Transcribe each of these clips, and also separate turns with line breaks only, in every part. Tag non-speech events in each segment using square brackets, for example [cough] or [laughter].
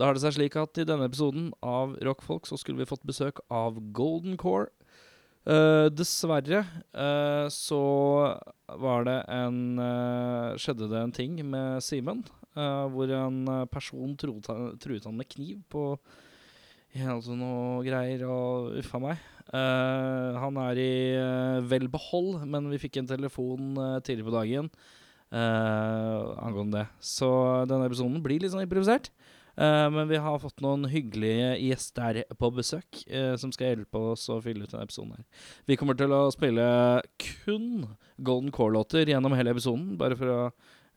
Da har det seg slik at i denne episoden av Rockfolk så skulle vi fått besøk av Golden Core. Eh, dessverre eh, så var det en eh, Skjedde det en ting med Simen, eh, hvor en eh, person truet han- truet han med kniv på ja, altså noe greier, og uffa meg. Eh, han er i eh, vel behold, men vi fikk en telefon eh, tidligere på dagen eh, angående det. Så denne episoden blir litt sånn improvisert. Eh, men vi har fått noen hyggelige gjester på besøk eh, som skal hjelpe oss å fylle ut denne episoden. her. Vi kommer til å spille kun Golden Core-låter gjennom hele episoden. Bare for å,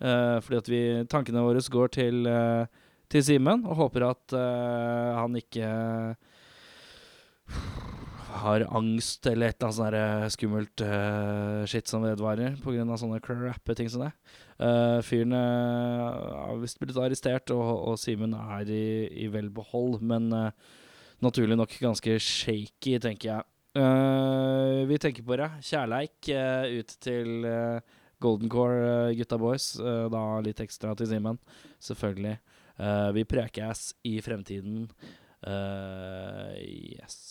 eh, fordi at vi, tankene våre går til, eh, til Simen, og håper at eh, han ikke har angst eller et eller annet sånn der, eh, skummelt eh, shit som vedvarer pga. sånne crappe ting som det. Eh, fyren eh, har visst blitt arrestert, og, og Simen er i, i vel behold, men eh, naturlig nok ganske shaky, tenker jeg. Eh, vi tenker på det. Kjærleik eh, ut til eh, Golden Core, eh, gutta boys. Eh, da litt ekstra til Simen, selvfølgelig. Eh, vi prekes i fremtiden. Eh, yes.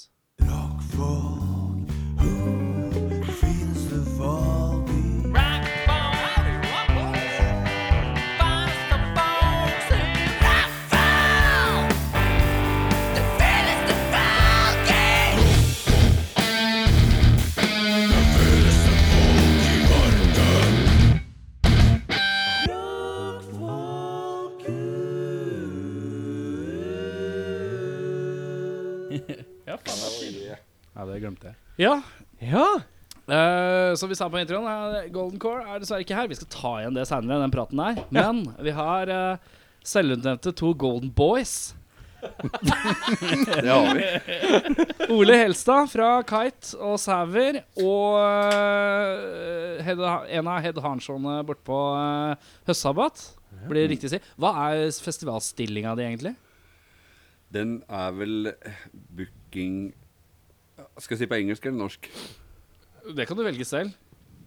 Ja, det glemte jeg.
Ja. Eh, som vi sa på introen, eh, Golden Core er dessverre ikke her. Vi skal ta igjen det senere, den praten der. Men vi har eh, selvutnevnte to Golden Boys.
Det har vi.
Ole Helstad fra Kite og Sæver. Og eh, head, en av head hansjåene bortpå uh, høstsabbat. Blir det riktig å si. Hva er festivalstillinga di, egentlig?
Den er vel eh, booking Skal jeg si på engelsk eller norsk?
Det kan du velge selv.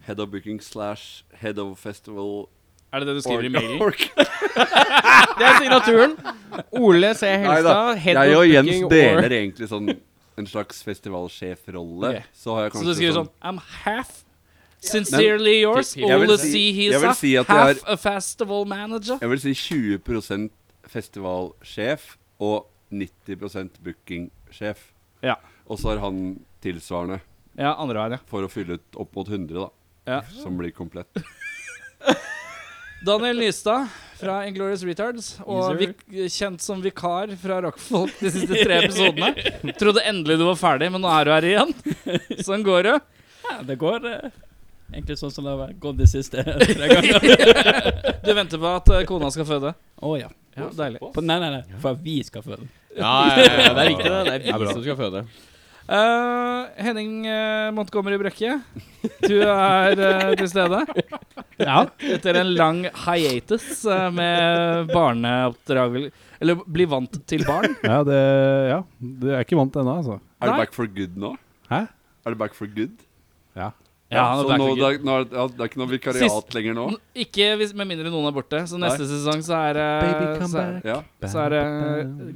Head of booking slash head of festival
Er det det du skriver i
org-
mailen?
org.
Det er signaturen! Ole C.
Nei da.
Helstad, head
Jeg
of
og Jens
booking
deler
org.
egentlig sånn en slags festivalsjefrolle.
Ok.
Så har jeg
Så du
kanskje
skriver sånn I'm half sincerely yours.
Typ-
Jeg vil
Ole
si-
C.
jeg vil
Hisa.
si at jeg
half a festival manager.
Jeg vil si 20 festivalsjef og 90 bookingsjef.
Ja.
Og så har han tilsvarende
Ja, andre veien, ja.
for å fylle ut opp mot 100, da.
Ja.
Som blir komplett.
Daniel Nystad fra Inglorious Retards, og
Easer.
vik kjent som vikar fra Rockfolk de siste tre episodene. [laughs] Trodde endelig du var ferdig, men nå er du her igjen. Sånn går det.
[laughs] Ja, det går eh, egentlig sånn som det har gått de siste [laughs] tre gangene.
Du venter på at eh, kona skal føde.
Å ja.
Ja, deilig.
På, nei, nei, nei. For at vi skal føde.
Ja, ja, ja, ja,
[laughs]
det er riktig, det. Det er vi som skal føde.
Eh, Henning eh, Montgomery Brekke, du er eh, til stede.
Ja.
Etter en lang hiatus eh, med barneoppdragelse Eller bli vant til barn.
Ja, det, ja. Du er ikke vant ennå, altså.
Er
Nei.
du back for good nå?
Hæ?
Er du back for good?
Ja, han er
så
back
nå,
for
det, er, nå er, ja, det er ikke noe vikariat
Sist-
lenger nå?
N- Ikke hvis, med mindre noen er borte. Så neste sesong så er det
Baby, come
så, er-
Ja.
så er det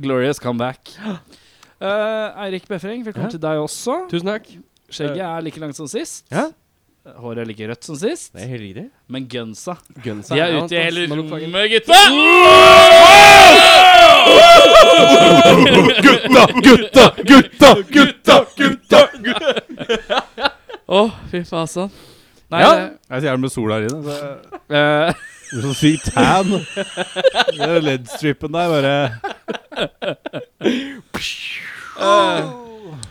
glorious comeback. Eh, Eirik Befring, velkommen
Ja.
til deg også.
Tusen takk.
Skjegget er like langt som sist.
Ja.
Håret er like rødt som sist.
Det er helt riktig.
Men gunsa
Guns
De er altså. ute i hele rommet, gutta!
Gutta, gutta, gutta, gutta!
Å, fy fasan. Nei,
Ja.
det-
Jeg er så gjerne med sola her inne. Så jeg
eh,
blir så sykt tan. Det er LED-strippen der bare Jeg
Eh.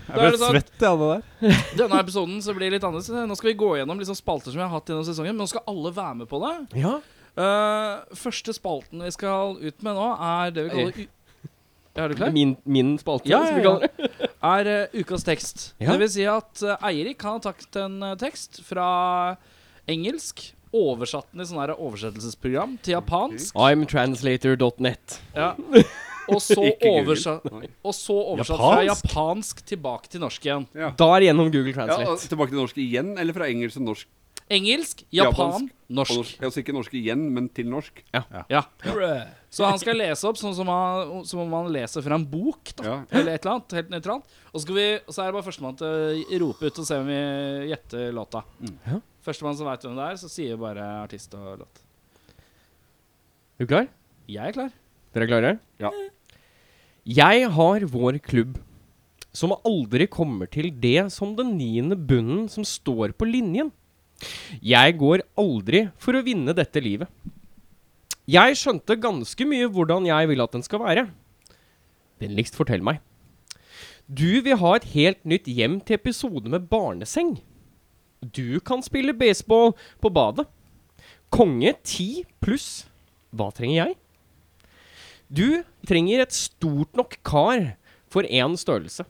Da er
ble
det sånn-
svett i alle der.
denne episoden så blir det litt annerledes. Nå skal vi gå gjennom liksom spalter som vi har hatt gjennom sesongen, men nå skal alle være med på det.
Ja.
Eh, første spalten vi skal ut med nå, er det vi kaller u Ja, Er du klar?
Min, min spalte,
Ja,
som vi
ja,
kaller det.
er eh, ukas tekst.
Ja.
Det vil si at eh, Eirik han har tatt en eh, tekst fra engelsk, oversatt den i sånn her oversettelsesprogram, til japansk,
Imtranslator.net. [laughs]
ja. og, så
Ikke Google.
oversatt,
Nei.
og så oversatt fra
Japansk?
japansk tilbake til norsk igjen.
Ja.
Da er det gjennom Google
Ja, og
Translate.
tilbake til norsk igjen, eller fra engelsk til norsk?
engelsk, japan,
Japansk, Og
norsk.
norsk. Altså ikke norsk igjen, men til norsk.
Ja.
Brød.
Så han skal lese opp sånn som, han, som om han leser fra en bok, da,
Ja.
eller et eller annet. Helt nøytralt. Og så, skal vi, og så er det bare førstemann til å rope ut og se om vi gjetter låta.
Mm.
Ja.
Førstemann som veit hvem det er, så sier bare artist og låt.
Er du klar?
Jeg er klar.
Dere er klare?
Ja.
Jeg har vår klubb, som aldri kommer til det som den niende bunnen som står på linjen. Jeg går aldri for å vinne dette livet. Jeg skjønte ganske mye hvordan jeg vil at den skal være. Vennligst fortell meg. Du vil ha et helt nytt hjem til episode med barneseng. Du kan spille baseball på badet. Konge 10 pluss. Hva trenger jeg? Du trenger et stort nok kar for én størrelse.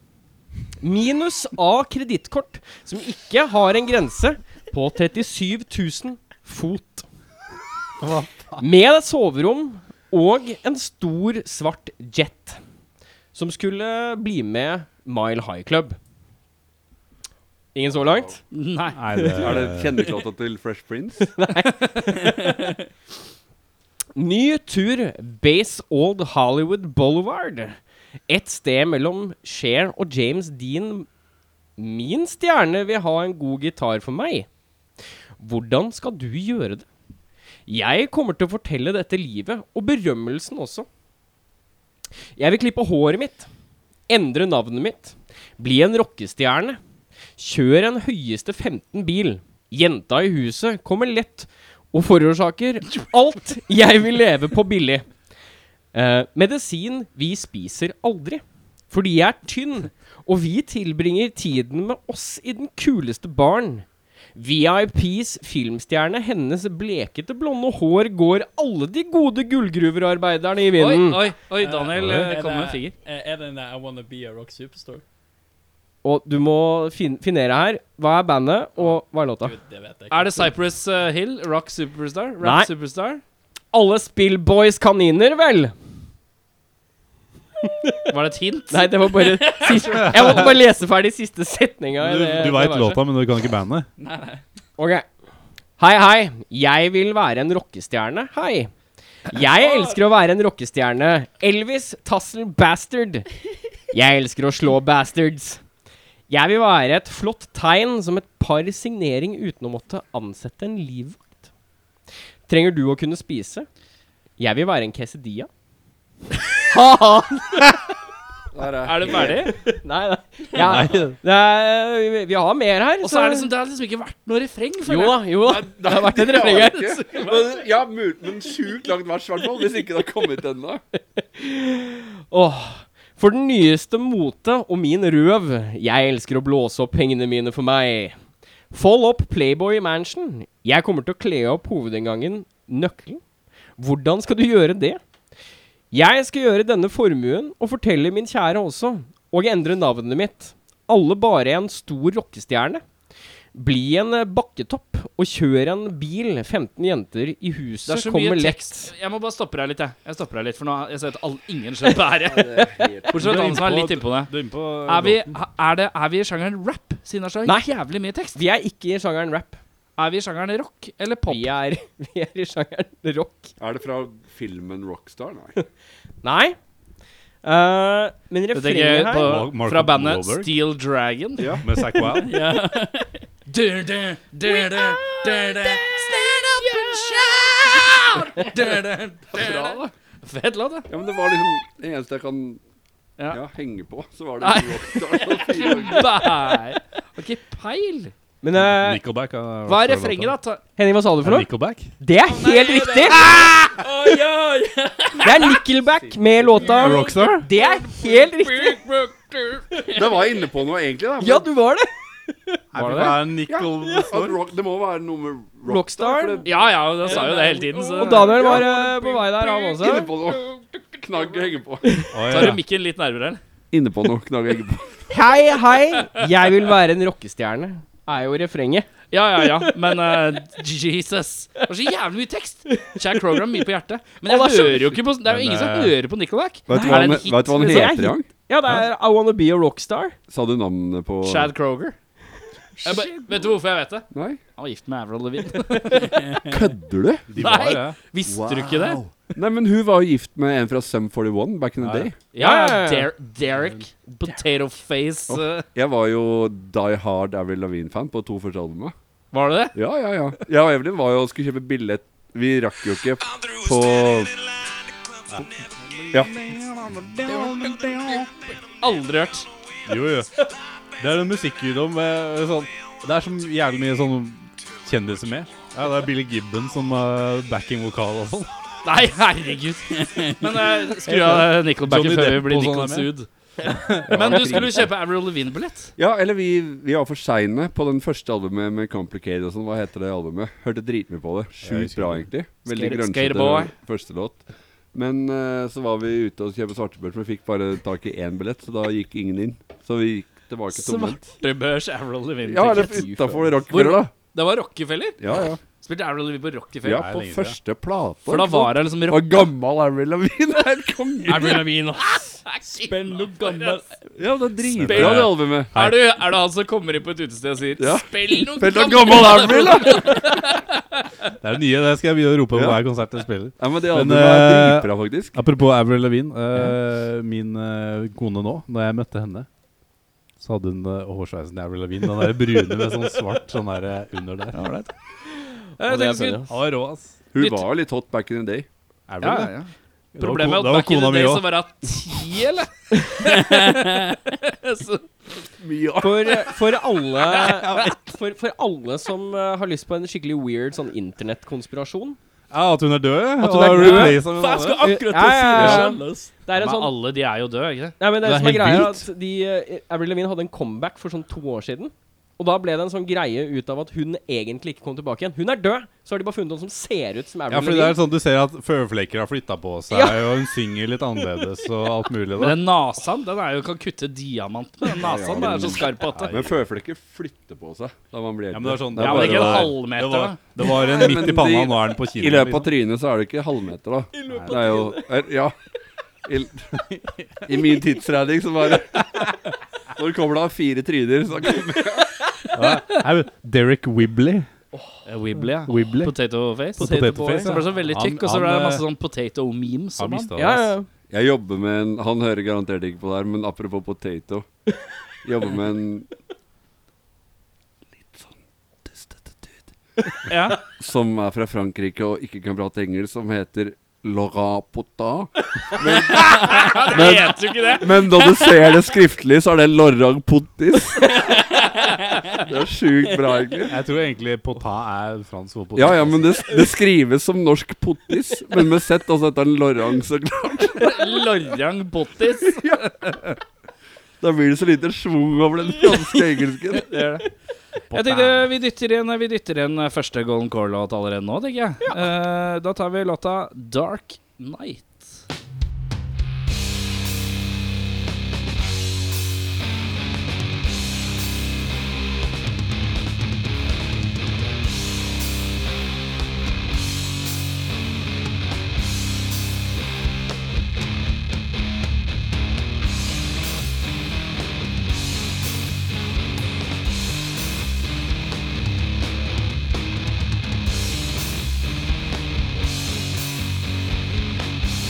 Minus A kredittkort, som ikke har en grense på 37 000 fot. Med et soverom og en stor, svart jet, som skulle bli med Mile High Club. Ingen så langt?
Nei.
Nei, det
Er det kjenneklåta til Fresh Prince?
Ny tur Base Old Hollywood Boulevard. Et sted mellom Cher og James Dean. Min stjerne vil ha en god gitar for meg. Hvordan skal du gjøre det? Jeg kommer til å fortelle dette livet, og berømmelsen også. Jeg vil klippe håret mitt, endre navnet mitt, bli en rockestjerne. Kjør en høyeste 15 bil. Jenta i huset kommer lett og forårsaker alt jeg vil leve på billig. Eh, medisin vi spiser aldri, fordi jeg er tynn, og vi tilbringer tiden med oss i den kuleste baren. VIPs filmstjerne, hennes blekete blonde hår går alle de gode gullgruverarbeiderne i
Oi,
vinden.
oi, oi, Daniel
Eh,
eh, kom med en
det-
finger.
Er er den der I Wanna Be a Rock Superstar?
Og du må fin finere her. Hva er bandet, og hva Ah. er låta?
Gud, det vet jeg ikke.
Er det Cypress eh, Hill? Rock Superstar? Rap
Nei.
Superstar?
Alle Spillboys kaniner, vel?
Var det et hint?
Nei, det var bare siste. Jeg måtte bare lese ferdig siste setninga. i
Du,
det-
du
det
veit
verset.
låta, men du kan ikke bandet.
Ok. Hei, hei. Jeg vil være en rockestjerne. Hei. Jeg elsker å være en rockestjerne. Elvis Tassel Bastard. Jeg elsker å slå bastards. Jeg vil være et flott tegn som et par signering uten å måtte ansette en livvakt. Trenger du å kunne spise? Jeg vil være en quesadilla. Ha-ha!
Er det ferdig?
Nei, nei. Ja, det er, vi, vi har mer her.
Og så er det liksom, det har liksom ikke vært noe refreng.
Jo
føler jeg.
da, jo da. Det har vært et refreng her.
Men, ja, mul- men sjukt langt vers, i hvert fall. Hvis ikke det har kommet ennå.
Åh. For den nyeste mote og min røv. Jeg elsker å blåse opp pengene mine for meg. Fold opp Playboy Mansion. Jeg kommer til å kle opp hovedinngangen Nøkkelen. Hvordan skal du gjøre det? Jeg skal gjøre denne formuen og fortelle min kjære også. Og endre navnet mitt. Alle bare en stor rockestjerne. Bli en eh, bakketopp og kjør en bil. 15 jenter i huset
Det er så
kommer
mye
lett.
tekst. Jeg må bare stoppe deg litt, jeg. Jeg stopper deg litt, for nå har jeg sett at all- ingen skjønner hva det er. [laughs] Bortsett fra
Du er
han som er
innpå-
litt innpå det.
Du er inne på
Er vi, er, det, er vi i sjangeren rap, siden det er så
Nei.
jævlig mye tekst?
Vi er ikke i sjangeren rap.
Er vi i sjangeren rock eller pop?
Vi er, [laughs] vi er i sjangeren rock.
Er det fra filmen Rockstar? Nei.
Nei. Eh, men
Jeg
refrenget
tenker
her
på,
Mark- Mark
fra bandet
Wahlberg.
Steel Dragon.
Ja.
Med Zack
[laughs]
Wild.
Ja.
Du, du, du, du, du, du. Stand up and shout! [laughs] Du, du, du, du. Fett låt, da.
Ja, men det var liksom det eneste jeg kan
Ja.
ja. henge på. Så var det Rockstar. og fire ganger.
Bæ. Har ikke peil.
Men eh,
Nickelback. er-
Hva er refrenget, da? Ta-
Henning, hva sa du
Er
for
det
noe?
Nickelback?
Det er helt riktig! [laughs]
Oi, oi!
Det er Nickelback med låta
Rockstar?
Det er helt riktig!
Det var jeg inne på noe, egentlig. da men
Ja, du var det!
Var det det?
Er
Ja,
Nickel
ja, at rock, det må være noe med rock.
Rockstar.
Ja, ja, han sa jo det hele tiden, så
Og Daniel var eh, på vei der, han
Inne
også.
på noe. Knagg å henge på.
Oi,
Tar
ja.
du mikken litt nærmere? eller?
Inne på noe. Knagg å henge på.
Hei, hei, jeg vil være en rockestjerne. Er jo refrenget.
Ja, ja, ja, men eh, Jesus. Det var så jævlig mye tekst. Jack Program, mye på hjertet. Men jeg
Å, det er så-
hører jo ikke på Det er jo
Men,
ingen som
eh,
hører på Nickelback.
Vet
Er det en hit?
du hva han
Det er
heter i gang?
Ja, det er I Wanna Be a Rockstar.
Sa du navnet på
Chad Kroger. Jeg bare, vet du hvorfor jeg vet det?
Nei?
Han var gift med Avril Lavigne. [laughs]
Kødder du?
Nei,
var Visste du ikke det?
Nei, men hun var jo gift med en fra Sum 41 back in the
Ja, ja.
day.
Ja,
Ja,
ja,
ja, ja.
Der Derek. Potato face. eh,
Jeg var jo Die Hard Avril Lavigne-fan på to første albumet.
Var det det?
Ja, ja, ja. Jeg og Evelyn var jo og skulle kjøpe billett. Vi rakk jo ikke på Ja.
Aldri hørt.
Jo, jo. Det er en musikkvideo med sånn Det er så jævlig mye sånn kjendiser med. Ja, det er Billy Gibbon som uh, backing-vokal og sånn.
Nei, herregud. Men eh, skru av Nickelbacken
Johnny
før vi
Depp
blir
og sånn
Nickelsued. Men du skulle jo kjøpe Avril Lavigne-billett.
Ja, eller vi, vi var for seine på den første albumet med Complicated og sånn. Hva heter det albumet? Hørte dritmye på det.
Jeg
Sjukt
husker
bra, egentlig. Veldig
Skater- Skaterboy.
grønnsete første låt. Men eh, så var vi ute og kjøpte svartebørs, men vi fikk bare tak i én billett, så da gikk ingen inn. Så vi gikk tilbake tomhendt.
Svartebørs Avril
Ja, eller
Lavigne-ticket.
utafor Rockefeller, da.
Det var Rockefeller.
Ja, ja.
Spilte Avril Lavigne på
ja
Rockefeller.
Nei,
på
lenger, ja.
første plate.
For da
ikke sant?
var hun liksom
Det
rock...
var gammel Avril [laughs] Lavigne. Det er konge.
Avril Lavigne, [laughs] ass. Spenn noe gammelt.
Ja, det er dritbra,
Spill-
det albumet.
Er du, er det han som kommer inn på et utested og sier
Ja.
'spill noe
Spill noe
[laughs]
gammel Avril, da!
Det er det nye. Det skal jeg begynne å rope på
Ja.
hver konsert jeg spiller.
Ja, men det
Men,
albumet er
eh,
dritbra, faktisk.
Apropos Avril Lavigne. eh, Min eh, kone nå, når jeg møtte henne, så hadde hun eh, hårsveisen til Avril Lavigne. Den der brune med sånn svart sånn der eh, under der.
Jeg tenkte skulle-
Han var rå, ass.
Hun
litt-
var litt hot back in the day.
Ja,
Avril, det.
ja.
Det var
Problemet
ko-
er
det
at
var
back in the
kona mi
day
også.
så var hun ti, eller? så,
Mye
For, for [laughs] alle for, for alle som eh, har lyst på en skikkelig weird sånn internettkonspirasjon
Ja, at hun er død?
At hun
og
er død?
replaced med en
Faen, jeg
annen.
skulle akkurat til å si det
Ja, ja, ja.
selv, ass.
Det er en
men
sånn
alle de er jo døde, ikke det?
Nei, men det,
Det er
som er
helt
greia er at de, eh, Avril Lavigne hadde en comeback for sånn to år siden. Og da ble det en sånn greie ut av at hun egentlig ikke kom tilbake igjen. Hun er død! Så har de bare funnet noen som ser ut som
Ja,
Avril
fordi det er
Lavigne.
sånn du ser at føflekker har flytta på seg,
Ja.
og hun synger litt annerledes og alt mulig.
Men
da
den nasaen, den er jo kan kutte diamant med. Den nasaen den er så skarp at det
Men føflekker flytter på seg da man blir
Ja,
eldre.
men det er sånn-
Ja,
det er
men ikke en
bare-
halvmeter,
det var,
da.
det var en
Nei,
midt
men
i panna,
de-
nå er den på kino.
I løpet av
liksom.
trynet så er det ikke halvmeter, da. I
løpet
det er jo, er, ja. I, [laughs] I min tidsregning så var det [laughs] Når kommer det av fire tryner, så kommer
Ja, er jo Derek Wibley.
Eh, Wibbly, ja.
Wibley.
Potato face.
Potato Potato face, face,
Den ble så veldig
ja.
tykk, og så
Han- eh,
ble det
han,
masse sånn potato memes.
Har
om han.
mista det.
Ja, ja.
ass.
Jeg jobber med en Han hører garantert ikke på det her, men apropos potato Jobber med en litt sånn dustete dude
Ja.
som er fra Frankrike og ikke kan prate engelsk, som heter Laurent Potin.
[laughs]
Det heter jo ikke det!
Men når du ser det skriftlig, så er det Lorang Pontis. Det er sjukt bra, egentlig.
Jeg tror egentlig Pota er fransk for potet.
Ja, ja, men det, det skrives som norsk pottis, men med Z, altså etter en lorang, så klart.
Lorang pottis.
Da blir det så lite schwung over den franske engelsken.
Det er det. Jeg tenkte vi dytter inn, vi dytter inn eh, første Golden Core-låt allerede nå, tenker jeg. Eh, da tar vi låta 'Dark Night'.
Dark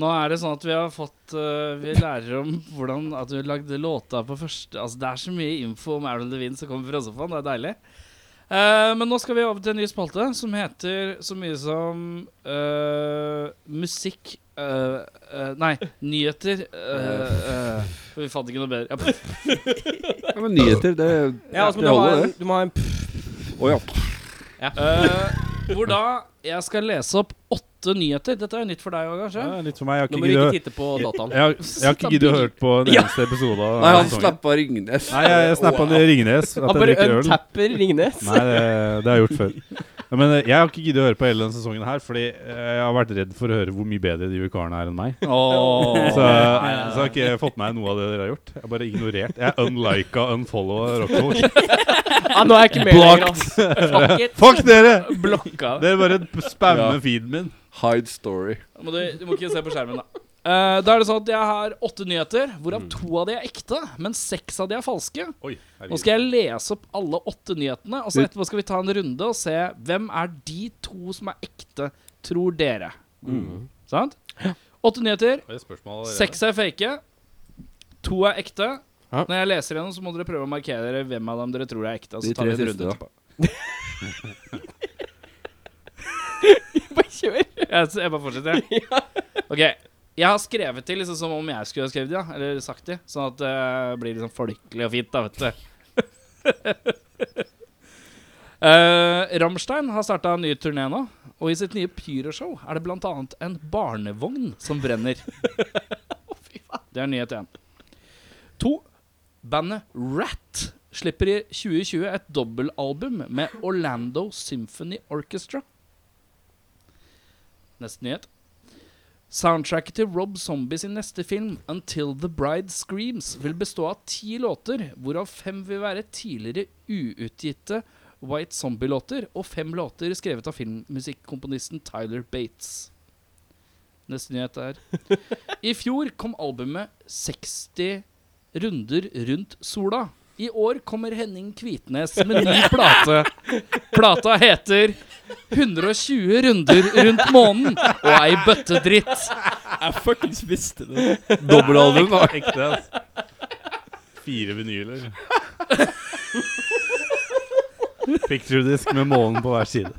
Nå er det sånn at vi har fått eh, Vi lærer om hvordan at du lagde låta på første Altså Det er så mye info om Erlend Levin som kommer fra sofaen. Det er deilig. Eh, men nå skal vi over til en ny spalte som heter så mye som eh, Musikk eh, eh, Nei, nyheter. eh, eh, for vi fant ikke noe bedre. Ja, pff.
Ja, men nyheter, det,
Ja, altså, men
det
du, må ha
holder,
en,
det.
du må ha en
Å ja.
Eh, hvor da [laughs] jeg skal lese opp åtte nyheter. Dette er jo nytt for deg òg,
Ja,
kanskje?
litt for meg. Jeg har
Nå
ikke
må du ikke
giddet
titte på dataen.
jeg har, jeg har ikke giddet å høre på en eneste episode av
Nei, han
sesongen.
slappa Ringnes.
Nei, jeg, jeg snappa wow. Ringnes. At
Han
jeg
bare
drikker øl.
untapper Ringnes. [laughs]
Nei, det, det har jeg gjort før. Ja, Men eh, jeg har ikke giddet å høre på hele denne sesongen her, fordi eh, jeg har vært redd for å høre hvor mye bedre de vikarene er enn meg. Så, eh, så jeg har ikke fått med meg noe av det dere har gjort. Jeg har bare ignorert. Jeg unlika, unfollowa Rockfolk.
[laughs] Ja, nå er jeg ikke med lenger, ass. Fuck it.
[laughs] Fuck dere!
Blokka.
Dere bare spammer
Ja.
feeden min.
Hide story.
Da må du, du må ikke se på skjermen, da. Eh, da er det sånn at Jeg har åtte nyheter, hvorav to av de er ekte, men seks av de er falske.
Oi,
Nå skal jeg lese opp alle åtte nyhetene, og så etterpå skal vi ta en runde og se hvem er de to som er ekte, tror dere. Mm. Sant? Åtte nyheter. Seks er fake. To er ekte.
Ja.
Når jeg leser gjennom, så må dere prøve å markere dere hvem av dem dere tror er ekte. og
De
Så tar vi
tre
en
siste,
runde
da.
etterpå.
Bare kjør.
Jeg, jeg bare
[laughs]
fortsetter, jeg. Ok. Jeg har skrevet de liksom som om jeg skulle ha skrevet de, ja. Eller sagt de. Sånn at det blir liksom folkelig og fint, da, vet du. [laughs] Eh, Rammstein har starta en ny turné nå, og i sitt nye pyroshow er det bl.a. en barnevogn som
[laughs]
brenner. Det er nyhet én. To. Bandet Rat slipper i 2020 et dobbelalbum med Orlando Symphony Orchestra. Neste nyhet. Soundtracket til Rob Zombie sin neste film, 'Until The Bride Screams', vil bestå av ti låter, hvorav fem vil være tidligere uutgitte White Zombie-låter, og fem låter skrevet av filmmusikkomponisten Tyler Bates. Neste nyhet er [laughs] I fjor kom albumet '60 runder rundt sola'. I år kommer Henning Kvitnes med ny plate. Plata heter 120 runder rundt månen og ei bøtte dritt.
Jeg fuckings visste det.
Dobbelalbum, da.
Ekte, altså. Fire vinyler. [laughs] Picturedisk med månen på hver side.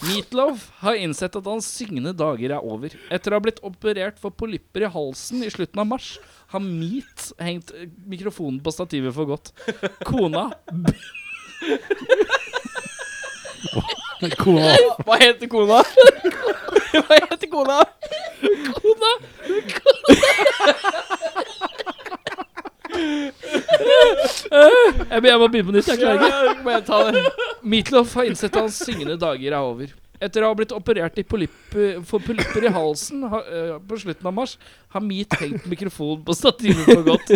Meatloaf har innsett at hans syngende dager er over. Etter å ha blitt operert for polypper i halsen i slutten av mars, har Meat hengt eh, mikrofonen på stativet for godt. Kona
Kona
Hva heter kona? [laughs] Hva heter kona?
Kona! Jeg, må- jeg må begynne på nytt. Jeg klarer ikke.
Bare ta det.
Meatloaf har innsett at hans syngende dager er over. Etter å ha blitt operert i polypper, for polypper i halsen ha, eh, på slutten av mars, har Meat hengt mikrofonen på stativet for godt.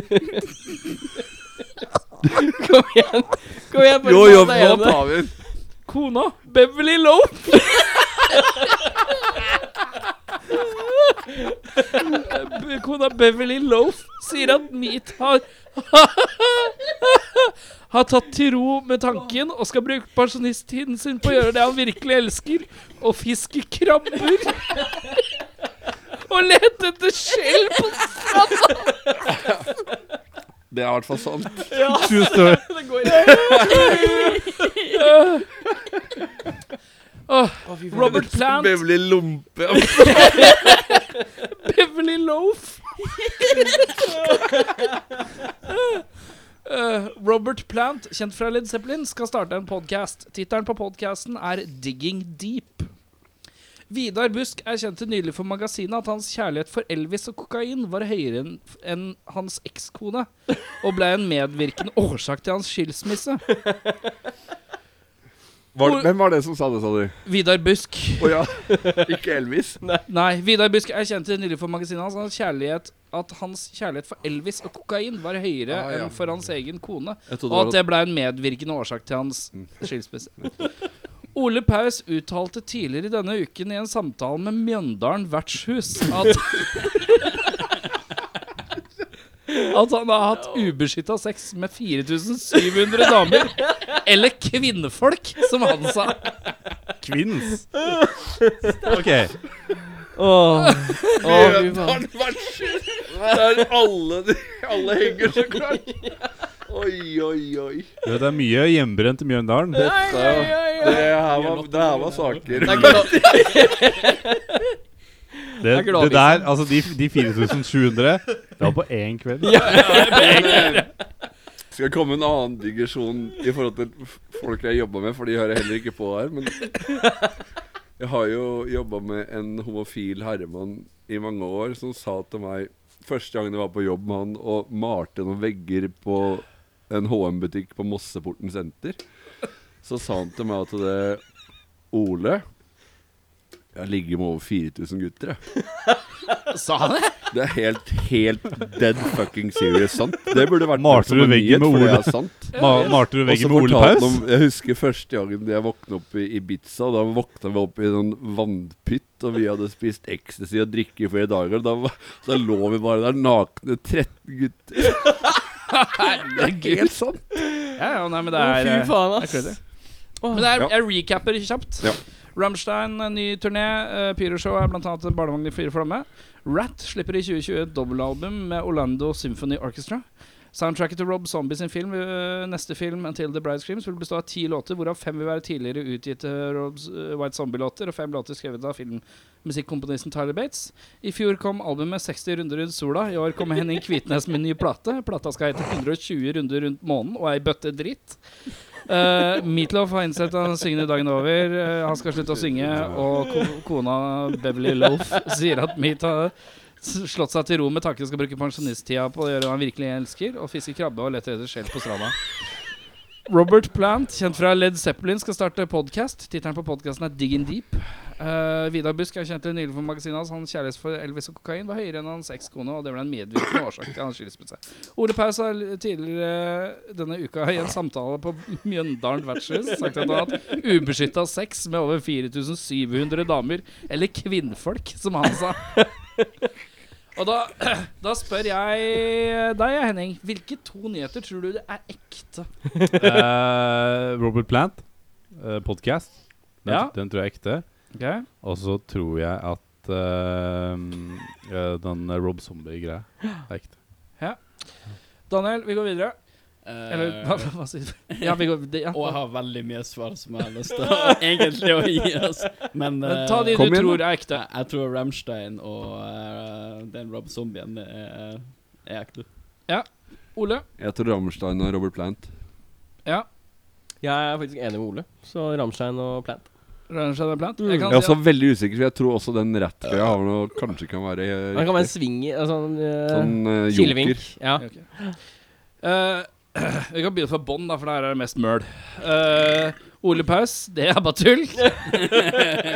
Kom igjen. Kom igjen, bare sånn
Jo,
ta
jo, nå
deg igjen.
tar vi den.
Kona Beverly Lope! B- Kona Beverly Loaf sier at Meat har [laughs] har tatt til ro med tanken og skal bruke pensjonisttiden sin på å gjøre det han virkelig elsker, å fiske krabber. Og lete etter skjell på
Det er i hvert fall sant.
True story.
Det går ikke.
Åh, Robert Plant,
Beverly Lompe.
Beverly Loaf. Eh, Robert Plant, kjent fra Led Zeppelin, skal starte en podkast. Tittelen på podkasten er Digging Deep. Vidar Busk erkjente nylig for magasinet at hans kjærlighet for Elvis og kokain var høyere enn enn hans ekskone, og ble en medvirkende årsak til hans skilsmisse.
Var det, hvem var det som sa det, sa du?
Vidar Busk.
Å ja. Ikke Elvis.
Nei, Vidar Busk erkjente nylig for magasinet hans hans kjærlighet, at hans kjærlighet for Elvis og kokain var høyere
Ah, ja.
enn for hans egen kone,
Jeg
og at det Mm. ble en medvirkende årsak til hans skilsmisse. Ole Paus uttalte tidligere denne uken i en samtale med Mjøndalen vertshus at At han har hatt ubeskytta sex med 4700 damer. Eller kvinnefolk, som han sa.
Kvinns. Ok,
Åh, åh, fy faen.
Grønlandvarsel! Der alle, de- alle henger så klart. Oi, oi, oi.
du vet, Det er mye hjemmebrent i Mjøndalen.
Dette, det her var, det her var saker.
Det,
er glad
det der, altså de, de 4700, det var på én kveld.
Men, eh, Skal komme en annen digresjon i forhold til f- folk jeg jobba med, for de hører heller ikke på her, men Jeg har jo jobba med en homofil herremann i mange år som sa til meg Første gangen jeg var på jobb med han og malte noen vegger på en HM-butikk på Mosseporten senter, så sa han til meg at det Ole Jeg ligger med over 4000 gutter, jeg.
Sa han det?
Det er helt, helt dead fucking serious sant. Det burde vært
Malte
som en
du veggen
nyhet,
med
for det
Ole?
er
[laughs]
sant.
Ma- Malte du
Og så
veggen med Ole
fortalte
Paus?
han om- Jeg husker første gangen jeg våkna opp i Ibiza. Da våkna vi opp i en vannpytt, og vi hadde spist ecstasy og drikke i flere dager. Da, var- da lå vi bare der nakne 13 gutter. Det er helt sant.
Ja, ja, nei, men det
Å,
er
fy
eh,
faen,
det er crazy.
ass.
Men det er,
Ja.
jeg recapper kjapt.
Ja.
Rammstein, eh, ny turné. eh, Pyroshow er blant annet en barnevogn i fire flamme. Rat slipper i 2020 et dobbeltalbum med Orlando Symphony Orchestra. Soundtracket til Rob Zombie sin film, eh, neste film, 'Until the Bride Screams', vil bestå av ti låter, hvorav fem vil være tidligere utgitte Robs eh, White Zombie-låter, og fem låter skrevet av filmmusikkomponisten Tyler Bates. I fjor kom albumet 60 runder rundt sola. I år kommer Henning Kvitnes med ny plate. Plata skal hete 120 runder rundt månen og ei bøtte dritt. Uh, Meatloaf har innsett at han synger dagen over. Eh, han skal slutte å synge, og ko kona Beverly Loaf sier at Meat har s- slått seg til ro med tanken skal bruke pensjonisttida på å gjøre hva han virkelig elsker, og fiske krabbe og lete etter skjell på stranda. Robert Plant, kjent fra Led Zeppelin, skal starte podkast. Tittelen på podkasten er Dig in Deep. Eh, Vidar Busk er kjent nylig for magasinet hans. Hans kjærlighet for Elvis og kokain var høyere enn hans ekskone, og det ble en medvirkende årsak til hans skilsmisse. Ole Paus har tidligere denne uka i en samtale på Mjøndalen vertshus sagt at han har hatt ubeskytta sex med over 4700 damer, eller kvinnfolk, som han sa. Og da, [clears throat] da spør jeg deg, Henning, hvilke to nyheter tror du det er ekte?
Eh, Robert Plant, eh, podcast. Den,
Ja.
den tror jeg er ekte. Og så tror jeg at eh, eh, den Rob Zombie-greia er ekte.
Daniel, vi går videre. Eller hva,
Eh,
hva sier du? [laughs] Ja, vi går, ja.
og jeg har veldig mye svar som jeg har lyst til å, [laughs] egentlig å gi oss. Men,
Men ta de du
eh,
Kom igjen,
tror er
jeg,
ekte.
jeg tror Ramstein og eh, den Rob Zombien er, er ekte.
Ole?
Jeg tror Rammstein og Robert Plant.
Ja.
Jeg er faktisk enig med Ole. Så Rammstein og Plant.
Rammstein er blant.
Mm.
Jeg
Jeg
kan
er
si
også veldig usikker, for jeg tror også den rattgreia har noe kanskje kan være eh,
Han kan være en
riktig.
sving i altså, en, eh,
sånn eh, joker.
Kilevink. Ja.
at- Ok. Eh, vi kan begynne fra bånn, da, for der er det mest møl. Eh, Ole Paus, det er bare tull.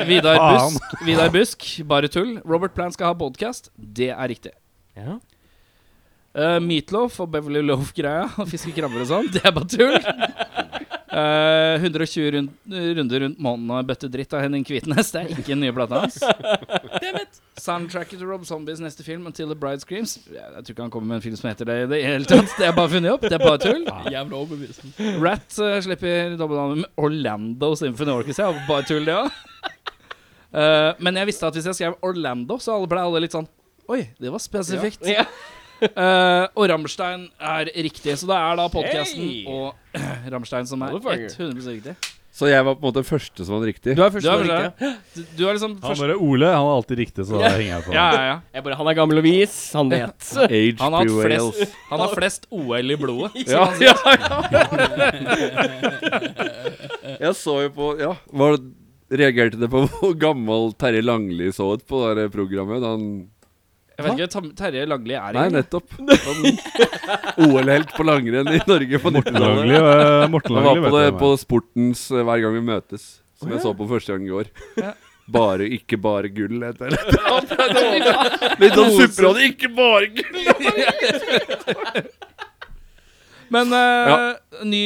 Vidar
Faen.
Busk, Vidar Busk, bare tull. Robert Plant skal ha podcast, det er riktig.
ja.
Eh, Meatloaf og Beverly Loaf-greia og fiske krabber og sånn, det er bare tull. Eh, 120 rund, runder rundt månen og en bøtte dritt av Henning Kvitnes, det er ikke den nye plata hans. Soundtracket til Rob Zombies neste film, 'Until the Bride Screams'. Jeg, jeg tror ikke han kommer med en film som heter det i det hele tatt. Det er bare funnet opp. Det er bare tull.
Jævla overbevisende.
Rat eh, slipper dobbeltnavnet med Orlando Symphony Orchestra. Det er Bare tull, det òg. men jeg visste at hvis jeg skrev Orlando, så alle ble alle litt sånn Oi, det var spesifikt.
Ja.
Eh, og Rammstein er riktig, så det er da podkasten
Hey!
og [clears throat] Rammstein som er
Motherfucker.
100 riktig.
Så jeg var på en måte første som hadde riktig.
Du er først
Du er
nå,
først,
riktig.
Du, du er liksom
Han
først
bare Ole, han er alltid riktig, så da henger jeg på.
Ja, ja, ja.
Jeg bare, han er gammel og vis, han vet.
Age
Han har hatt
prevails.
flest, han har flest OL i blodet.
Ja, ja, ja. [laughs] Jeg så jo på Ja, var, reagerte det på hvor gammel Terje Langli så ut på det der programmet? Da han,
Jeg vet ikke, Tam- Terje Langli er
nei,
ikke
nettopp. Han OL-helt på langrenn i Norge på
Morten
90-tallet.
Langli, eh, Morten
Han var
Langli
på, det,
vet jeg hvem
på
er.
Sportens eh, Hver gang vi møtes, som jeg så på første gang i går. Bare, ikke bare gull, heter det. Litt sånn supperåd, ikke bare gull!
Men eh, ny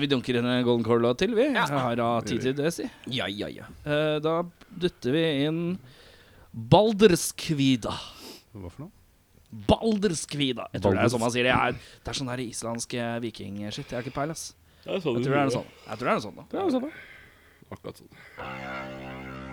Vi dunker inn en Golden Corlow til, vi. Jeg har da tid til det, si.
Ja, ja, ja.
Eh, da dytter vi inn Balderskvida.
Hva for noe?
Balderskvida. Jeg tror det er
Balders-
sånn man sier det. Jeg er, det er sånn her islandsk eh, vikingshit. Jeg har ikke peil, ass. Jeg tror det er noe sånn. Jeg tror det er noe sånn, da.
Akkurat sånn.
Thank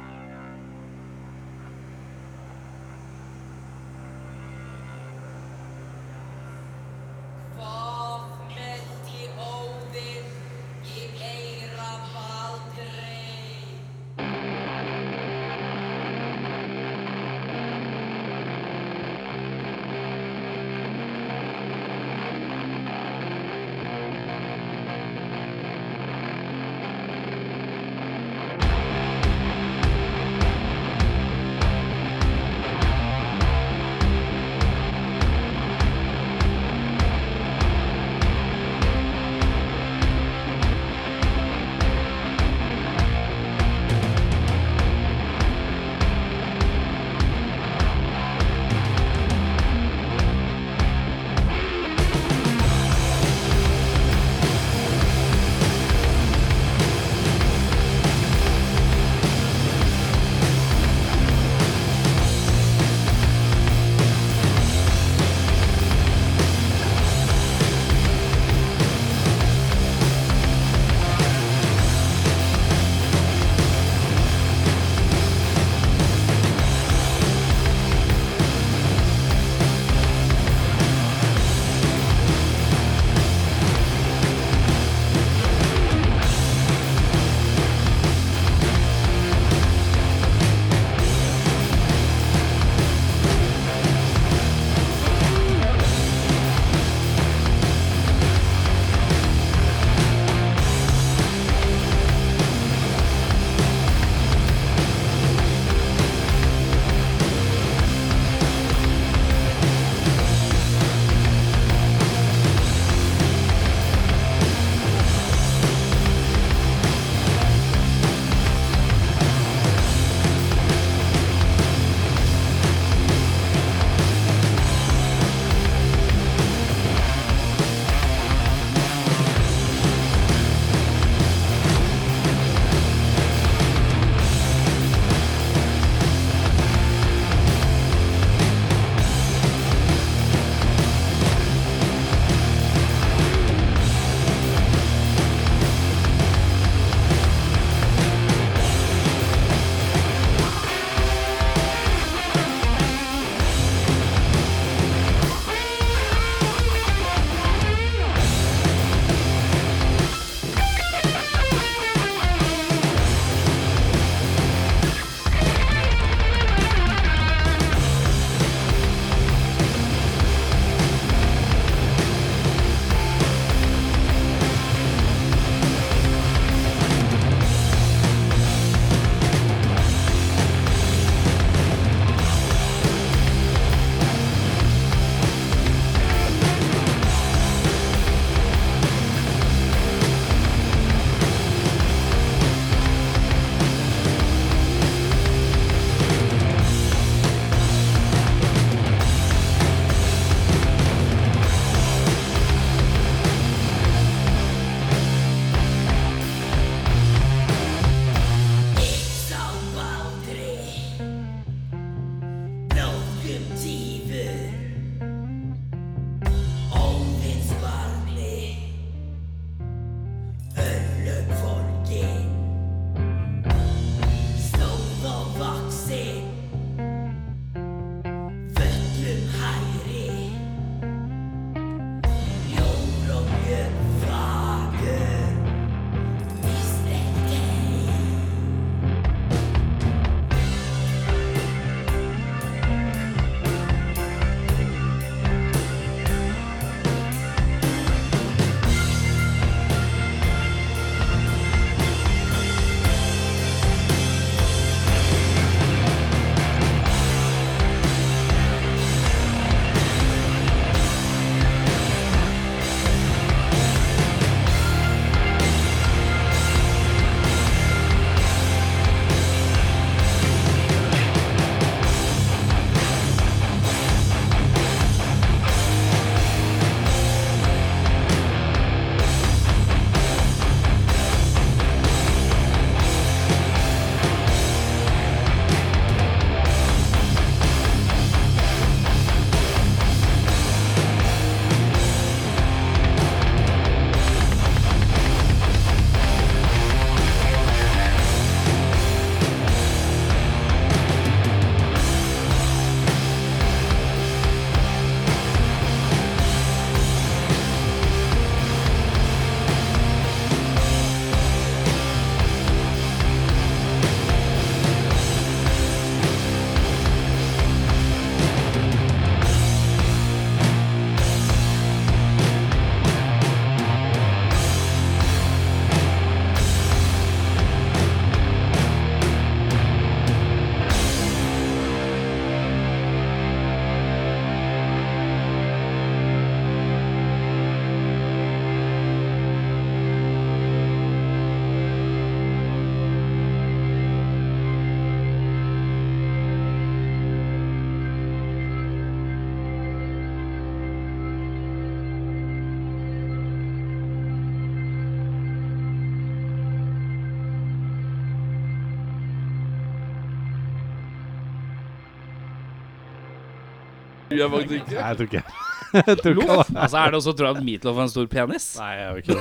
tror jeg faktisk ikke.
Nei, jeg [laughs] tror ikke Jeg tror ikke det.
[laughs] Altså, er det også å tro at Meatloaf er en stor penis?
Nei, jeg gjør ikke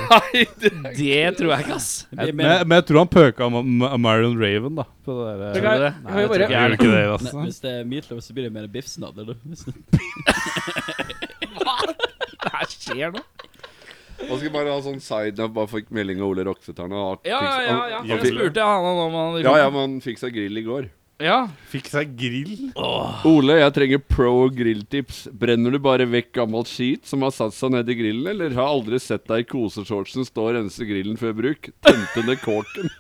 det.
Nei, det tror jeg ikke, ass.
[laughs] Jeg, men, men jeg tror han pøka om Ma- Marion Raven, da. På det der, eh,
Kan jeg-
det?
kan jeg bare-
jeg gjør ikke det,
Nei,
altså.
hvis det er meatloaf, så blir det mer biffsnadder. du. Hvis det-
Hva skjer nå?
Man skal bare ha sånn side note, bare fikk melding av Ole Roksetern. og at-
Ja, ja, ja.
og-
ja.
og-
Jeg spurte han om han liksom-
ja, ja, men han fikk seg grill i går.
ja.
Fikk seg grill.
Ole, jeg trenger pro og grilltips. Brenner du bare vekk gammelt skit som har satt seg ned i grillen, eller har aldri sett deg i koseshortsen stå og rense grillen før bruk? Tømte ned kåken.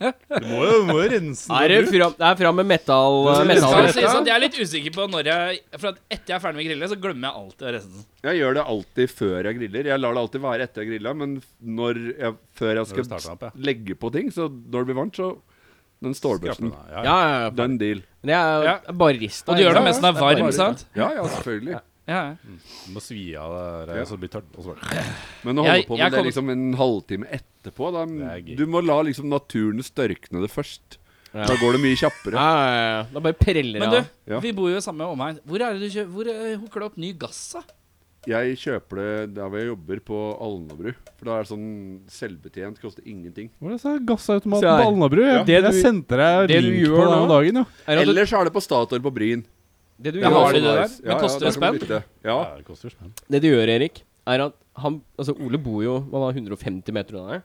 Du må jo, må jo rense
Er det, fram, det er fram med metal...
Det
eh,
er
Skal
metal
jeg si sånn, jeg er litt usikker på når jeg For at etter jeg er ferdig med grillet, så glemmer jeg alltid å resten.
[laughs] Jeg gjør det alltid før jeg griller. Jeg lar det alltid være etter jeg grilla, men når jeg, før jeg
du
skal
starter opp, ja.
legge på ting, så når det blir varmt, så Den stålbørsten.
Ja, ja.
ja, ja, ja.
Den deal.
Det er jo
Ja.
er barista.
Og du gjør det
ikke
mens den
sant?
er varm, sant?
Ja, ja, selvfølgelig.
Ja, ja.
Du må svi av det der, så det blir tørt. Og så bare
Men å holde
Jeg-
på med
jeg
det
kommer-
liksom en halvtime etterpå da,
er gøy.
Du må la liksom naturen størkne det først.
Ja.
Da går det mye kjappere.
Ja, ja, ja. Da bare preller
Men
det av.
du,
Ja.
vi bor jo i samme omegn. Hvor er det du kjø Hvor eh, hooker du opp ny gass, da?
Jeg kjøper det der hvor jeg jobber, på Alnabru. For da er det sånn selvbetjent, koster ingenting.
Hva er det så gassautomat
Se
på
her.
Alnabru? Jeg,
Det
jeg
du-
sendte deg
det du
link på
gjør
den
nå-
om dagen, jo.
Er det at du-
Eller så er det på Statoil på Bryn.
det, du
Ja,
er
har
gjør,
også
de det der?
nice.
Men koster det
der kan du
spenn?
bytte. Ja.
det koster jo spenn.
det du gjør, Erik, er at han Altså, Ole bor jo hva var det, 150 meter unna deg.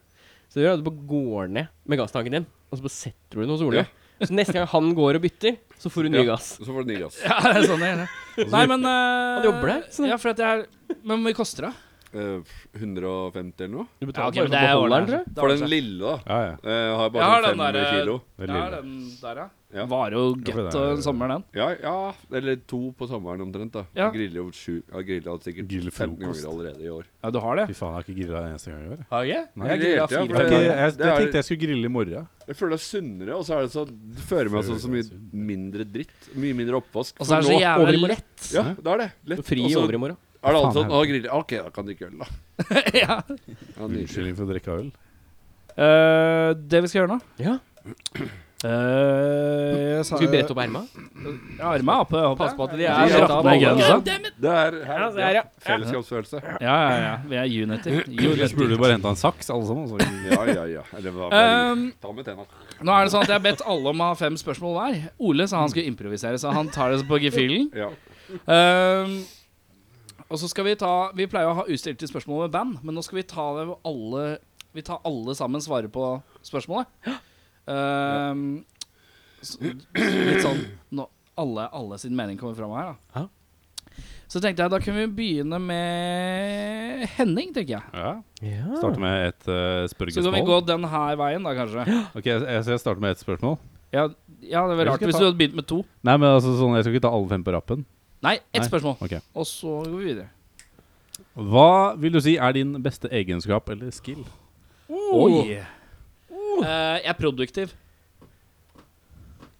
Så det gjør at du bare går ned med gasstanken din, og så bare setter du den hos Ole. Så neste gang han går og bytter, så får du ny
Ja.
gass.
Så får du ny gass.
[laughs] Ja, det er sånn jeg gjør det. Nei, men eh,
Han jobber der, sånn.
Ja, for at jeg er Men hvor mye koster det?
Eh, 150 eller noe.
Du
Ja,
betaler
ok, men
bare for beholderen, tror jeg.
ordentlig.
For den lille, da.
Ja, ja.
Eh, har
Jeg
bare
har
har
den
500
der,
kilo.
Det er
Ja,
lille.
den der, ja.
Ja.
Varer jo
Ja, for det
godt
er-
en sommer, den.
Ja, ja, eller to på sommeren omtrent. da
Ja.
Jeg Griller jo sju Jeg griller sikkert
Griller
15 ganger
frokost.
allerede i år.
Ja, du har det?
Fy faen, jeg har ikke grilla en eneste gang i år. jeg.
Har jeg?
Nei,
Jeg
jeg,
griller, ja,
jeg,
for det-
jeg, jeg,
det er-
tenkte jeg skulle grille i morgen.
Jeg føler det er sunnere, og så er det så Det fører meg sånn så mye mindre dritt. Mye mindre oppvask.
Og så er det så
over i
jævlig
morgen.
lett.
ja, det er det. Lett.
Fri
Og så
over i morgen.
er det
Faen,
alltid sånn
helvete.
Å, grille OK, da kan du ikke øl, da.
[laughs] ja.
Ja, nydelig.
Unnskyldning for å drikke øl.
Eh, det vi skal gjøre nå
Ja.
Eh, jeg sa-
Skal vi brette opp erma?
Ja, armene er oppe. jeg håper.
Pass på at de
Ja,
er
jeg
bretta
drar
av
på meg
alle.
gensa.
Det er her,
Ja, det er
ja,
det.
fellesskapsfølelse.
Ja, ja, ja. Vi er uniter.
Vi burde bare henta en saks, alle sammen. og Så.
Ja, ja, ja. Eller hva
Um,
Ta med tenna.
Nå er det sånn at Jeg har bedt alle om å ha fem spørsmål hver. Ole sa han skulle improvisere, så han tar det på gefühlen.
Ja.
Ehm, og så skal vi ta Vi pleier å ha utstilte spørsmål med band, men nå skal vi ta det hvor alle Vi tar alle sammen svarer på spørsmålet. Ehm, så, litt sånn nå, alle, alle sin mening kommer fram her, da.
Ja.
Så tenkte jeg da kunne vi begynne med Henning, tenker jeg.
Ja.
Ja.
Starte med et uh,
Så kan vi
spørrespørsmål.
gå den her veien, da,
[gasps]
kanskje.
Ok, jeg, jeg, så jeg starter med ett spørsmål.
Ja, ja det er vel
Vi
rart
skal
hvis
ta-
du hadde begynt med to.
Nei, men altså sånn, Jeg skal ikke ta alle fem på rappen.
Nei, ett
Nei.
spørsmål.
Ok
Og så går vi videre.
Hva vil du si er din beste egenskap eller skill?
Oi! Oh.
Oh.
Eh, jeg er produktiv.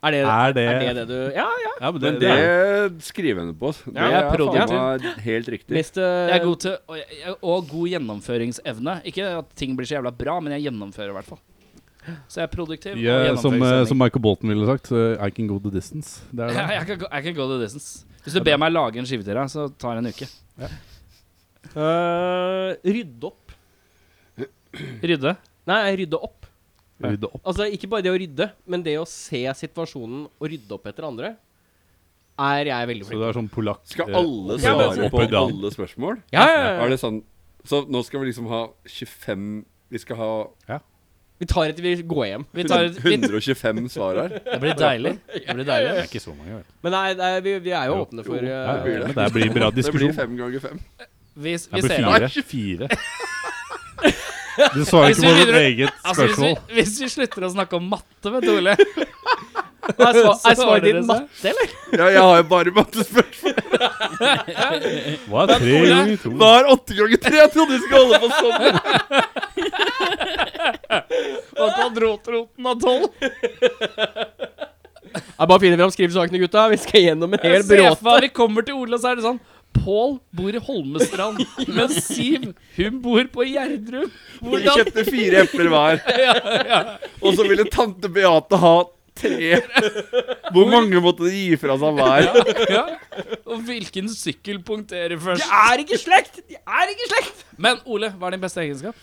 Er det
Er det
er det, det du Ja, ja.
Ja, men det,
Men
det er-
det skriver henne på. Det
jeg
er
prøvde.
faen meg helt riktig.
Neste
Jeg er god til og, jeg- og god gjennomføringsevne. Ikke at ting blir så jævla bra, men jeg gjennomfører i hvert fall. Så jeg er produktiv.
Ja,
og
som, eh,
[laughs] gjennomføringsevne.
som Michael Bolton ville sagt, eh, I can go the distance. Det er det.
jeg, kan, gå- jeg kan gå the distance. Hvis du ber meg lage en skive til deg, så tar det en uke.
Øh, Rydde opp.
Rydde.
Nei, rydde opp.
Rydde opp.
Altså, ikke bare det å rydde, men det å se situasjonen og rydde opp etter andre, er jeg veldig
Så
flink
du er sånn polakk
Skal
eh,
alle
Ja, men-
svare på
Oppe i dalen.
alle spørsmål?
Ja, ja, ja.
Er det sånn Så nå skal vi liksom ha 25 Vi skal ha
Vi tar et vi går hjem.
Vi tar, vi, det
125 svar her.
blir deilig. Det blir
Det
deilig.
er ikke så mange, vel.
Men nei, nei vi, vi er jo åpne for
jo,
Ja,
øh,
blir
ja,
det.
men det blir
[laughs]
bra
Det blir
diskusjon.
fem ganger fem.
Vi, vi
Det
ser
blir
an.
fire. fire. Du svarer
Hvis
ikke
vi
på ditt
begynner-
eget
Altså, hvis, vi,
spørsmål.
hvis vi slutter å snakke om matte, vet du, Ole
Er svar-
[laughs] Så
er svaret
ordner
ditt
det seg.
matte, eller?
Ja, jeg har jo bare mattespørsmål.
Hva er tre
Ole,
ganger to?
Hva er åtte ganger tre? Jeg trodde vi skulle holde på sånn.
og kvadratroten av tolv.
Jeg bare finner fram skrivesakene, gutta. Vi skal gjennom en
[laughs]
hel
Jeg ser for
bråte.
meg vi kommer til Ole, og så er det sånn Pål bor i [laughs] Holmestrand, men Siv hun bor på Gjerdrum.
Vi
Hvordan [laughs]
kjøpte fire epler hver. Og så ville tante Beate ha Tre. Hvor mange måtte de gi fra seg hver?
Ja. Og hvilken sykkel punkterer først?
er ikke slekt! De er ikke slekt!
Men Ole, hva er din beste egenskap?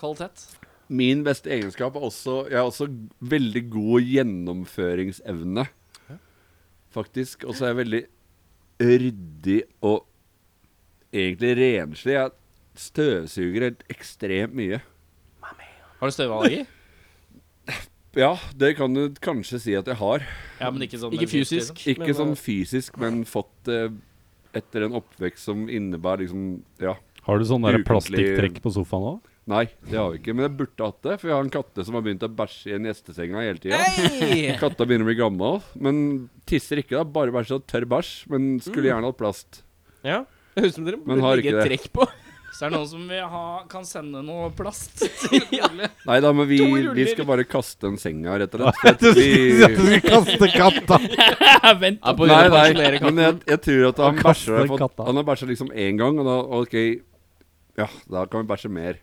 Kvalitet.
Min beste egenskap er også Jeg har også veldig god gjennomføringsevne, faktisk. Og så er jeg veldig ryddig og egentlig renslig. Jeg støvsuger helt ekstremt mye.
Har du støvallergi?
Ja, det kan du kanskje si at jeg har.
Ja, men ikke sånn
Ikke fysisk.
Ikke
men,
sånn
eh,
fysisk, men fått eh, etter en oppvekst som innebærer liksom Ja.
Har du sånn der
Ukentlig-
plastikktrekk på sofaen òg?
Nei, det har vi ikke. Men jeg burde hatt det, for jeg har en katte som har begynt å bæsje i gjestesenga hele tida.
Hey!
[laughs] Katta begynner å bli gammel, men tisser ikke. da Bare bæsjer og tørr bæsj. Men
Mm.
skulle gjerne hatt plast.
Ja. Det høres ut som dere
Men
burde
har
legge
ikke
et trekk på.
liksom. Så er det noen som vil ha, kan sende noe plast [laughs] til Ole.
Nei da, men vi,
To ruller.
vi skal bare kaste den senga, rett og
[laughs]
slett. for at Vi,
kaste katta!
Vent.
Ja, på grunn
nei,
av
nei,
pensjonere
men jeg,
katten.
jeg tror at han
Og kaste
bæsjer har
den
fått-
katta.
Han har bæsja liksom én gang, og da OK Ja, da kan vi bæsje mer.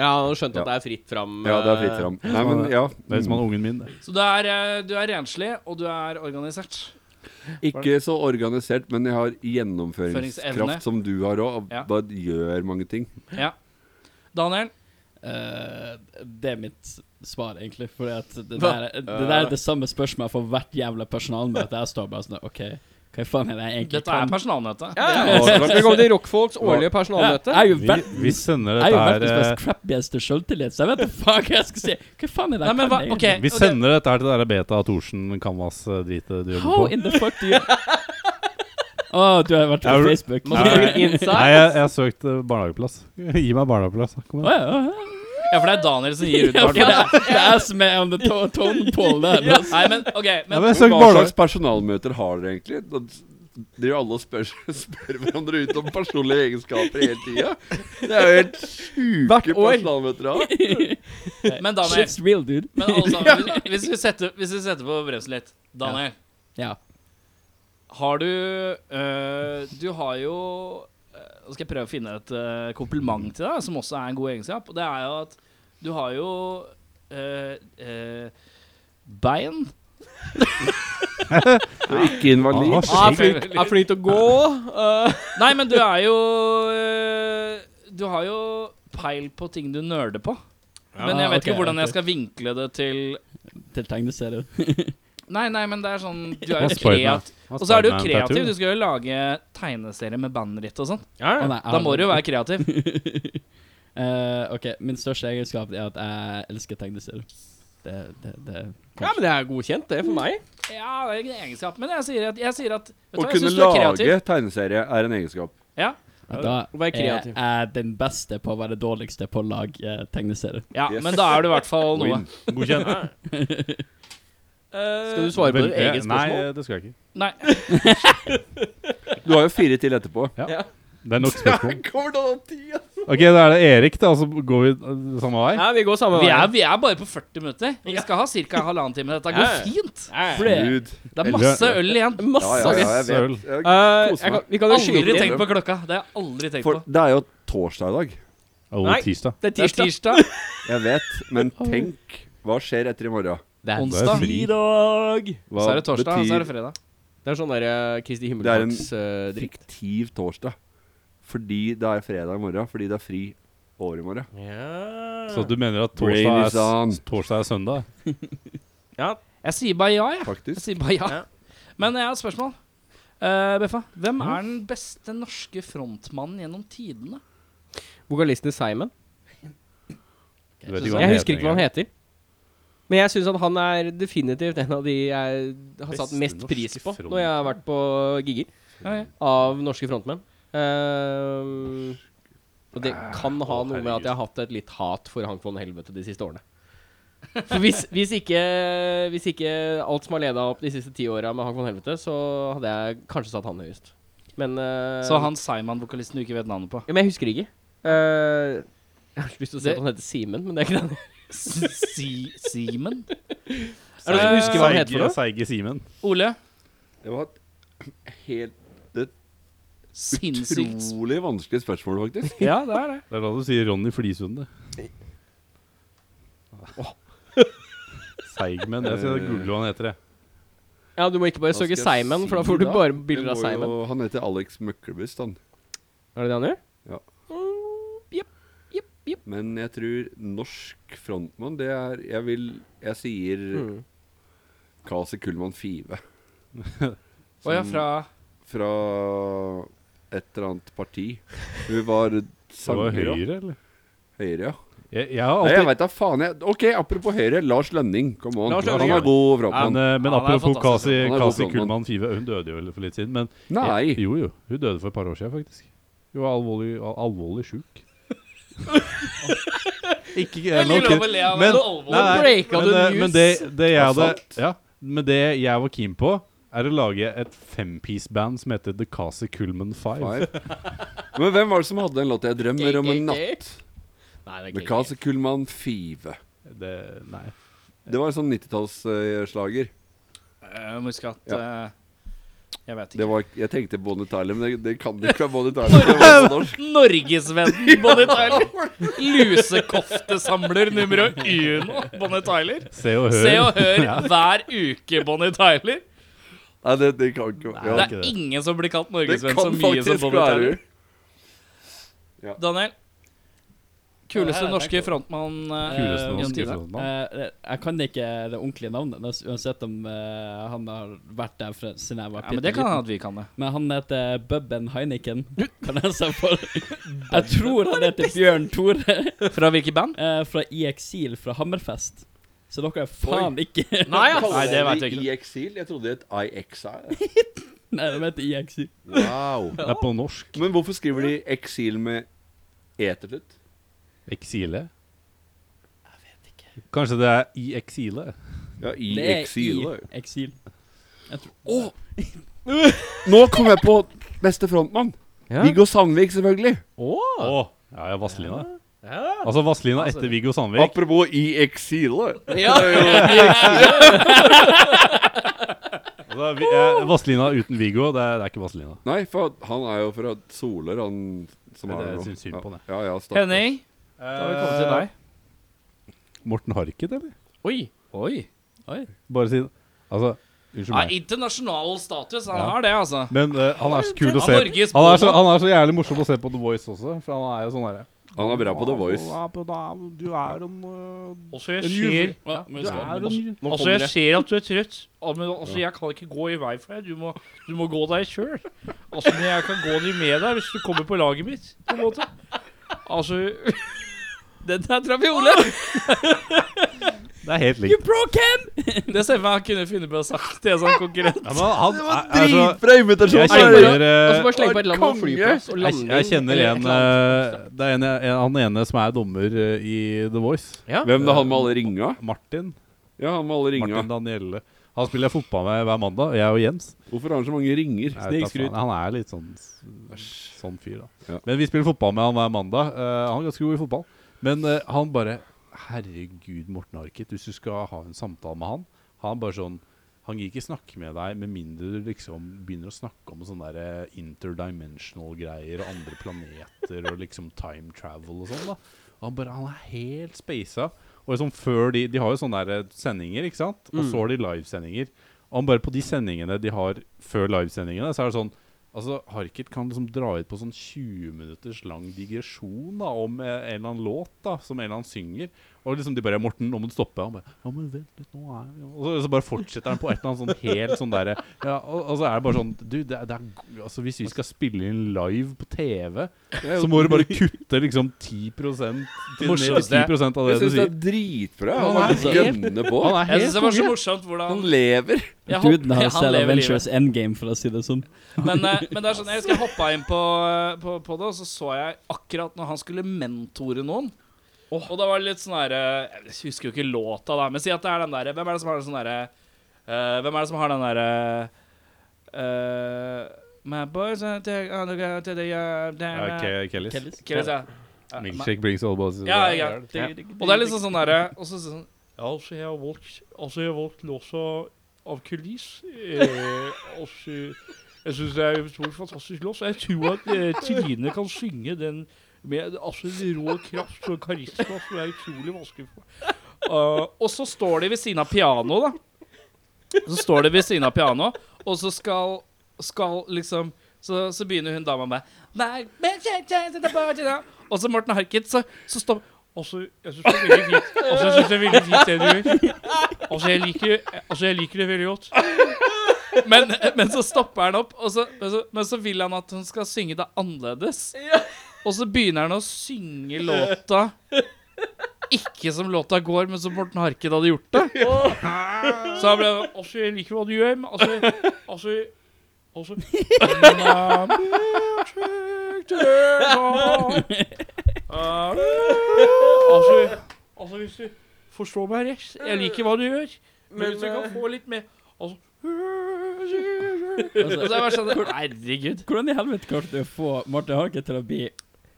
Ja, han har skjønt
Ja.
at det er fritt fram.
Ja, det er
eh,
fritt fram. Nei, men ja.
Det er som han ungen min. det.
Så du er, eh, du er renslig, og du er organisert.
Ikke så organisert, men jeg har gjennomføringskraft
Føringsevne.
som du har òg.
Ja.
Bare gjør mange ting.
Ja. Daniel,
Eh, det er mitt svar, egentlig. For det, der,
Hva?
det der er det samme spørsmålet for hvert jævla personalmøte. Jeg står bare sånn OK, hva faen er det jeg egentlig
dette er
kan?
personalmøte.
Ja, ja. Velkommen til Rockfolks årlige
Jeg,
personalmøte.
jeg er jo
Vi, vi
verdens jeg
sender
er jo
dette her
verdens
eh,
mest crappieste sjøltillit, så jeg vet da faen hva jeg skal si. Hva faen er det
Nei,
jeg
men
kan
hva-
[laughs]
egentlig?
ok.
Vi sender dette her til det der Beta Thorsen Canvas-dritet du
How
jobber på.
in the fuck do you [laughs] Å, du har vært på
Er du-
Facebook?
Må du bruke
Nei,
inside?
jeg, jeg har søkt eh, barnehageplass. [laughs] Gi meg barnehageplass. da.
Å,
Kom igjen.
ja, å, ja.
Ja, for det er Daniel som gir ut
[laughs] Ja, for det,
barn.
er- det er jeg som er on the to- tone pole der.
Ja. Nei, men OK.
Ja,
Men
men jeg
Men
søker
Hva
barnehage.
slags personalmøter har dere egentlig? Da driver alle og spør, [laughs] spør hverandre ut om personlige egenskaper hele tida. Det er jo helt
Hvert
sjuke
år.
personalmøter å ha.
Men Daniel-
[laughs] Shit's real, dude.
Men alle
[laughs]
sammen, hvis- hvis vi setter, hvis vi setter på bremsen litt Daniel,
Ja.
har du øh, Du har jo øh, Nå skal jeg prøve å finne et øh, kompliment til deg, som også er en god egenskap. Og det er jo at du har jo øh, øh, bein.
[laughs]
Du er ikke
Han har
invalid.
Ah,
Jeg er
skjegg.
flink, Ah, er flink til å gå. eh,
Nei, men du er jo øh, Du har jo peil på ting du nerder på. Men jeg vet
ok,
ikke hvordan
ok.
jeg skal vinkle det til
Til tegneserie.
Nei, nei, men det er sånn Du er
Han
jo
spør meg.
kreativ. [laughs]
Han
Og så er du jo
Spiderman
kreativ.
tattoo.
Du skal jo lage tegneserie med bandet ditt og sånn.
Ja,
Å,
ja.
nei, jeg
Da
har-
må du jo være kreativ.
Eh, ok, min største egenskap er at jeg elsker tegneserier. Det, det, det
ja, men det er godkjent, det, for meg.
Ja, det er ikke en egenskap, men jeg sier at, jeg sier at vet du
Å
hva, jeg
kunne
synes du er kreativ.
lage tegneserie er en egenskap.
Ja.
Da
Å være
er
kreativ.
jeg den beste på å være dårligste på å lage eh, tegneserier.
ja,
Yes.
men da er du i hvert fall noe.
[laughs] Win.
Godkjent.
Skal du svare på ditt
Velge-
eget
Nei,
spørsmål?
det skal jeg ikke.
Nei.
Du har jo fire til etterpå.
Det
[laughs]
er nok spørsmål.
Kommer det noen ti, ass?
Ok, da er det Erik, da. Så går vi eh, samme vei.
Ja, vi går samme
Vi er,
veien.
vi er bare på 40 minutter. Vi skal ha ca. halvannen time. Dette
Ja,
går
ja.
fint.
Ja, ja.
Ble-
Gud.
Det er masse øl igjen.
Ja, ja, ja, jeg
Søl.
vet. Jeg-
Eh,
Kos meg.
jeg kan, vi kan jo
Aldri
skyte inn
tenkt på klokka. Det har jeg aldri tenkt
For
på.
det er jo torsdag i dag.
Oh,
Nei.
tirsdag.
Det er
Det er
tirsdag.
tirsdag,
Jeg vet, men tenk hva skjer etter i morgen.
Det er
Det er
onsdag,
fri.
tirsdag.
Hva
så er det torsdag, og så er det
betyr
fredag.
Det er sånn der eh, Kristi
Det er en
himmelfartsdrikk.
fiktiv torsdag? Fordi det er fredag i morgen, fordi det er fri år i morgen.
Så du mener at
Brain
torsdag
is
er,
on.
s- torsdag er søndag?
Ja,
Jeg sier bare ja, jeg.
Faktisk.
jeg sier bare ja.
Ja.
Men jeg har et spørsmål. Eh, Beffa, hvem er den beste norske frontmannen gjennom tidene?
vokalisten i Simon.
Du vet ikke hva
Jeg
han heter
husker ikke hva han
engang.
heter. Men jeg syns at han er definitivt en av de jeg har satt
Beste
mest
norske
pris på
front.
når jeg har vært på gigger
Ja, ja.
av norske frontmenn. Ehm, og det kan ha
Å,
noe med
herregud.
at jeg har hatt et litt hat for Hank von Helvete de siste årene. For hvis, hvis, ikke, hvis ikke alt som har leda opp de siste ti åra med Hank von Helvete, så hadde jeg kanskje satt han høyest. Men eh,
Så han Simon-vokalisten du ikke vet navnet på.
Ja, men jeg husker ikke. Eh, jeg har så lyst til å si
Det-
at han heter Simen, men det er ikke det.
Si Simen?
Er det noen som
Eh,
husker hva han heter for noe?
Seige Simen.
Ole?
Det var et helt
Sinnssykt.
utrolig vanskelig spørsmål, faktisk.
Ja, det er det.
Det er [laughs] da du sier Ronny Flisundet. Seigmen. Jeg skal google hva han heter. jeg.
Ja, du må ikke bare
Hva
søke
skal jeg
Simon, for da
si
får du
da?
bare
Jeg
bilder av
må
Simon.
jo- Han heter Alex Muckerbyst, han.
Er det det han gjør?
Ja.
Mm, Jepp, jepp, jepp.
Men jeg tror norsk frontmann, det er Jeg vil Jeg sier
Mm.
Kasi Kullmann Five.
Å ja, fra
Fra et eller annet parti. Hun var
Det var
sanger og
Høyre, eller?
Høyre, ja.
Jeg, jeg har
Nei,
alltid
jeg veit da faen. Jeg, OK, apropos Høyre. Lars Lønning. Come on.
Lars Lønning,
han
ja.
er god
Men,
frontmann.
eh, men
Ja, det er
apropos
fantastisk.
Kasi,
Han er god
Kasi
frontmann.
Kullmann Five, hun døde jo vel for litt siden. Men
Nei.
Jo, jo. Hun døde for et par år siden, faktisk. Hun var alvorlig, al- alvorlig sjuk. ikke jeg nå kødder- Men, nei,
Nå
nei,
breaka
men,
du
eh,
news.
men det, det jeg
Er
hadde
sant?
ja, Men det jeg var keen på, er å lage et fempiece-band som heter The Kasi Kullman Five.
Five. Men hvem var det som hadde en låt jeg drømmer om en
Gay, gay,
natt?
Nei, det er
Med
ikke-
Kasi Kullmann Five.
Det, nei.
Det var en sånn 90-tallsslager.
Jeg må huske at eh, Jeg vet
Det
ikke.
var, jeg tenkte Bonnie Tyler, men det, det kan det ikke være Bonnie Tyler. Det var på norsk. [laughs]
Norgesvennen Bonnie Tyler. Lusekoftesamler nummer uno, Bonnie Tyler.
Se og hør.
Se og
[laughs]
hør hver uke, Bonnie Tyler.
Nei, det, det kan ikke være
Det
ja.
ikke
er
det.
ingen som blir kalt
Det
norgesvenn så
kan
mye som
faktisk
Bonnie
være
Tyler. Daniel. Kuleste norske frontmann eh,
Kuleste
gjennom
norske
tidene.
frontmann.
Eh, jeg kan ikke det ordentlige navnet, nes- uansett om eh, han har vært der fra, siden jeg var
Ja, men det kan
pitteliten.
hende at vi kan det.
Men han heter Bubben Heineken, kan jeg se
[laughs]
for. Jeg tror han heter Bjørn Tore,
Fra hvilket [laughs] band?
eh, fra I eksil fra Hammerfest. Så dere er faen ikke [laughs]
Nei, ass.
altså.
Kaller
Nei, det vet jeg
de
ikke.
I eksil? Jeg trodde det het I exile.
Nei, de heter I eksil.
Wow.
Det er på norsk.
Men hvorfor skriver de eksil med E til slutt?
Eksile? Kanskje det er i eksile?
Ja, i
Det er
eksil. da.
I eksil. Jeg tror
Nå kom jeg på beste frontmann.
Ja.
Viggo Sandvik, selvfølgelig.
Å! Ja, Ah. ja, Vazelina. Altså Vazelina etter Viggo Sandvik.
Apropos i eksil. da.
Altså, vi- eh, Vazelina uten Viggo, det er, det er ikke Vazelina.
Nei, for han er jo fra Solør, han som
Det
har
er
nå.
synd- synd på han,
Ja, ja, ja, stakkars.
Henning, da har vi kommet til deg.
Morten Harket, eller?
Oi.
Oi.
Bare si Altså, unnskyld
Ja,
meg.
internasjonal status. Han
Ja.
har det, altså.
Men eh, han er så kul å
Han
se
er
han
Norges
er, så,
bonde.
han er så jævlig morsom å se på The Voice også, for han er jo sånn derre
Han er bra på The Voice.
Du er en eh,
Også
En juvel.
Ja, men
Du
så-
er en
Nå kommer det.
ser at du er trøtt. Ja, Men altså, jeg kan ikke gå i vei for deg. Du må, du må gå deg sjøl. Altså, men jeg kan gå de med deg hvis du kommer på laget mitt, på en måte. Altså Den der traff jeg Ole.
Det er helt likt.
[laughs] Det ser jeg for meg han kunne finne på å ha sagt til en sånn konkurrent.
Ja, men han
Det var
er så
dritbra invitasjon!
Jeg
Einar.
kjenner
Og så
eh,
bare slenge på et eller annet
Konge.
flyplass og
jeg,
landing.
jeg kjenner
eller et
en
eller annet.
eh, Det er en, jeg- en, han ene som er dommer eh, i The Voice.
Ja.
Hvem da? Han med alle ringa?
Martin.
Ja, han med alle ringa.
Martin Danielle. Han spiller jeg fotball med hver mandag, jeg og Jens.
Hvorfor har han så mange ringer?
Jeg vet da
Snikskryt.
faen, Han er litt sånn sånn fyr, da.
Ja.
Men vi spiller fotball med han hver mandag. Eh, han er ganske god i fotball. Men eh, han bare Herregud, Morten Harket, hvis du skal ha en samtale med han Han bare sånn Han gir ikke snakke med deg med mindre du liksom begynner å snakke om sånne der eh, interdimensional greier og andre planeter og liksom time travel og sånn, da. Og han bare Han er helt spasa. Og liksom før de De har jo sånne der eh, sendinger, ikke sant? Og
Mm.
så har de livesendinger. Og han bare på de sendingene de har før livesendingene, så er det sånn Altså, Harket kan liksom dra ut på sånn 20 minutters lang digresjon da, om eh, en eller annen låt da, som en eller annen synger. Og liksom de bare 'Morten, nå må du stoppe.' Han bare 'Ja, men vent litt, nå er vi Og så, så bare fortsetter han på et eller annet sånn helt sånn derre ja, og, og så er det bare sånn Du, det, er- det er g- Altså, hvis vi skal spille inn live på TV, så må du bare kutte liksom 10 til ned
Morsomste.
til 10 av det
Jeg
du
syns det
sier.
er dritbra.
Han
Han
er helt-
gønner på.
Han er
Jeg
helt
syns det var så
konge.
morsomt hvordan
Han lever.
jeg hopp- [laughs]
Duden har
han
selv
lever livet.
Avengers Endgame, for å si det sånn.
Men, eh, men det er sånn, jeg husker jeg hoppa inn på, eh, på, på det, og så så jeg akkurat når han skulle mentore noen. Og da var det litt sånn derre Jeg husker jo ikke låta, da, men si at det er den derre Hvem er det som har den sånn derre eh, Hvem er det som har den derre eh, My boys are take on the ground to the yard,
Ja,
down,
Ke- Kellis.
Skal vi se. Eh,
Milkshake brings all bosses.
Ja, ja, ja. Og det er liksom sånn derre Og så sånn Ja, altså, jeg har valgt Altså, jeg har valgt låsa av Kulis. Eh, altså Jeg syns det er en utrolig fantastisk lås. Jeg tror at eh, Trine kan synge den med altså, en rå kraft og karisma som er utrolig vanskelig for meg. Og, og så står de ved siden av pianoet, da. Så står de ved siden av pianoet, og så skal, skal liksom så, så begynner hun dama med «Nei, men kjæ- kjæ- sitte på til da». Og så Morten Harket, så, så står Altså, jeg syns det er veldig fint Altså, jeg synes det er veldig fint det du gjør. Altså, jeg liker, altså, jeg liker det veldig godt. Men, men så stopper han opp, og så, men, så, men så vil han at hun skal synge det annerledes. Og så begynner han å synge låta ikke som låta går, men som Morten Harket hadde gjort det. Så han ble Altså, jeg liker hva du gjør, men altså Altså, altså «Mamma mia, trygt det er da». Altså, altså, hvis du forstår meg rett Jeg liker hva du gjør, men hvis du kan få litt mer Altså altså, jeg var sånn, Herregud.
Hvordan i helvete klarte du å få Martin Harket til å bli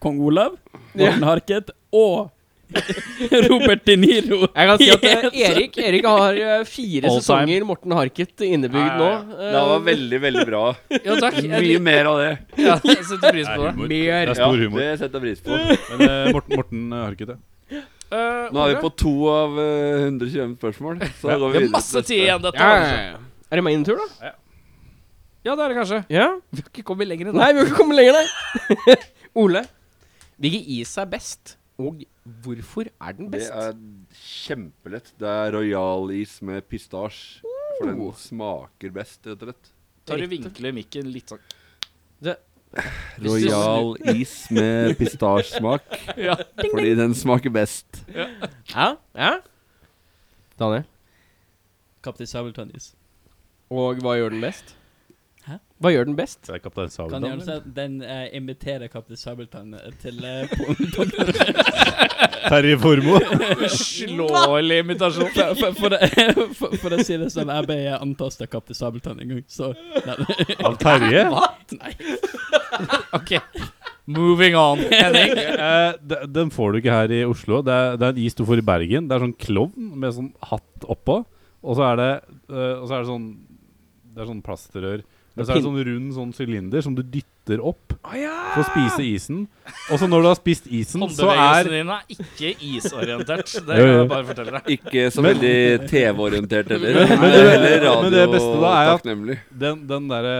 kong Olav, Martin Harket og [laughs] Robert De Niro?
Jeg kan si at [laughs] eh,
Yes.
Erik Erik har eh, fire
All time.
sesonger Morten Harket innebygd nå.
Ja,
Eh,
Det var veldig, veldig
[laughs]
bra.
Ja, takk.
Mye
Jeg,
mer av det.
ja, jeg setter pris på det.
humor. Det
Mer.
er stor
ja,
humor.
Det setter jeg pris på.
Men eh, Morten, Morten eh, har ikke det.
Eh,
Nå er
Ole?
vi på to av eh, 125 spørsmål. Så da går vi
Det
videre
er masse
til
tid
neste.
igjen, dette.
Ja, ja,
altså.
ja. Er det min tur, da?
Ja, det er det kanskje.
Ja.
Vi har ikke kommet lenger enn det.
Nei, vi har ikke kommet lenger, nei. [laughs] Ole. Hvilken is er best, og hvorfor er den
Det
best?
er kjempelett. Det er royal is med pistasje. For den
Uh.
smaker bbest, rett og slett.
Tar du vinkler mikken litt sånn Hvis du
Royal is
[laughs]
med pistasjesmak.
Ja.
Fordi den smaker best.
Ja, ja. Daniel.
Kaptein Sabeltann-is.
Og hva gjør den best?
Hæ?
Hva gjør den best?
Det er Kaptein
Kan gjerne
Sabeltann.
si at den eh, inviterer Kaptein Sabeltann til
[laughs]
eh,
Terje Formoe.
Uslåelig imitasjon.
for, for, for, å- for, for å si det sånn, jeg ble antastet av Kaptein Sabeltann en gang, så nei,
Av Terje?
OK. Moving [laughs] on. Henning.
Eh, de- den får du ikke her i Oslo. Det er, det er en is du får i Bergen. Det er sånn klovn med sånn hatt oppå. Og så er det, eh, og så er det sånn Det er sånn plastrør. Men så er det sånn rund sånn sylinder som du dytter opp for å spise isen. Og så når du har spist isen, så er
Håndbevegelsene dine er ikke isorientert. Det
Jo,
kan
jo.
jeg bare fortelle deg.
Ikke så
Men-
veldig TV-orientert heller.
Men-
Det
men
er
det-
heller
men det beste da er at-
radiotakknemlig.
den, den derre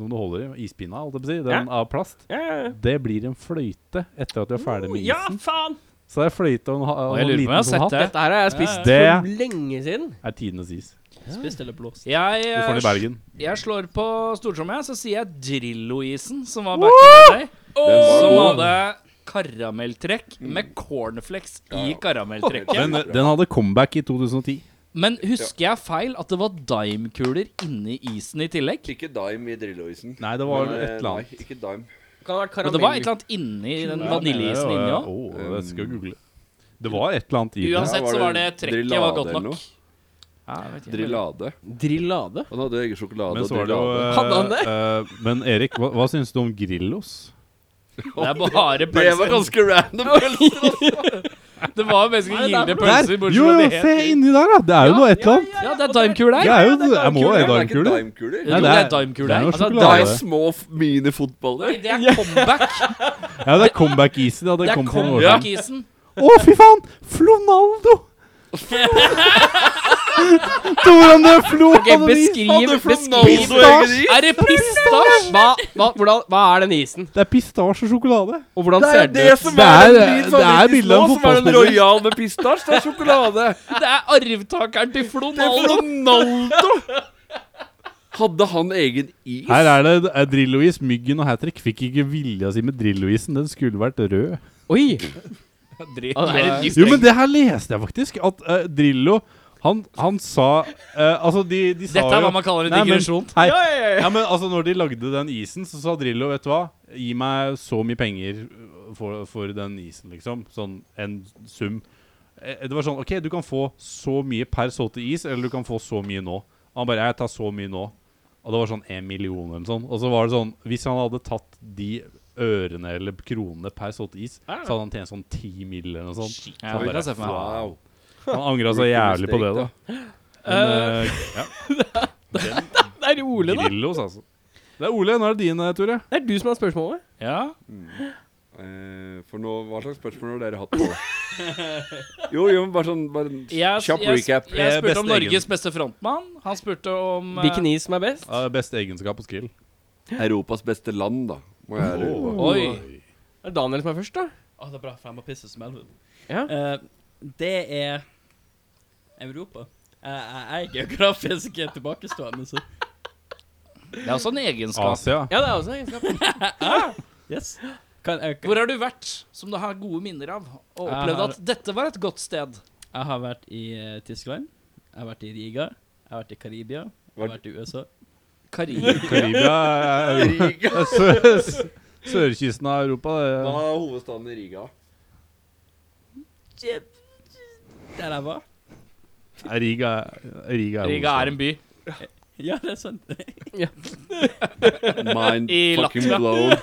som du holder i, ispinna, holdt jeg på å si, den av plast,
Ja, ja, ja.
det blir en fløyte etter at du er ferdig med
Ja,
isen.
faen!
Så det er fløyte og en,
Og
ha- og
jeg lurer
en
på om jeg har
liten sånn
sett
hatt.
det.
Dette her har jeg spist
Ja.
for lenge siden.
Det er tidenes is.
spist eller blåst.
Jeg,
Du får den i
eh,
Bergen.
jeg slår på stortromma, jeg, så sier jeg Drillo-isen, som var back in the day. Som
Den var
hadde karamelltrekk
Mm.
med cornflakes i karamelltrekket.
Den, den hadde comeback i 2010.
Men husker jeg feil at det var dimekuler inni isen i tillegg?
Ikke dime i Drillo-isen.
Nei, det var et eller annet.
Nei, ikke dime.
Kan ha vært
Men det var et eller annet inni den vaniljeisen inni òg.
Å, det skal jeg google. Det var et eller annet i det.
Uansett
Ja, var
så var det
det
trekket
drillade
var godt
eller
nok.
noe?
Ja, jeg vet ikke.
Drillade.
Drillade?
Han hadde egen sjokolade
Men
og
så var det jo
drillade.
eh,
Hadde han det?
eh, Men Erik, hva, hva syns du om Grillos?
Det er bare
Det var
pølser.
ganske random.
[laughs] Det var mennesker gilde
Der!
pølser, bortsett
Jo,
fra
jo,
det
se
het
inni der, da! Det er jo noe et eller annet.
Ja, det er dimekul
Det
der.
er jo Jeg må være
Det er ikke
darmkule.
dimekuler.
Jo,
Nei,
det er
det er-
dimekul
det er
der.
noe
Altså,
Det er
sjokolade.
små f- minifotballer.
det er comeback.
Ja, det er comeback-isen. Ja,
Det
det
er
kom for noen år siden.
comeback-isen.
Å, fy faen!
[laughs]
Flonaldo! Toran de Flo
Ok,
hadde is.
beskriv, beskriv
Pistasje.
Er det pistasje?
hva, hva, hvordan, hva er den isen?
Det er pistasje og sjokolade.
Og hvordan
Det er
ser
jo
den
det
ut?
som
Det
er
er-
den min
det er
favoritt
bildet av
nå,
en
som er den
fotballspiller.
royal med pistasje. Det er sjokolade.
Det er arvtakeren til
Det er
Flonaldo.
Ronaldo. Hadde han egen is?
Her er det eh, Drillo-is. Myggen og Hattrick fikk ikke vilja si med Drillo-isen. Den skulle vært rød.
Oi!
Dritt.
Ja, det er en
Jo, men det her leste jeg faktisk. At eh, Drillo han, han sa eh, Altså, de, de sa
Dette er
jo
hva man kaller en
Nei, men-
digresjon.
Hei. Ja, men altså, når de lagde den isen, så sa Drillo, vet du hva Gi meg så mye penger for, for den isen, liksom. Sånn en sum. Eh, Det var sånn OK, du kan få så mye per solgte is, eller du kan få så mye nå. Han bare Jeg tar så mye nå. Og det var sånn én million eller noe sånt. Og så var det sånn Hvis han hadde tatt de ørene eller kronene per solgte is, så hadde han tjent sånn ti mill. eller noe [laughs] sånt. Så
Ja,
han
det
bare,
kan jeg se for meg.
wow. Han angra så jævlig på det, da. Men, eh, ja.
Det er Ole, da.
Grillos, altså. Det er Ole. Nå er det din, eh, Tore.
Det er du som har spørsmålet.
Ja.
Eh, for nå, Hva slags spørsmål har dere hatt på? [laughs] Jo, jo, men bare sånn bare en
Jeg,
kjapp
jeg, jeg,
recap. Eh,
jeg spurte om
Beste egen.
Norges beste frontmann. Han spurte om eh,
Hvilken is som er best?
Ah.
Ja, det er beste egenskap og skill.
Europas beste land, da. Må jeg ærlig på.
Oi.
Det er Daniel som er først, da.
Å, det er bra, for jeg må pisse som elven.
Ja.
Eh, det er Europa. Jeg, jeg jeg er geografisk tilbakestående, så
Det er også en egenskap.
Asia.
Ja, det er også en egenskap.
yes. Kan, jeg,
Hvor har du vært som du har gode minner av, og
Jeg
opplevd
har-
at dette var et godt sted?
jeg har vært i eh, Tyskland. Jeg har vært i Riga. Jeg har vært i Karibia. Jeg har
Vært-
vært i USA.
Karibia.
Karibia er
Riga.
[laughs] er sø- s- Sørkysten av Europa.
Hva
det-
er hovedstaden i Riga?
Der jeg var. [laughs]
Er Riga, Riga,
Riga er en by.
Ja, det er sant.
Mind
I
fucking
Latvia.
blown.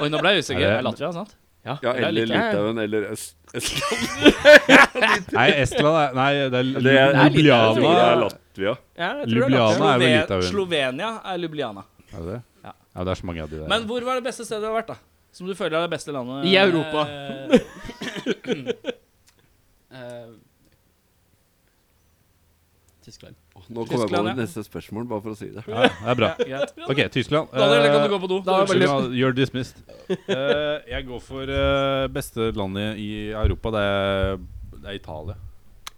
Oi, nå ble jeg usikker.
Er det-
Er Latvia, sant?
Ja,
Det er
eller
like-
Litauen eller Øst- Estland.
Nei, Estland er Nei, det er
Det er-
Lu-
Jeg tror det er
Ljubljana.
Latvia.
Ja, jeg tror det er
Ljubljana
Latvia.
er vel
Slove-
Litauen.
Slovenia er Ljubljana.
Er det det?
Ja.
Ja, det er så mange av de der.
Men hvor var det beste stedet du har vært, da? Som du føler er det beste landet
I Europa.
Eh, eh, Tyskland.
Nå kom jeg på
Tyskland,
mitt
ja.
neste spørsmål, bare for å si det.
ja, det er bra.
Eh, Greit.
OK, Tyskland.
Daniel, kan
Eh,
du gå på do?
Da er det
Unnskyld, ja, You're dismissed. Eh, jeg går for eh, beste landet i Europa. Det er, det er Italia.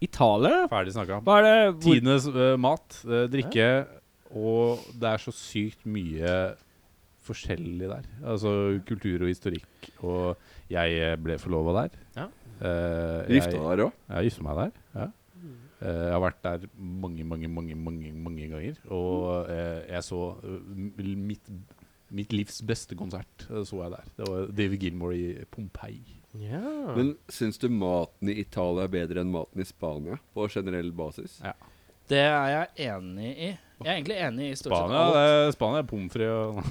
Italia?
Ferdig snakka.
Hva er det hvor,
Tidenes eh, mat, eh, drikke, og det er så sykt mye forskjellig der. Altså kultur og historikk, og jeg eh, ble forlova der.
Ja.
Eh, jeg,
Gifta dere òg?
jeg gifta meg der. Ja.
Mm.
Eh, jeg har vært der mange, mange, mange mange, mange ganger. Og eh, jeg så eh, m- mitt, mitt livs beste konsert eh, så jeg der. Det var David Gilmore i Pompeii.
ja.
Men syns du maten i Italia er bedre enn maten i Spania på generell basis?
Det er jeg enig i. Jeg er egentlig enig i stort sett
Spania,
alt.
det er- Spania er pommes frites og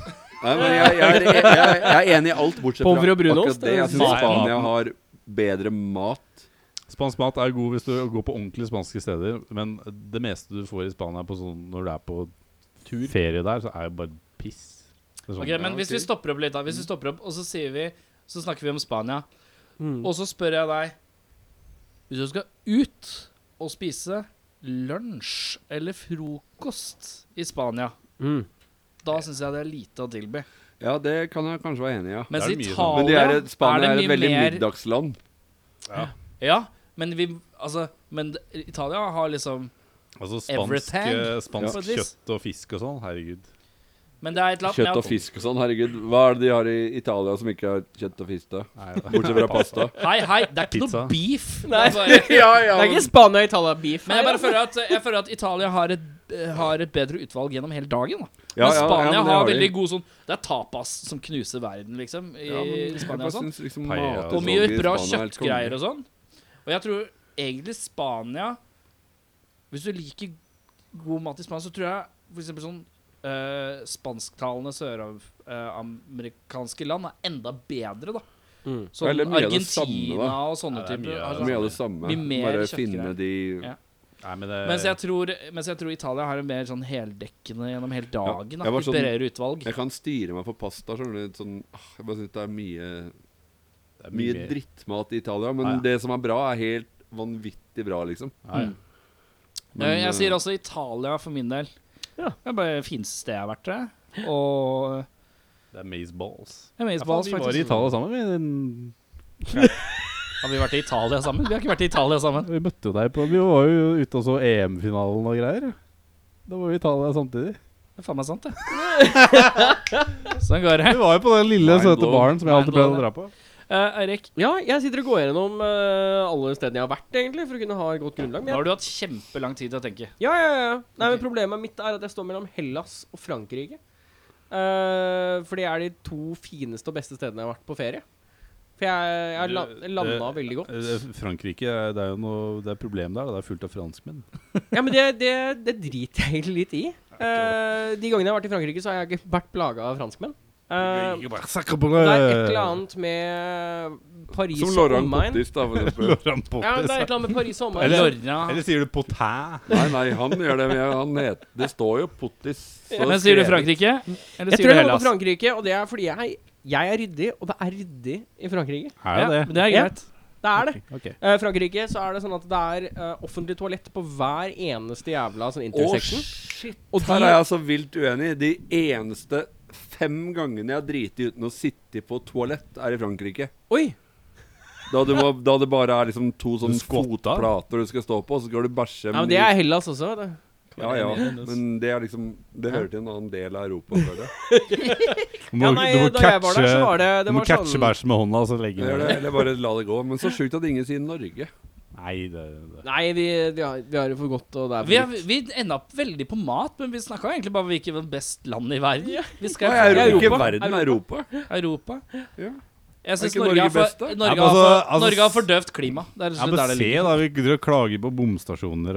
Nei, men jeg, jeg, er- jeg, jeg, jeg er enig i alt, bortsett fra
Pommes frites og brunost,
akkurat det. Jeg syns
maten.
Spania har bedre mat.
Spansk mat er god hvis du går på ordentlige spanske steder, men det meste du får i Spania på sånn, når du er på ferie der, så er det bare piss. Det er sånn,
Ok, men
Ja,
hvis
ok. Mm.
vi stopper opp litt, da. Hvis vi stopper opp, og så sier vi Så snakker vi om Spania.
Mm.
Og så spør jeg deg Hvis du skal ut og spise lunsj eller frokost i Spania,
Mm.
da syns jeg det er lite å tilby.
Ja, det kan jeg kanskje være enig i, ja.
Mens
Det
i
er mye
Italia
sånn.
Men de er, et- Spania er
det
et
mye
veldig
mer
middagsland.
Ja, men vi Altså, men d- Italia har liksom
altså spansk,
Everything.
eh,
Ja.
spansk kjøtt og fisk og sånn,
[laughs]
herregud.
Men det er et eller
Kjøtt
annet
og fisk og sånn, herregud. Hva er det de har i Italia som ikke har kjøtt og fisk, da?
Nei,
Bortsett fra pasta.
Hei, hei, det er ikke
Pizza.
noe beef. Det
Nei.
er bare
[laughs] Ja, ja,
Det er
men-
ikke Spania og Italia beef
Men jeg bare føler at, jeg føler at Italia har et, har et bedre utvalg gjennom hele dagen. Da.
ja, ja,
men Spania
ja, men det
har
de.
veldig god sånn Det er tapas som knuser verden, liksom, i
Ja, men jeg
Spania
bare
og sånn.
syns liksom
Paella
mat
og
Og
sånn
mye
i
bra
Spania er helt konge.
kjøttgreier og sånn. Og jeg tror egentlig Spania Hvis du liker god mat i Spania, så tror jeg for eksempel sånn eh, spansktalende søramerikanske land er enda bedre, da.
Mm.
Sånn
Eller mye av det samme,
Argentina
da.
og sånne
Ja, det er
typer.
mye av
har sånn-
det
Mye av det samme.
Mye mer
Bare
kjøttgreier.
finne de
Ja.
Nei, men det,
Mens jeg, tror, mens jeg tror Italia har en mer sånn heldekkende gjennom hele dagen.
jeg
Ja,
var
et
sånn-
bredere utvalg.
Jeg kan styre meg for pasta. Sånn, sånn, ah, jeg bare synes det er mye,
det er
mye
mye-
drittmat i Italia, men
Ah, ja.
det som er bra, er helt vanvittig bra, liksom.
Ja, ja.
Eh, Mm. jeg
eh,
sier også Italia for min del.
Ja.
Det er bare det fineste stedet jeg har vært til. Og eh,
Det er maze balls.
Amaze Balls,
vi var i
faktisk.
Italia sammen, vi. Den-
Har vi vært i Italia sammen? Vi har ikke vært i Italia sammen.
Vi møtte jo deg på Vi var jo ute og så EM-finalen og greier. Da var vi i
[laughs]
Italia samtidig.
Det er faen meg sant, det. sånn går det.
Vi var jo på den lille,
Mind
søte
blown.
baren som jeg alltid pleide
Mind blown,
å dra på.
Eh, Eirik,
Ja, jeg sitter og går gjennom eh, alle stedene jeg har vært, egentlig, for å kunne ha et godt grunnlag. Men
nå
jeg,
har du hatt kjempelang tid til å tenke.
ja, ja, ja. Nei, men
Ok.
Problemet mitt er at jeg står mellom Hellas og Frankrike. Eh, for det er de to fineste og beste stedene jeg har vært på ferie. For jeg, jeg la, landa
Det-
veldig godt.
[laughs] Eh, Frankrike, det er jo noe Det er problem der. da. Det er fullt av franskmenn.
Ja, men det, det, det driter jeg egentlig litt i. Eh, de gangene jeg har vært i Frankrike, så har jeg ikke vært plaga av franskmenn. Eh, det er et eller
[laughs]
annet med eh, Paris
eh, Som
og
Laurent
omegn.
Pottis, da, for
[laughs]
eksempel.
Laurent
Ja, det er
Pottis.
et eller annet med Paris og omegn.
Eller-
Lorna.
Eller sier du potin?
Nei, nei, han gjør det. men jeg- Han heter, det står jo Pottis. så
Men sier du
skrevet.
Frankrike? Eller sier du
Jeg tror jeg går på
Hellas?
Frankrike, og det er fordi jeg jeg er ryddig, og det er ryddig i Frankrike.
Er det
Men det er
Ja.
greit.
Det er det.
Ok.
Eh, Frankrike så er det sånn at det er eh, offentlig toalett på hver eneste jævla sånn
Å,
intersection.
shit!
Og
Her
de-
er jeg altså vilt uenig. De eneste fem gangene jeg har driti uten å sitte på toalett, er i Frankrike.
Oi!
Da, du må, da det bare er liksom to sånne
skvotta?
fotplater du skal stå på, og så skal du bæsje
Ja, men det er Hellas også. vet du.
Ja, ja. Men det er liksom Det hører til en annen del av Europa, føler jeg.
Du må,
Ja, nei,
du må
da jeg var der, så var det,
du
det
må
var
catche
sånn
bæsjen med hånda og så legge den
Eller,
ned.
eller bare la det gå. Men så sjukt at ingen sier Norge.
Nei, det, det.
Nei, vi, vi, har, vi har det for godt, og det er
Vi,
for
er, vi enda opp veldig på mat, men vi snakka egentlig bare om hvilket best land i verden. Vi
Nei,
skal til
Europa, Ikke
Europa.
verden, Europa.
Europa.
Ja.
Jeg syns
ikke
Norge,
Norge
er for-
best, da?
Norge,
Ja, men
har
altså-
for-
altså-
Norge har for døvt klima. Det er rett
Ja,
og slett
men
der det
se,
ligger.
da. Vi driver og klager på bomstasjoner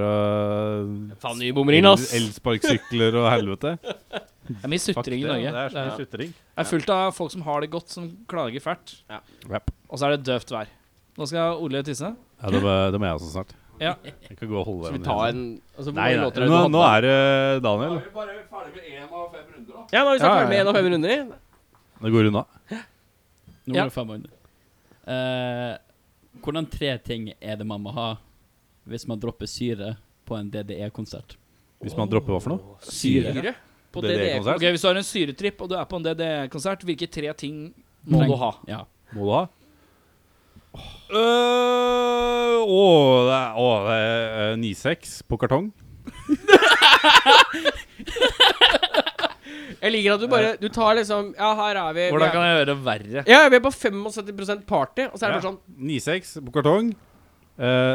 og
Faen, nybomringen, ass.
el- Elsparkesykler og helvete.
[laughs]
Det er mye
Fuck
sutring i
det,
Norge.
Det er sånn så
Det
mye
er-
sutring.
det er fullt av folk som har det godt, som klager fælt.
Ja.
Rap.
Og så er det døvt vær. Nå skal Ole tisse.
Ja, det må, det må jeg også snart.
Ja.
Jeg kan gå og holde
Så vi
den
tar
igjen.
en altså, hvor
Nei,
mange
nei.
låter har du
Nå,
hatt
nå
da?
er det Daniel.
vi bare ferdig med én av fem runder, da.
Ja, da har vi snart
Ja, ja,
ferdig med en av fem runder.
Det går unna.
Nå
Ja.
er det fem måneder. Eh, hvordan tre ting er det man må ha hvis man dropper syre på en DDE-konsert?
Hvis man dropper hva for noe?
Syre.
Syre på E. DDE-konsert.
DDE-konsert
Ok, Hvis du har en syretripp og du er på en DDE-konsert, hvilke tre ting må
Treng-
du
[laughs]
ha?
Ja.
må du ha. Øh, Åh, det er, åh, det er øh, 9-6 på kartong.
Jeg liker at du bare Du tar liksom Ja, her er vi. vi
Hvordan
er-
kan jeg gjøre det verre?
Ja, vi er på 75 party, og så er det bare
Ja.
sånn
9-6 på kartong. Eh,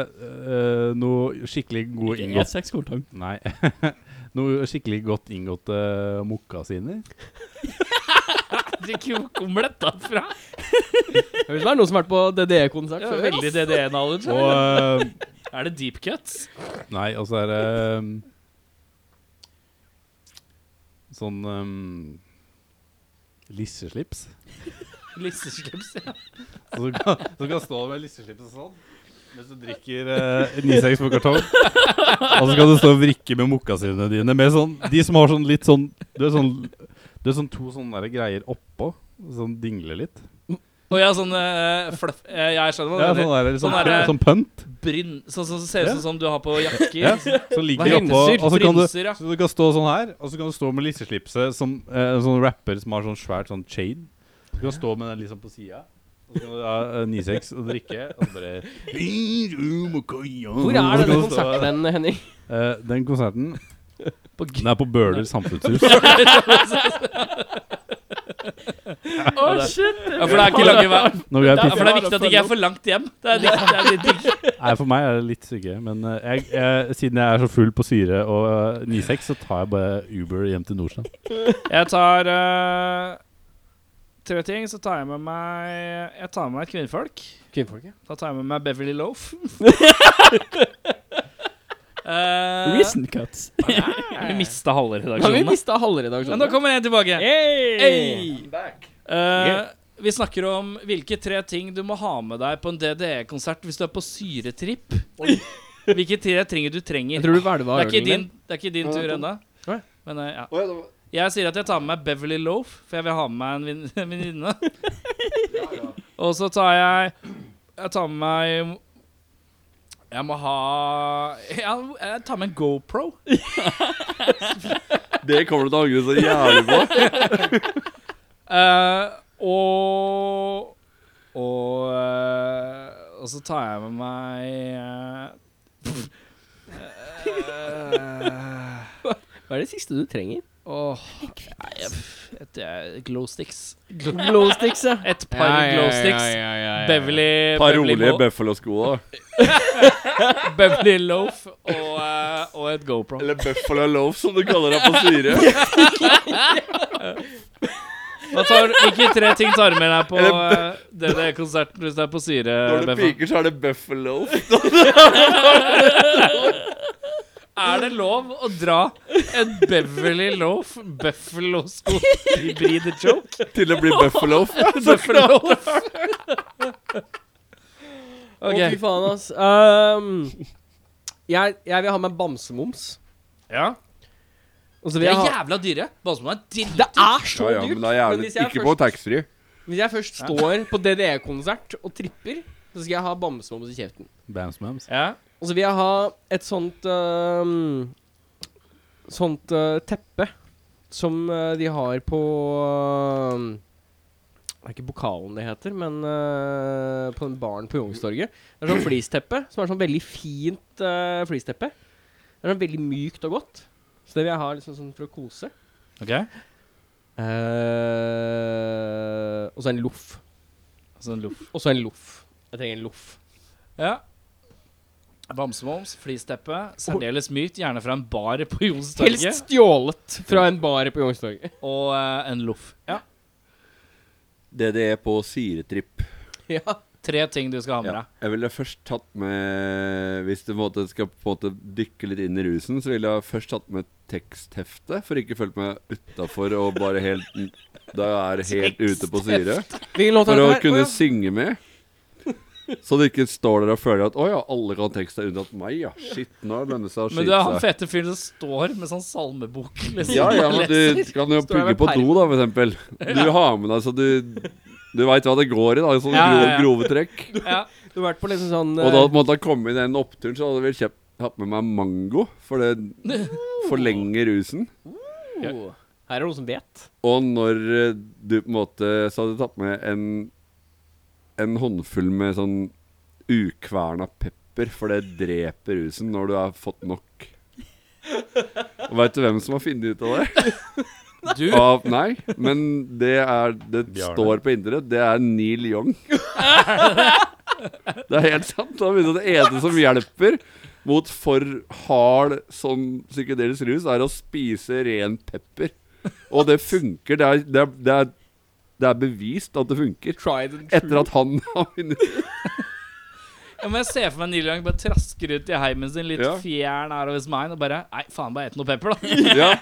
eh, noe skikkelig god
Ikke
inngått
E6-kortang.
Nei. [laughs] noe skikkelig godt øh, inngåtte
[laughs]
mokasiner.
Drikke omelett derfra?
Høres ut som det er noen som har vært på DDE-konsert
Ja,
før.
veldig DDE-knowledge.
Og eh,
Er det deep cuts?
Nei, og så er det eh, Sånn eh, Lisseslips.
Lisseslips? Ja.
Som kan, som kan stå med lisseslippet sånn mens du drikker eh, 96 på kartong. Og så kan du stå og vrikke med mokkasine dine. Med sånn, de som har sånn litt sånn Du er sånn, du er sånn to sånne der greier oppå. Sånn dingle litt.
Å ja, sånn eh, fluff eh, Jeg skjønner hva
Ja,
du
sånn
mener.
der, sånn,
Sånn der-
sånn punt.
Bryn... Sånn som ser
Ja.
ut som du har på jakker.
[laughs]
[laughs]
Ja, som
Hva
ligger
heter
oppå.
det?
Og så kan du,
Frynser, ja.
så du kan stå sånn her, og så kan du stå med lisseslipset som eh, en sånn rapper som har sånn svært sånn chain. Du kan stå med den liksom på sida. Og så kan du ha eh, 96 og drikke, og så bare
Hvor
Hvor
er denne konserten, hen, Henning?
Eh, den konserten
På
Den er på Bøler samfunnshus.
[laughs] Å, shit! Ja, for det er ikke lange vei.
[laughs] Nå vil jeg
Ja, for
pisse.
det er viktig at det ikke er for langt hjem. Det er litt, det er litt digg.
Nei, for meg er det litt syke. Men eh, jeg, jeg, siden jeg er så full på syre og eh, 96, så tar jeg bare Uber hjem til Nordstrand.
Jeg tar eh, tre ting. Så tar jeg med meg Jeg tar med meg et kvinnfolk.
Kvinnfolket.
Da tar jeg med meg Beverly Loaf.
Recent cuts.
vi mista halve
Da har vi
redaksjonen.
mista halve
Men nå
redaksjonen.
kommer jeg tilbake.
Hey!
Hey! Eh, Vi snakker om hvilke tre ting du må ha med deg på en DDE-konsert hvis du er på syretripp. Hvilke tre trenger du trenger.
Jeg tror du hvelva
det, er
av
ikke
ølen
din,
din.
det er ikke din tur ennå.
Nei.
Men eh, ja.
Å, ja, det var-
Jeg sier at jeg tar med meg Beverly Loaf, for jeg vil ha med meg en vin- [laughs] en venninne. Og så tar jeg Jeg tar med meg Jeg må ha Jeg, jeg tar med en GoPro.
Det kommer du til å angre så jævlig [laughs] på.
Eh, og og, eh, og så tar jeg med meg eh, eh,
Hva er det siste du trenger?
Åh nei, jeg- et, eh, glow sticks.
Glow sticks, ja.
Et par glow sticks. Eh, Beverly,
Par
Beverly,
rolige
Mo-
Buffalo-sko, da.
Beverly Loaf og, eh, og et GoPro.
Eller Buffalo Loaf, som du kaller det på syre.
Hva tar, hvilke tre ting tar du med deg på eh, DDE-konserten hvis du er på
Når
syre?
det
Beffa?
piker, så er det Buffalo Loaf.
Er det lov å dra en Beverly Loaf [laughs] Buffalo-sko hybrid joke?
til å bli Buffalo.
Buffalo.
Å,
Ok.
fy faen, ass. Ehm, jeg, jeg vil ha meg bamsemums.
Ja.
Og så
De
vil
er
jeg ha
jævla dyre. Balsemum er dritt.
Det er så
Ja, ja,
dyrt!
men da er
men
jævlig
hvis jeg
ikke på
først-
taxfree.
Hvis jeg først står på DDE-konsert og tripper, så skal jeg ha bamsemums i kjeften.
Bams Mams.
Og så Altså, vil jeg ha et sånt øhm, Sånt øh, teppe som øh, de har på øhm, Det er ikke Bokalen det heter, men øh, på den baren på Youngstorget. Det er sånn flisteppe som er sånn veldig fint øh, flisteppe. Det er sånn veldig mykt og godt. Så det vil jeg ha liksom sånn for å kose.
Ok?
Eh, og så en loff.
Altså en loff.
Og så en loff. Jeg trenger en loff.
Ja. Bamsemums, flisteppe, særdeles mykt, gjerne fra en bar på Jonstorget.
Helst stjålet fra en bar på Youngstorget.
Og eh, en loff. Ja.
DDE på syretripp.
ja.
Tre ting du skal ha med
Ja.
deg.
Jeg ville først tatt med Hvis du på en måte skal på en måte dykke litt inn i rusen, så ville jeg først tatt med teksthefte, for ikke følt meg utafor og bare helt Da jeg er helt ute på syre.
Hvilken låt
For å
er dette her? Å,
kunne
ja.
synge med. Så du ikke står der og føler at 'Å ja, alle kan teksten unntatt meg', ja. Shit, nå lønner det seg å
Men du er han
skyte seg.
fete fyren som står med sånn
[laughs]
salmebok. Liksom,
Ja, ja,
og
men
leser.
du kan jo
Står der
pugge
med
på
perm.
do, da, for eksempel. Du har med deg så du Du veit hva det går i, da. i Sånne
Ja, ja, ja.
grove, grove trekk.
ja.
Du har vært på liksom sånn
Og da
eh,
måtte jeg komme i den oppturen, så hadde jeg vel kjøpt, hatt med meg mango. For det forlenger rusen.
oh, Her er det noen som vet.
Og når eh, du på en måte Så hadde jeg tatt med en En håndfull med sånn ukverna pepper, for det dreper rusen når du har fått nok. Og veit du hvem som har funnet ut av det?
Du
Av, nei, men det er Det
Bjarne.
står på internett. Det er Neil Young. det er helt sant. Han begynte at det eneste som hjelper mot for hard sånn psykedelisk rus, er å spise ren pepper. Og det funker. Det er, det er, det er, det er bevist at det funker.
Tried and
Etter at han [laughs] har vunnet.
Ja, men jeg ser for meg Neil Young bare trasker ut i heimen sin, litt
Ja.
fjern her hos meg, og bare Nei, faen, bare et noe
[laughs]
pepper, da. Eh,
Ja,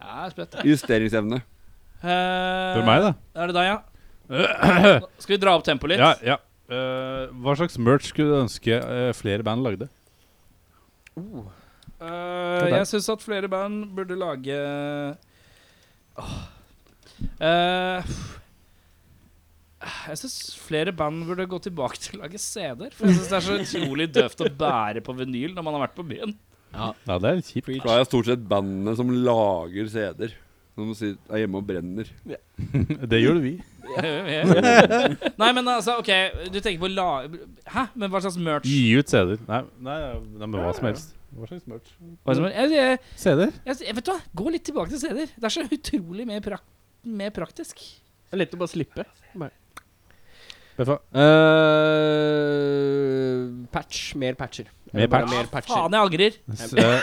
Ja, spett.
justeringsevne.
Det er meg, da.
Er det deg, ja?
[clears throat]
Nå Skal vi dra opp tempoet litt?
Ja, ja. Eh, hva slags merch skulle du ønske eh, flere band lagde?
Eh,
Det er deg.
jeg syns at flere band burde lage Åh. Eh, jeg syns flere band burde gå tilbake til å lage CD-er. For jeg syns det er så utrolig døvt å bære på vinyl når man har vært på byen.
Ja, det er litt kjipt.
Da er det stort sett bandene som lager CD-er. Som sier- er hjemme og brenner.
[laughs] Det gjorde vi.
[laughs] Nei, men altså, OK, du tenker på la... Hæ? Men hva slags merch?
Gi ut CD-er. Nei, nei, nei, men hva som helst. Hva slags merch?
Mm. Hva som- Jeg, jeg,
CD-er?
jeg, jeg, vet du hva, Gå litt tilbake til steder. Det er så utrolig mer, prak mer praktisk.
Det er lett å bare slippe.
Beffa.
Eh, patch. Mer patcher.
Mer
Eller bare
patch?
Mer patcher.
Faen, jeg angrer.
S- eh,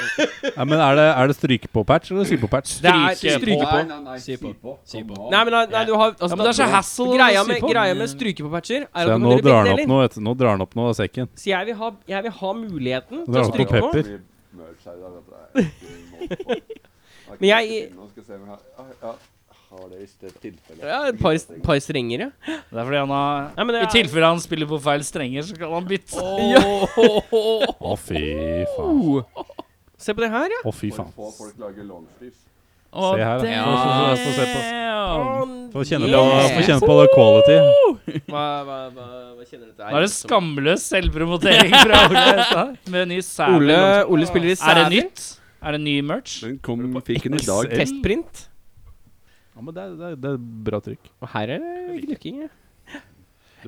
ja, men er det, er det stryke på patch eller sy på patch?
Det er
Stryke
stryke på.
nei, nei,
Si på. Si på.
Nei, men nei, nei, du har altså,
Ja, men det er så hassle å
greia
sy
med,
på.
greia med stryke på patcher er at
Se,
du kan
nå
gjøre
drar han
begge
opp
deler.
noe, vet du. Nå drar han opp noe av sekken.
Så jeg vil ha, jeg vil ha muligheten til å
Drar han på
stryke på.
pepper.
merch her i dag. At det er
Men jeg-
Nå skal jeg se om jeg har, Ah, ja, ja, har det i stedet tilfelle.
Ja, et par, par strengere.
Det er fordi han har
Nei, men det
I
er-
tilfelle han spiller på feil strenger, så kan han bytte. [laughs]
Ja.
Å, fy faen.
Se på det her, ja.
Å, fy faen.
Få folk lage longsleeves.
Å,
Se her, da.
damn.
Få- få- få se Få kjenne på,
Yeah.
få kjenne på the quality.
Hva, hva, hva, hva kjenner du til?
Nå er det skamløs selvpromotering [laughs] fra Ole Hestad med ny sæd.
Ole, Ole spiller i
Er det
sæder.
nytt? Er det ny merch?
Den kom, fikk den i dag.
Excel.
Testprint.
Ja, men det er, det er, det er bra trykk.
Og her er det gnukking. ja.
Du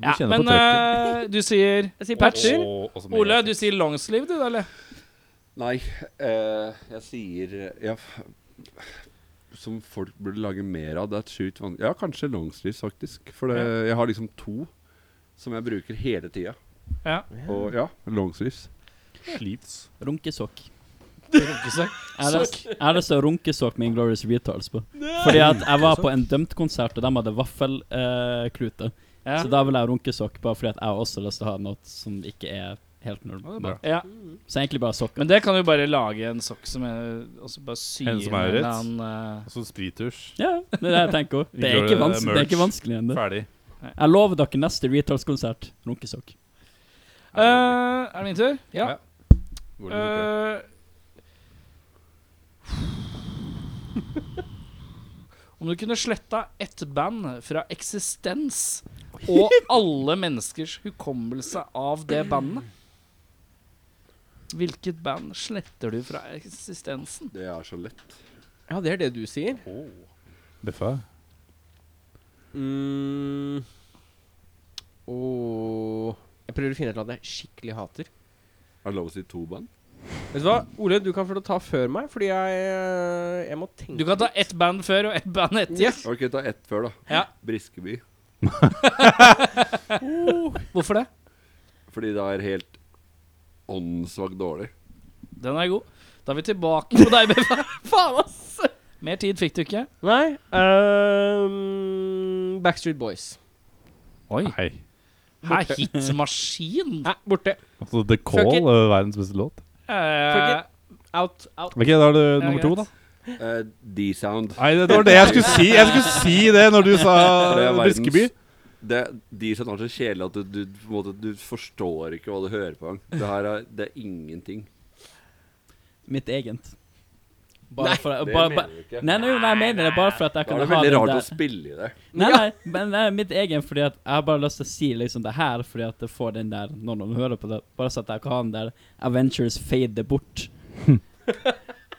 Ja,
må kjenne
men
på trykket.
eh, du sier
Jeg sier patcher.
Og- og så må
Ole,
jeg-
du sier longsleeve, du, da, eller?
Nei, eh, jeg sier eh, ja, f- Som folk burde lage mer av. Det er sjukt vanskelig. Ja, kanskje longsleeves, faktisk. For det, jeg har liksom to som jeg bruker hele tida.
Ja.
Og ja, longsleeves.
Sleeves.
Runkesokk. Er det, er det så runkesokk med Inglorious Retards på? Fordi at jeg var på en dømt-konsert, og de hadde vaffelklute.
Ja.
Så da ville jeg ha runkesokk, bare fordi at jeg har også lyst til å ha noe som ikke er helt normalt.
ja.
Så egentlig bare sokker.
Men det kan jo bare lage en sokk som er Og så bare sy
En som
inn
er
en
rett.
eller annen, eh,
Og så sprittusj.
Ja, det er det jeg tenker også. Det er ikke
Inglorious,
vanskelig, det er
merch.
ikke vanskelig enn det.
Ferdig.
Jeg lover dere neste Retards-konsert runkesokk.
Eh, Er det min tur?
Ja. Går det fortere?
Eh, [laughs] Om du kunne sletta ett band fra eksistens og alle menneskers hukommelse av det bandet Hvilket band sletter du fra eksistensen?
Det er så lett.
Ja, det er det du sier.
Beffa.
Mm. Åh. Jeg prøver å finne et eller annet jeg skikkelig hater.
Er det lov å si to band?
Vet du hva, Ole, du kan få lov til å ta før meg, fordi jeg, eh, jeg må tenke
Du kan ta ett band før og ett band etter.
Yes.
Ok, ta ett før, da.
Ja.
Briskeby.
Hvorfor det?
Fordi det er helt åndssvakt dårlig.
Den er god. Da er vi tilbake på deg, Beffa. Faen, ass! Mer tid fikk du ikke.
Nei. ehm, Backstreet Boys.
Oi.
Hei.
Her, hitmaskin.
Nei, borte.
Altså, The
Fuck it.
Call, uh, verdens beste låt.
Eh,
Out. out.
Ok, da er det
Ja,
nummer to,
greit.
da.
Eh, D-Sound.
Nei, det, det var det jeg skulle si. Jeg skulle si det når du sa
For [laughs] det er verdens-
Briskeby.
Det, D-Sound er så kjedelig at du, du, på en måte, du forstår ikke hva du hører på. engang. Det her er, det er ingenting.
Mitt egent. Bare for
Det
bare, bare,
mener du ikke.
Nei, nei, nei, jeg mener det bare for at jeg
Da
kan
er
ha
det veldig
den
rart
der-
å spille i det.
Nei, nei, men det er mitt egen fordi at jeg har bare lyst til å si liksom det her fordi at jeg får den der når noen hører på det. Bare så at jeg kan ha den der Adventures fade det bort.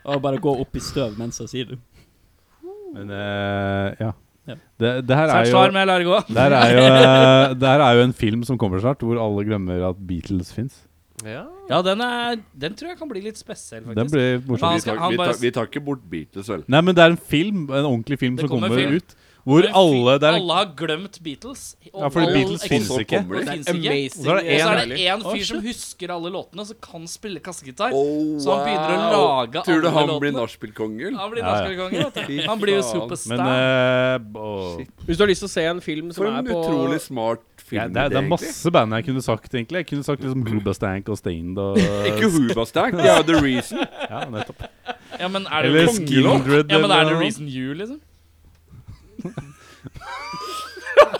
Og bare gå opp i støv mens jeg sier det.
Men eh, ja.
Ja.
Det, det her er
Svært
jo
svar, men jeg lar det gå.
det her, er
[laughs]
jo, eh, det her er jo en film som kommer snart, hvor alle glemmer at Beatles fins.
Ja.
Ja, den, er, den tror jeg kan bli litt spesiell, faktisk.
Den blir
Men
morsom.
han
Vi
skal-
tar,
han
vi,
bare
tar,
s-
vi tar ikke bort Beatles, vel?
Nei, men det er en film, en ordentlig film
Det
som
kommer
kommer
film.
ut. Hvor
Men fy-
alle det er,
alle har glemt Beatles.
Ja, fordi
All-
Beatles
og
finnes
så-
Og så
ikke.
kommer
og
de.
finnes ikke.
Amazing.
Og så
Og
er det
så
en
er det én
Å,
fyr som
shit.
husker alle låtene, som kan spille kassegitar.
Oh,
Så han begynner å
wow.
lage
Tror du
alle
han
låtene?
blir nachspielkongel?
Han blir
Ja, ja.
nachspielkonge, vet du.
Fy
Han blir jo
faen.
Men
superstar.
eh, b-
Shit.
Hvis du har lyst til å se en film som
For
er
en
på
utrolig smart
ja,
film.
det, er, det er masse band jeg kunne sagt, egentlig. Jeg kunne sagt liksom Hoobastank og Stained og
[laughs] Ikke Hoobastank, det er The Reason.
Ja, nettopp.
ja, men er det
Eller
Reason-
kongelåt?
Skindred
ja, men er det
eller noe.
Reason You, liksom?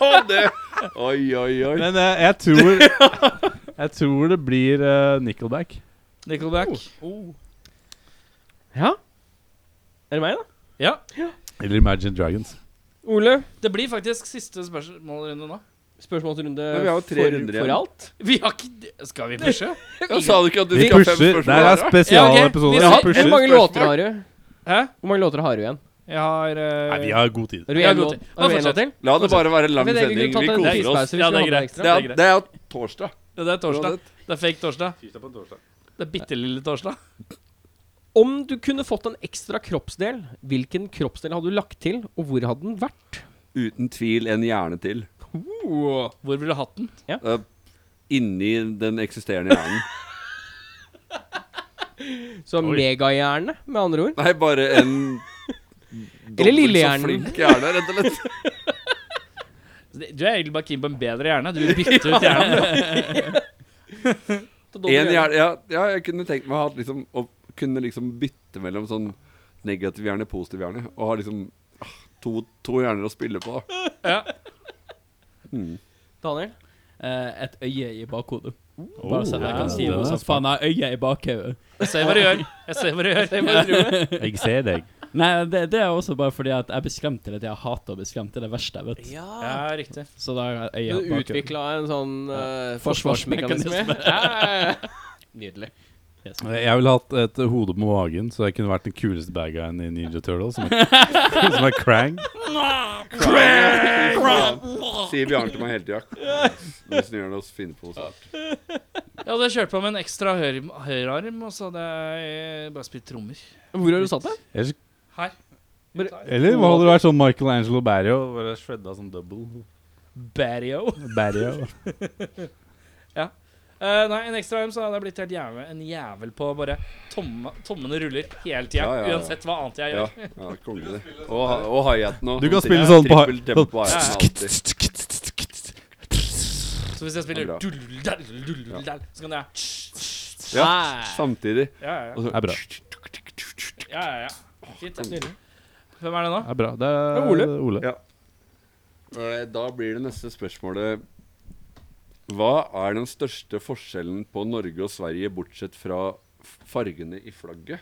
Og det [laughs] Oi, oi, oi.
Men eh, jeg tror [laughs] Jeg tror det blir eh, Nickelback.
Nickelback.
Oh.
Ja? Er det meg, da?
Ja.
Eller Imagine Dragons.
Ole?
Det blir faktisk siste spørsmålrunde nå.
Spørsmålsrunde
Men vi har jo tre
for,
runder igjen.
for alt?
Vi har ikke Skal vi pushe?
Jeg sa du ikke at du
Vi
skal ha fem
pusher. Det
spørsmål?
her er
da?
Ja, ok. Vi
spesialepisoder.
har-
Vi pusher.
Hvor mange låter har du?
Hæ?
Hvor mange låter har du igjen?
Jeg har eh,
Nei, vi har god tid.
Har du
Jeg har
én
god
låt,
tid.
har du
Bare
en låt
fortsett.
til?
La det bare være en lang
Men det- vi
sending.
kunne
Vi
tatt en
koser oss.
tidspause hvis
Ja,
vi
det er
hadde
greit.
ekstra.
Det er, det er jo torsdag.
Ja, det er torsdag. Det er fake torsdag. Det er bitte lille torsdag.
Om du kunne fått en ekstra kroppsdel, hvilken kroppsdel hadde du lagt til, og hvor hadde den vært?
Uten tvil en hjerne til.
Oh.
Hvor ville du hatt den?
Eh, Inni den eksisterende hjernen. [laughs]
Så megahjerne, med andre ord.
Nei, bare en
Eller
dobbelt så
lillehjernen.
flink hjerne, rett og slett.
Du er egentlig bare keen på en bedre hjerne. Du [laughs] vil bytte ut hjernen.
En hjerne, ja, ja, jeg kunne tenkt meg å ha hatt liksom, å kunne liksom bytte mellom sånn negativ hjerne, positiv hjerne. Og ha liksom ah, to, to hjerner å spille på. da.
Daniel?
Eh, et øye i bakhodet.
Oh,
Bare så at jeg
ja,
kan si
den
noe
er
sånn
smart.
Faen, jeg har øye i bakhodet.
Jeg ser hva du gjør. Jeg ser hva du gjør.
Jeg ser deg.
Nei, det, det er også bare fordi at jeg blir skremt til det. Jeg hater å bli skremt. Det er det verste jeg vet.
Ja, riktig.
Så da har jeg øye i
Du
bakhodet.
utvikla en sånn eh, forsvarsmekanisme.
Forsvarsmekanisme.
[laughs] Ja, ja, ja. Nydelig.
Yes.
Eh, Jeg ville hatt et hode på magen, så jeg kunne vært den kuleste bad guyen i Ninja Turtles. [laughs] Som er, som er Krang.
Sier Bjarne til meg hele tida. Hvis han gjør noe finner på noe snart.
Jeg hadde kjørt på med en ekstra høyre- høyrearm, og så hadde jeg bare spilt trommer.
Hvor har du satt det?
Ellers-
Her.
Eller hva hadde du vært sånn Michelangelo Barrio? Bare shredda som double.
Barrio.
Barrio.
Eh, nei, en ekstra arm så hadde jeg blitt helt jævel, en jævel på å bare tomme, tommene ruller hele tida.
Ja, ja, ja.
Uansett hva annet jeg
Ja,
gjør.
ja konge, det. Og, og hi-haten òg.
Du kan spille sånn på
Trippel tempo på hi-haten alltid.
Så hvis jeg spiller
Ja, bra.
dull-dall, dull-dall, så kan jeg
Ja, samtidig.
Ja, ja, ja.
Og så-
Det er bra.
ja, ja, ja. Fint, det er nydelig. Hvem er det nå?
Det er bra. Det er
Ole.
Ole.
Ja. Eh, Da blir det neste spørsmålet Hva er den største forskjellen på Norge og Sverige, bortsett fra f- fargene i flagget?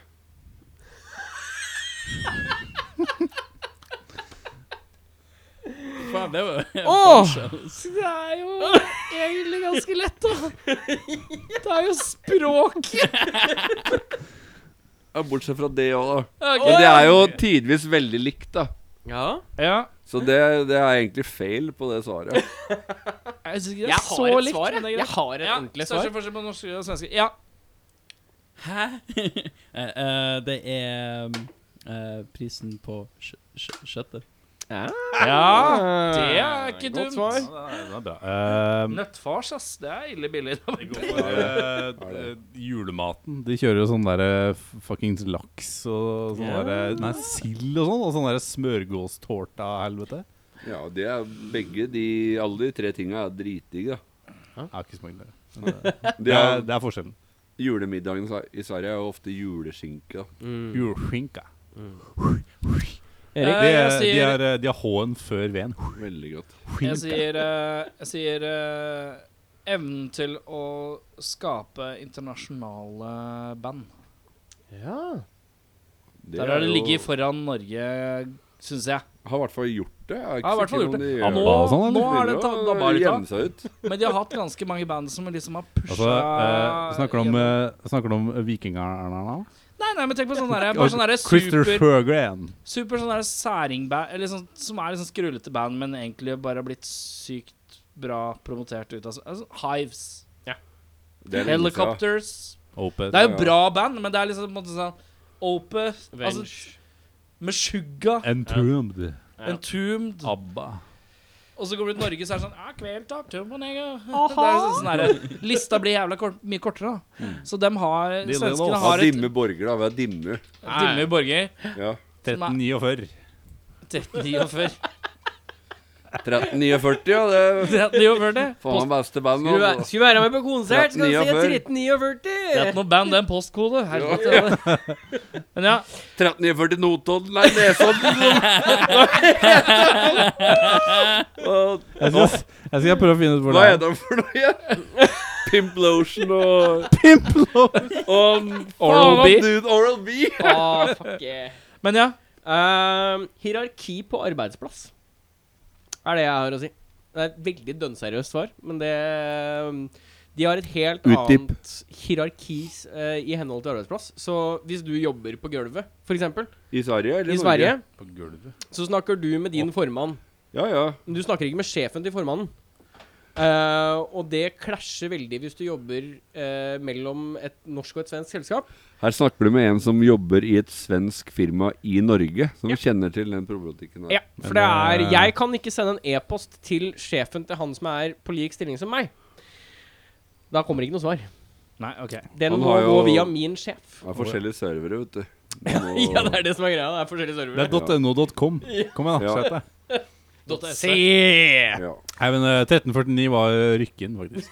faen, det var
Åh!
bombshells.
Det er jo egentlig ganske lett, da. Det er jo språk.
Ja, bortsett fra det òg, da. Men det er jo tidvis veldig likt, da.
Ja.
Ja,
Så det, det er egentlig feil på det svaret.
jeg syns ikke det
Jeg
er så
har et
likt.
svar,
men det
jeg.
er greit.
Jeg har et
Ja,
ordentlig
største
svar.
forskjell på norsk og svensk. Ja.
Hæ? [laughs] Eh, eh, det er eh, prisen på kjø- kjø- kjøttet.
ja. Det er ikke
Eh, Godt
dumt.
svar.
Den er bra. Ehm,
Nøttfars, ass. Det er ille billig. [laughs]
Eh, eh, julematen. De kjører jo sånn derre fuckings laks og sånn
Ja.
derre Nei, sild og sånn. Og sånn derre smørgåstårta-helvete.
Ja, og det er begge de Alle de tre tinga er dritdigge, da.
Jeg har ikke smakt det. eh,
Det
Det er,
er,
det er forskjellen.
julemiddagen i Sa- i Sverige er jo ofte juleskinke. da.
Mm.
Julskinka.
Erik?
De,
Eh, jeg
er- de,
sier-
er, eh, de har H-en før V-en.
Veldig godt.
Jeg sier, eh, jeg sier eh, evnen til å skape internasjonale band.
Ja.
Det
Der har det
jo-
ligget foran Norge, syns jeg.
Har i hvert fall gjort det. Jeg har ikke
Har i hvert
sett
fall gjort
noen
det.
de
Ja,
gjør
nå,
Abba og sånn,
nå
eller?
er det
Begynner å
dabba litt av.
Gjemme seg ut.
Men de har hatt ganske mange band som liksom har pusha
Altså, eh, snakker du om, eh, snakker du om vikingerne nå?
Nei, nei, men tenk på sånne der, bare sånne der
Christer
super,
Sjögren.
super sånne der særingband Eller sånn, som er liksom skrullete band, men egentlig bare har blitt sykt bra promotert ut. Altså, altså Hives.
Det er lenge siden.
Helicopters.
Opeth.
Det er jo
Ja.
bra band, men det er liksom på en måte sånn Opeth altså,
Venge.
Med Sugar,
Entombed.
Ja.
Entombed
ABBA.
Og så kommer du til Norge, så er det sånn Ja, kveld tar tumbo, nega. [laughs] Det er sånn, sånn der, lista blir jævla kort, mye kortere, da.
Mm.
Så dem har
det
Svenskene
også.
Ja,
har et
dimme borger, da. Vi har dimme.
Dimme Borger.
Ja.
1349.
[laughs] 1349.
1349, ja. Det er
1349.
faen meg beste band.
Skulle væ-
altså.
skulle være med på konsert, skal du se
1349.
1349!
Det er ikke noe band, det er en postkode. Helvete. Men ja.
1349 Notodden, nei, Nesodden Og
Jeg skal, jeg skal prøve å finne ut hvor
Hva
det
er
er.
det for noe igjen? Pimplotion og Og
Oral
faen,
B.
Dude, Oral B.
[laughs] Ah, fuck yeah.
Men ja.
Ehm, hierarki på arbeidsplass er det jeg har å si. Det er et veldig dønnseriøst svar, men det ehm, De har et helt
Utdyp.
annet hierarki eh, i henhold til arbeidsplass. Så hvis du jobber på gulvet, f.eks.,
I Sverige eller
i Sverige,
På gulvet.
så snakker du med din formann.
Ja, ja.
Men du snakker ikke med sjefen til formannen. Eh, og det klasjer veldig hvis du jobber eh, mellom et norsk og et svensk selskap.
Her snakker du med en som jobber i et svensk firma i Norge, som
Ja.
kjenner til den problematikken
Ja,
her.
for
Men eh, det
det er
er-
Jeg kan ikke sende en e-post til sjefen til han som er på lik stilling som meg. Da kommer ikke noe svar.
Nei, OK.
Den
Han
må
har
gå
jo-
via min sjef.
Det er forskjellige servere, vet du.
Ja, det er det som er greia. Det er forskjellige
Det
servere.
er .no.com. Kom igjen, da.
Ja.
Sett deg.
E.
Se.
Ja.
Nei, men eh, 1349 var eh, Rykken, faktisk.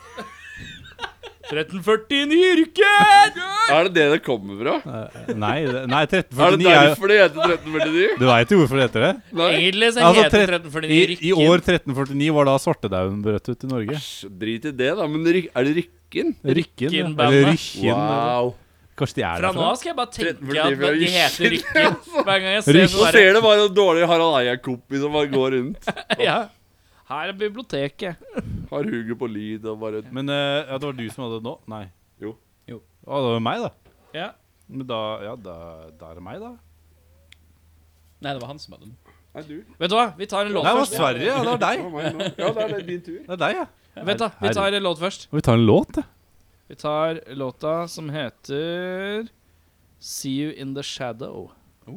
[laughs]
1349 Rykken!
Er det det det kommer fra?
Eh, Nei, det- nei
Er det
1349 er jo
derfor det heter 1349?
Du veit jo hvorfor det heter det?
Nei.
Egentlig så
Altså,
heter
tre-
1349
I,
Rykken.
I år 1349 var da svartedauden brøt ut i Norge.
Æsj, drit i det, da. Men ry- er det Rykken?
Rykken. ja.
Rykken-bandet.
Eller Rykken. eller-
Wow.
Kanskje de er
Fra nå
derfra?
av skal jeg bare tenke at
1349 fra
de heter Rykken. Hver gang jeg ser
Rykken.
så
Nå
bare-
ser det bare en dårlig Harald Eia-kompis som bare går rundt.
Ja. Her er biblioteket.
Har huget på lyd og bare
Men eh, ja, det var du som hadde det nå? Nei.
Jo.
Jo.
Å, det var meg, da.
Ja.
Men da, ja, da, da er det meg, da.
Nei, det var han som hadde den.
Nei, du.
Vet du hva, vi tar en
Nei,
låt
det var
først.
Sverige. Ja, det var
Det
deg.
var meg nå. Ja, da er det din tur.
Det er deg, ja.
Vent, da. Vi tar en låt først.
Og vi tar en låt, da.
Vi tar låta som heter See You In The Shadow.
I-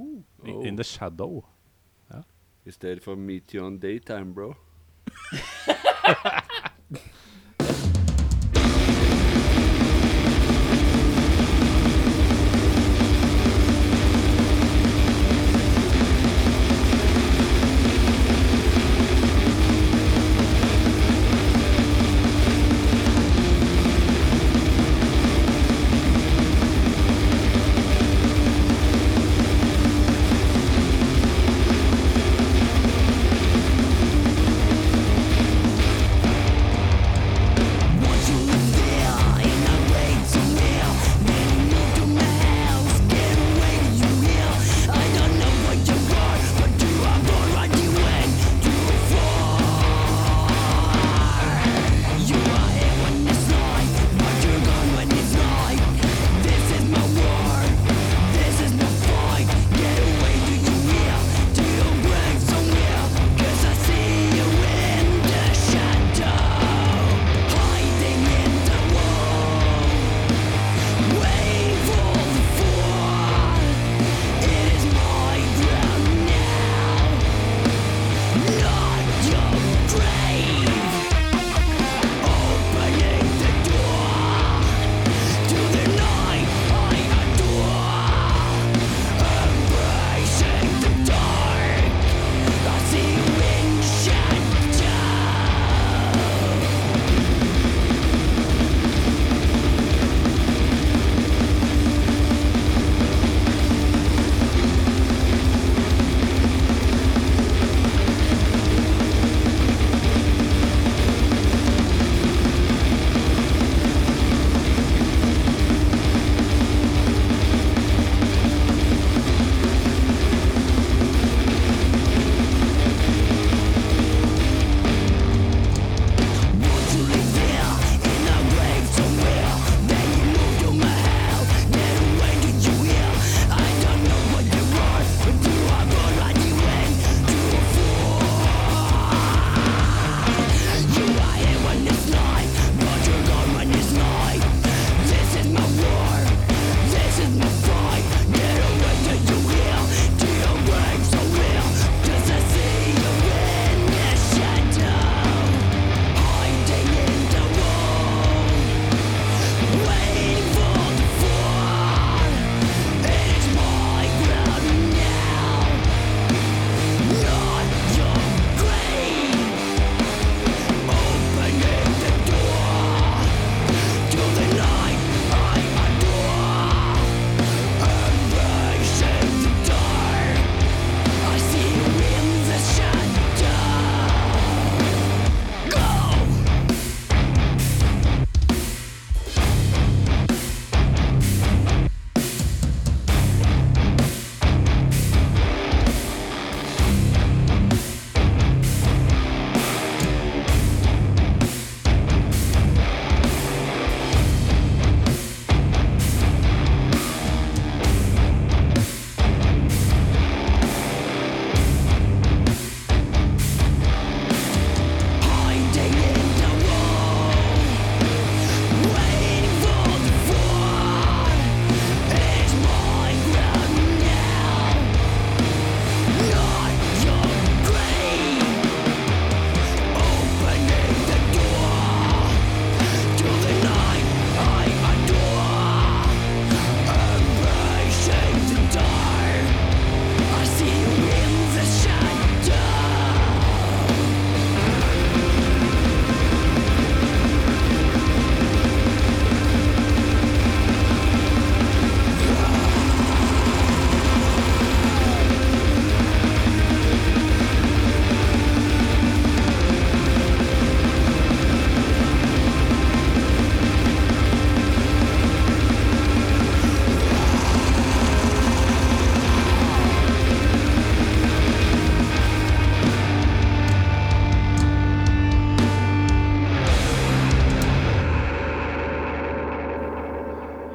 In the shadow.
I stedet for meet you on daytime, bro.
I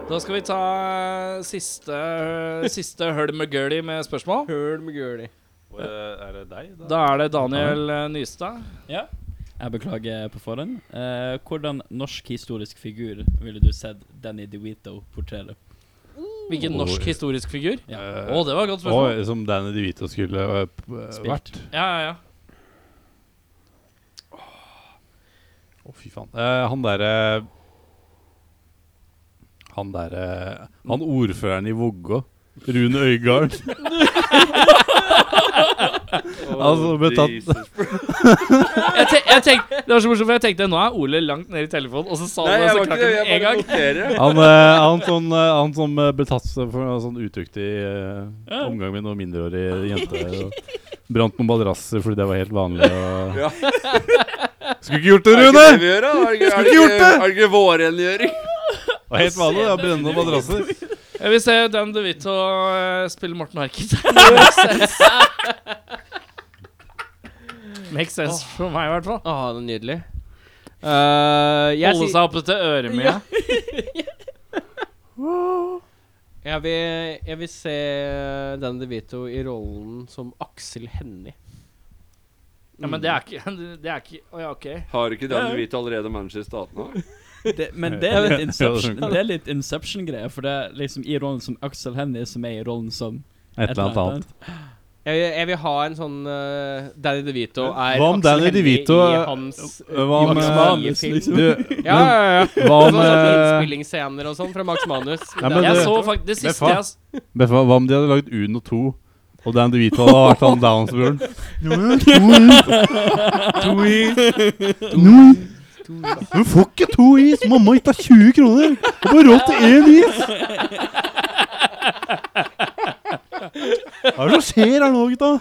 Da skal vi ta eh, siste, siste høl med girly med spørsmål.
Høl med gøli.
Er det deg,
Da er det Daniel eh, Nystad.
Ja. Jeg beklager på forhånd. Eh, hvordan norsk historisk figur ville du sett Danny DeVito portrere?
Hvilken norsk historisk figur?
Ja.
Å, det var et godt spørsmål.
Og Eh, som Danny DeVito skulle øh, p- øh,
Spilt.
vært.
Ja, ja, ja.
Å, fy faen. Eh, han derre Han derre Han ordføreren i Vågå. Rune Øygard. Altså, ble tatt-
Jeg te jeg tenk, det var så morsomt, for jeg tenkte nå er Ole langt ned i telefonen, og så sa
Nei,
han det, og
jeg var
så
ikke
knakk
det.
han
Jeg
én
bare
gang.
noterer.
[laughs] Han, eh, han, som, eh, han som eh, ble tatt for en sånn utuktig eh, omgang med noen mindreårige jenter. Og brant noen madrasser fordi det var helt vanlig. Og...
Ja.
[laughs] Skulle ikke gjort det,
Er
Rune!
ikke det vi gjør, da? Er ikke- Er det
gjort
ikke- er det ikke vårrengjøring?
Det var helt vanlig å brenne noen madrasser.
Jeg vil se Dan DeVito eh, spille Morten
[laughs]
Harket. Makes sense for meg, i hvert fall.
Å, det er nydelig. Eh, jeg,
Holde
sier-
seg oppe til øremia.
jeg, vil, jeg vil se Dan DeVito i rollen som Aksel Hennie.
Ja, men det er ikke [laughs] Det er ikke Å ja, OK.
Har ikke Danny Vito allerede manager i staten òg?
Det, men
[laughs]
det er litt
Ja, det
Inception-
funker.
det er litt Inception-greier, for det er liksom i rollen som Axel Hennie, som er i rollen som
Et eller annet annet.
Jeg, vil- jeg vil ha en sånn eh, Danny DeVito er
Hva om
Aksel
Danny
Hennie
DeVito,
i
eh,
hans eh,
Hva om
Max
eh,
Manus,
du,
liksom. Ja,
men,
ja, ja.
Hva
Sånn
om
sånne
eh,
innspillingsscener og sånn fra Max Manus.
Nei, men
Jeg
det-
så faktisk Det siste jeg s-
Beffa, hva om de hadde lagd Uno 2, og Dan DeVito hadde vært han [laughs] Downs-broren? To i No. Du får ikke to is! Mamma gitt deg 20 kroner! Du får råd til én is! Hva er det som skjer her nå, gutta?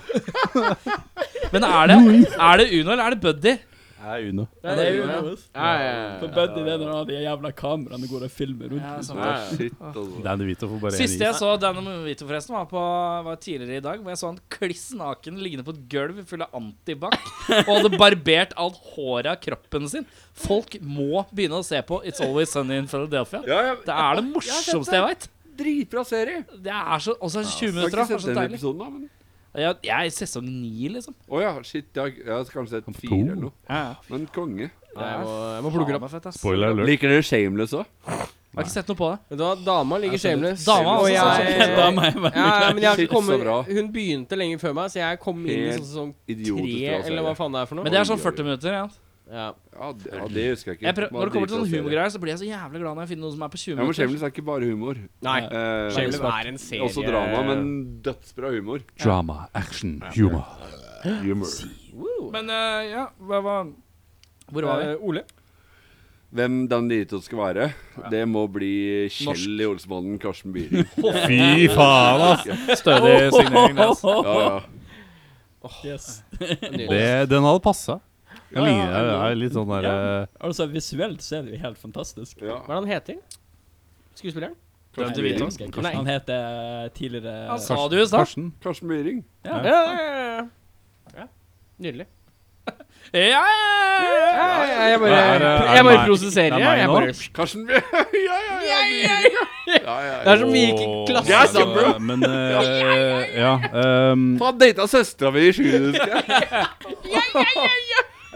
Men er det, er det Uno, eller er det Buddy?
Det er Uno.
Ja, det er jo det. Ja, ja,
For
ja.
Buddy det er når han har de jævla kameraene går og filmer rundt.
sant.
Nei, shit, altså.
Dan DeVito får bare
Siste
én is.
jeg så Dan DeVito, forresten, var, på, var tidligere i dag. Hvor jeg så han kliss naken liggende på et gulv full av antibac. Og hadde barbert alt håret av kroppen sin. Folk må begynne å se på It's Always Sunny in Philadelphia.
Ja, ja.
Det er det morsomste jeg veit.
Dritbra serie.
Det er så Og så er det 20
Jeg
minutter,
altså. har
da. Det er så
ikke sett den
deilig.
episoden, da. Men...
Jeg, jeg er i sesong ni, liksom.
Å ja, shit. Jeg har, jeg har kanskje sett fire
To.
eller noe. Men konge.
Nei, Jeg må, jeg må
Faen
plukke det opp.
meg fett, ass.
Spoiler alert.
Liker dere Shameless òg?
Jeg har ikke sett noe på det.
Vet du hva, dama ligger shameless.
Dama
og
også
jeg,
shameless.
Dama er veldig
ja, men jeg har
Shit,
ikke
så
kommet
bra.
Hun begynte lenge før meg, så jeg kom inn i
Helt
sånn som
Idiotisk
tre,
bra serie.
eller hva faen det er for noe.
Men det er sånn 40 minutter. Ja.
Ja.
Ja, det, ja, det husker jeg ikke.
Jeg prøv,
Bare
når det kommer til sånn
dritbra
sånne
serie.
humorgreier, så blir jeg så jævlig glad når jeg finner noe som er på 20
Ja, men
minutter.
Shameless er ikke bare humor.
Nei.
Eh,
Shameless er en
det
serie
er også drama, men dødsbra humor.
Drama, action, humor.
humor.
Men eh, ja, hva var Hvor var vi?
Eh, Ole?
Hvem Dan Dito skal være, det må bli Kjell i Olsmannen, Karsten Byring.
Fy faen, ass!
Stødig signering. det, ass.
Ja, ja.
Yes.
Det, den hadde passa.
Ja,
Den
ja,
ligner det
ja.
er litt sånn derre
Altså, visuelt så er det jo helt fantastisk.
ja.
Hva er det han heter? Skuespilleren?
Dan
Nei,
DeVito.
jeg husker ikke. Han heter eh, tidligere
Han sa det jo i stad.
Karsten.
Karsten Byring.
Ja, ja, ja, ja. ja. Nydelig.
Ja, ja, ja.
Ja, ja, jeg bare,
Er det- er det
jeg bare
meg-
prosesserer.
det er
jeg.
meg
Jeg
nå?
bare,
Karsten Byring! [laughs] Ja, ja, ja. ja, ja,
det
ja.
er som vi gikk i
Åh,
klasse
Yes,
sammen.
bro.
Men eh, ja ehm,
Faen, data søstera mi i
[laughs]
sjuende, husker jeg. Ja, ja,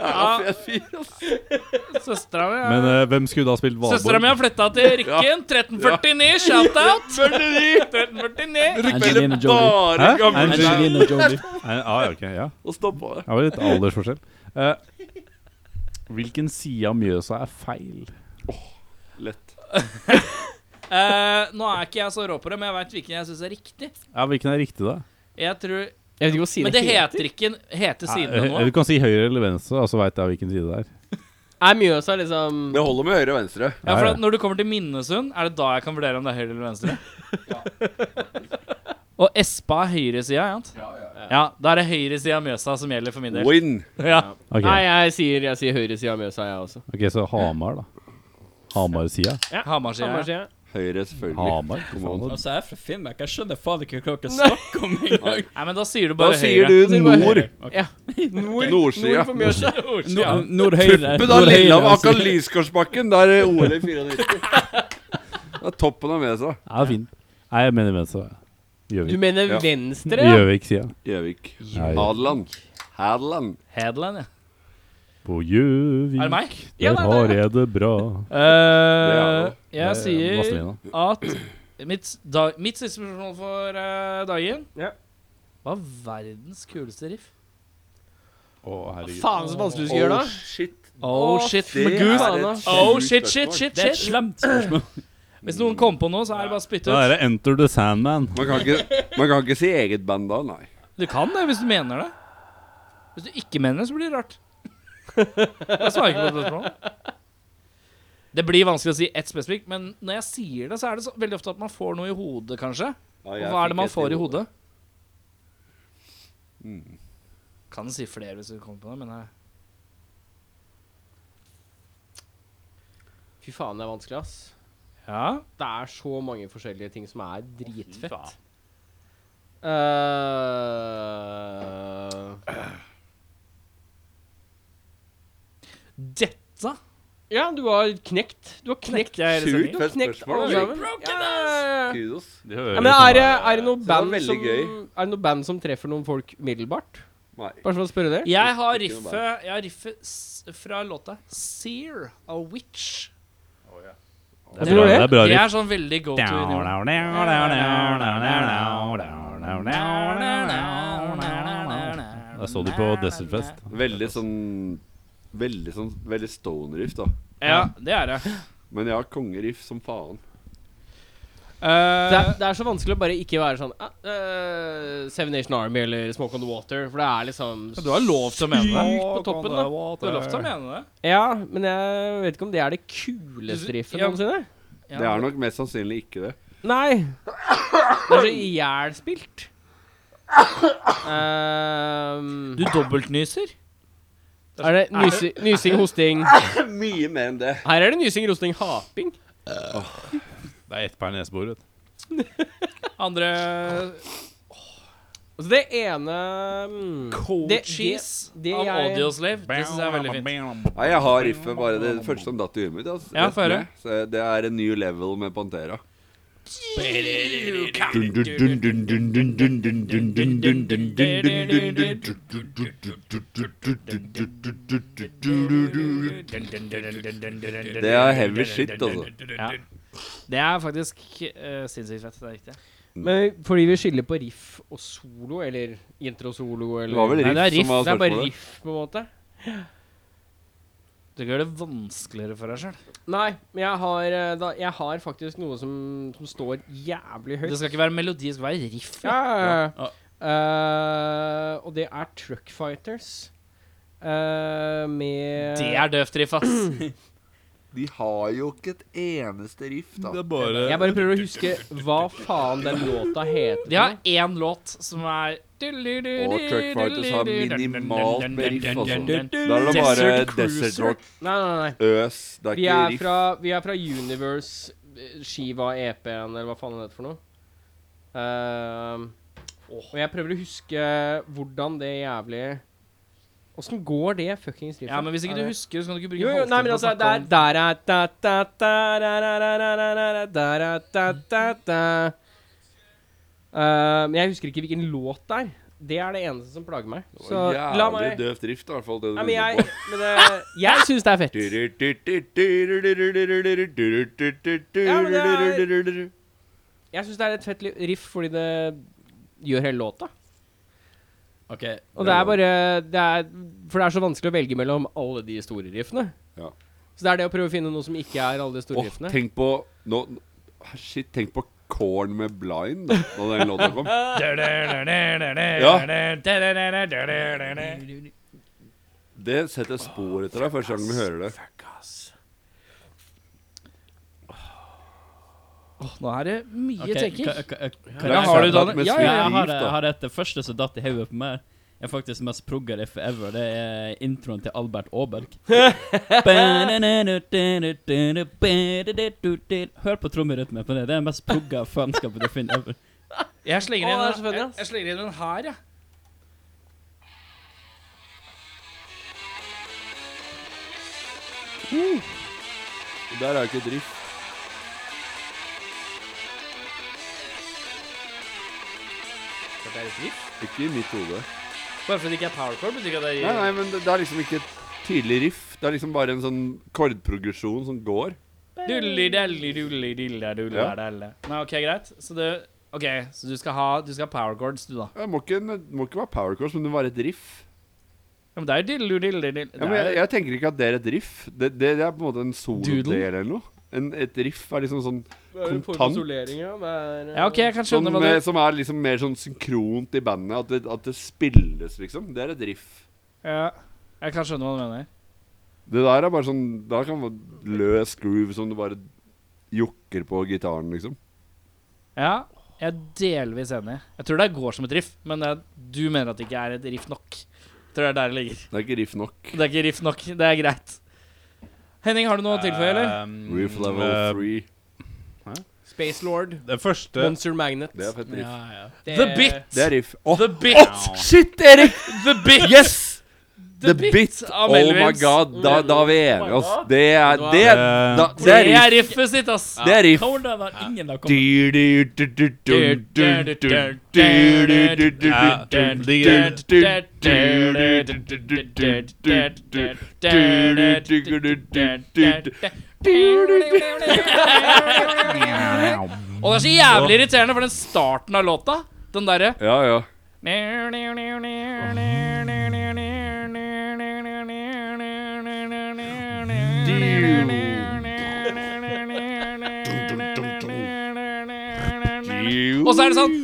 ja, ja. fyr, ass.
Søstera mi
Men
er-
eh, hvem skulle da spilt
Søstera mi
Valborg?
har flytta til Rykken. 1349, [laughs] shout-out! 1349.
Angelina
Spiller
Jolie.
Hæ?
bare gamle
Angelina
menn.
Angelina Jolie.
Eh, ah, ja, ok, ja.
Og stoppa det.
Det var litt aldersforskjell. Eh, hvilken side av Mjøsa er feil?
Lett.
Eh, nå er ikke jeg så rå på det, men jeg veit hvilken jeg syns er riktig.
Ja, Hvilken er riktig, da?
Jeg tror,
Jeg vet ikke hva siden
men det heter ikke heter
Eh,
sidene
eh, du
nå.
kan si høyre eller venstre, og så veit jeg hvilken side det er.
Er Mjøsa liksom
Det holder med høyre og
Ja,
venstre.
for
Ja, ja.
at Når du kommer til Minnesund, er det da jeg kan vurdere om det er høyre eller venstre? Og Espa er høyresida, ikke sant? Ja, da er det høyresida av Mjøsa som gjelder for min del.
Win.
Ja.
Ok,
Nei, jeg sier, jeg sier høyresida av Mjøsa, jeg også.
ok, så Hamar, da. Hamar-sida.
Hamarsida. ja.
Hammarsida.
Høyre, selvfølgelig.
Hamar? for faen.
Altså, jeg er fra Finnmark. Jeg skjønner faen ikke hva dere snakker om engang.
Nei, men da sier du
Da
bare
sier
høyre.
du nord.
Ja. Nord,
Nordsida.
nord for Mjøsa.
Ja.
Nord- Nordhøyre.
Puppe da,
Nordhøyre,
Lillehammer,
altså.
akkurat Lysgårdsbakken. Der er OL i 94. Det er toppen av Mesa.
Ja, fint. Nei, jeg mener venstre.
Du
Gjøvik.
mener
Ja.
venstre? ja?
Gjøvik-sida.
Gjøvik.
Ja, ja.
Hadeland. Hadeland.
Headland, ja.
På
Er det
Gjøvik,
meg?
Ja,
der
det er
har
det.
jeg det bra.
Eh, jeg
Det er
sier
Vazelina.
at mitt, da, mitt siste spørsmål for eh, dagen
Ja.
var verdens kuleste riff.
Å, herregud.
Faen så vanskelig du skal
Å,
gjøre da.
shit.
Oh,
Å,
shit.
Det
Men gud,
er
faen,
et
da.
sjukt
Oh, shit, shit,
spørsmål.
shit,
Det er et
shit.
slemt
[laughs]
spørsmål.
Hvis noen kom på noe, så er det bare å spytte
Da er
ut.
det Enter the Sandman.
Man kan, ikke, man kan ikke si eget band da, nei.
Du kan det hvis du mener det. Hvis du ikke mener det, så blir det rart. Jeg svarer ikke på det spørsmålet. Det blir vanskelig å si ett spesifikt, men når jeg sier det, så er det så, veldig ofte at man får noe i hodet, kanskje.
Ja,
Og
jeg
hva
fikk
er det man
et
får i hodet?
Mm.
Kan si flere hvis du kommer på det, men jeg
Fy faen, det er vanskelig, ass.
Ja.
Det er så mange forskjellige ting som er dritfett.
faen.
Eh,
Dette
ja, du har knekt. Du har knekt.
knekte jeg.
Sjukt
Du har
fett
knekt
spørsmål.
alle
Jake.
sammen. Ja, ja, ja.
Kudos.
Ja, men er, det- er det noe
det var
band
veldig
som
gøy.
Er det noe band som treffer noen folk middelbart?
Nei.
Bare for å spørre det.
Jeg har
Ikke noe
riffet, jeg har riffet s- fra låta Sear av Witch.
Det er bra, det er bra
Det
riff.
er sånn veldig go to. i
Da så du på Dessertfest.
Veldig sånn Veldig sånn Veldig stone-riff, da.
Ja, det er det.
Men ja, kongeriff som faen.
Eh,
Det er, det er så vanskelig å bare ikke være sånn ah, eh, Seven Nation Army eller Smoke on the Water, for det er liksom
du har lov til å mene det.
sykt på toppen, da.
Du har lov til å mene det.
Ja, men jeg vet ikke om det er det kuleste riffet
Ja.
noensinne.
Ja.
Det er nok mest sannsynlig ikke det.
Nei. Det er så ihjelspilt. Um,
Du dobbeltnyser.
er det nysi, nysing, hosting
Mye mer enn det.
Her er det nysing, rosting, haping.
Det er ett per nesebor, vet du.
Andre
Altså det ene mm, det-
Cheese
det
av
jeg-
Audioslave. Det syns jeg er veldig fint.
Nei, jeg har riffet bare det første som datt i huet mitt. Altså.
Ja, få høre.
Så Det er en ny level med Pantera. Det er heavy shit, altså.
Det er faktisk eh, sinnssykt fett. Det er riktig.
Men fordi vi skiller på riff og solo, eller intro-solo, eller
Det var vel
Nei,
riff,
det er riff,
som var
Det er bare
spørsmålet.
riff, på en måte.
Du gjør det vanskeligere for deg sjøl.
Nei, men jeg har, eh, da, jeg har faktisk noe som, som står jævlig høyt.
Det skal ikke være melodi, det skal være riff.
Ja,
Ja.
ja, ja.
Ja.
Eh, og det er Truck Fighters. eh, med
Det er døvt riff, ass.
De har jo ikke et eneste riff, da.
Det er bare
Jeg bare prøver å huske hva faen den låta heter.
De har én låt som er
Og Truck Fighters har minimalt med riff, altså. Da er det bare
Desert
Desert Rock,
Nei, nei, nei.
Øs Det er
Vi
ikke
er
riff.
fra, vi er fra Universe, eh, Shiva, EP-en, eller hva faen det heter for noe. Ehm, Og jeg prøver å huske hvordan det jævlig Åssen går det fuckings riffet?
Ja, men hvis ikke
Er
du
det-
husker, så kan du ikke bruke
jo, jo, nei, men altså, det er der er da, da, da, da, da, da, da, da, da, da, da, da, da, da. Eh, Men jeg husker ikke hvilken låt det er. Det er det eneste som plager meg.
Det
Så
var
la
Jævlig
meg
døvt riff, da, i hvert fall. Det du
Nei, men
begynner
jeg,
på.
men det, jeg syns det er fett. Jeg syns det er et fett li- riff fordi det gjør hele låta.
Ok,
Og det er bare det er, For det er så vanskelig å velge mellom alle de store riffene.
Ja.
Så det er det å prøve å finne noe som ikke er alle de store
Åh,
riffene.
tenk på nå, Shit, tenk på Korn med Blind da da den låta kom. Det setter spor etter deg første gang du hører det.
Nå er det mye
ok,
tenking.
ka- ka- ka-
Det er
Ja, har du
sammenlagt
Daniel?
med
Ja,
Ja,
ja,
jeg
Sweet
har,
Leaf, da.
det- jeg har et det første som datt i hodet på meg. Jeg er faktisk mest progga-riff ever. Det er introen til Albert Aaberg. Hør på trommerytmen på det. Det er den mest progga faenskapen du finner ever.
Jeg slenger inn,
Å, det er så fett,
jeg,
ass.
jeg slenger inn en her, jeg.
Der er jo ikke et riff.
at det er et riff?
Ikke i mitt hode.
Bare fordi det ikke er powercore, betyr ikke at det
Nei, nei, men det, det er liksom ikke et tydelig riff. Det er liksom bare en sånn kordprogresjon som går.
Dulli-delli-dulli-dulli-delli. Nei, OK, greit. Så du OK, så du skal ha, du skal ha power chords, du, da.
Det må ikke, må ikke være power chords, men det må være et riff.
Ja, men det er jo dillu-dilli-dill.
Ja, men jeg, jeg tenker ikke at det er et riff. Det, det, det er på en måte en solodel
Doodle?
eller noe. En, et riff er liksom sånn kontant.
eh,
Ja, OK, jeg kan
Som,
skjønne hva du
eh, som er liksom mer sånn synkront i bandet. At det, at det spilles, liksom. Det er et riff.
Ja, jeg kan skjønne hva du mener.
Det der er bare sånn Da kan man løs groove som du bare jokker på gitaren, liksom.
Ja, jeg er delvis enig. Jeg tror det går som et riff, men det, er- du mener at det ikke er et riff nok. Jeg tror det er der det ligger.
Det er ikke riff nok.
Det er ikke riff nok. Det er greit. Henning, har du noe å tilføye, eller?
Um,
Riff level
eh,
3.
Space Lord.
Det første
Monster Magnet.
Det er fett riff.
The Bit.
Det er riff. Å,
The Bit.
shit, Erik!
The Bit.
Oh, Yes!
The
The,
Bit
bit,
av
Oh my
Melvins.
god, da, da er vi enige oss. Det er Det,
Eh,
er- da, det
Det
er riff.
er riffet sitt, ass.
Det er riff.
Hvordan har ingen har
Du,
kommet
du, du, du, du, du, du, du, du, du, du, du,
Ja,
du,
det-
du,
det-
du, du, du, du, du, du, du, du.
Og det er så jævlig irriterende for den starten av låta. Den derre
Ja, ja.
Og så er det sånn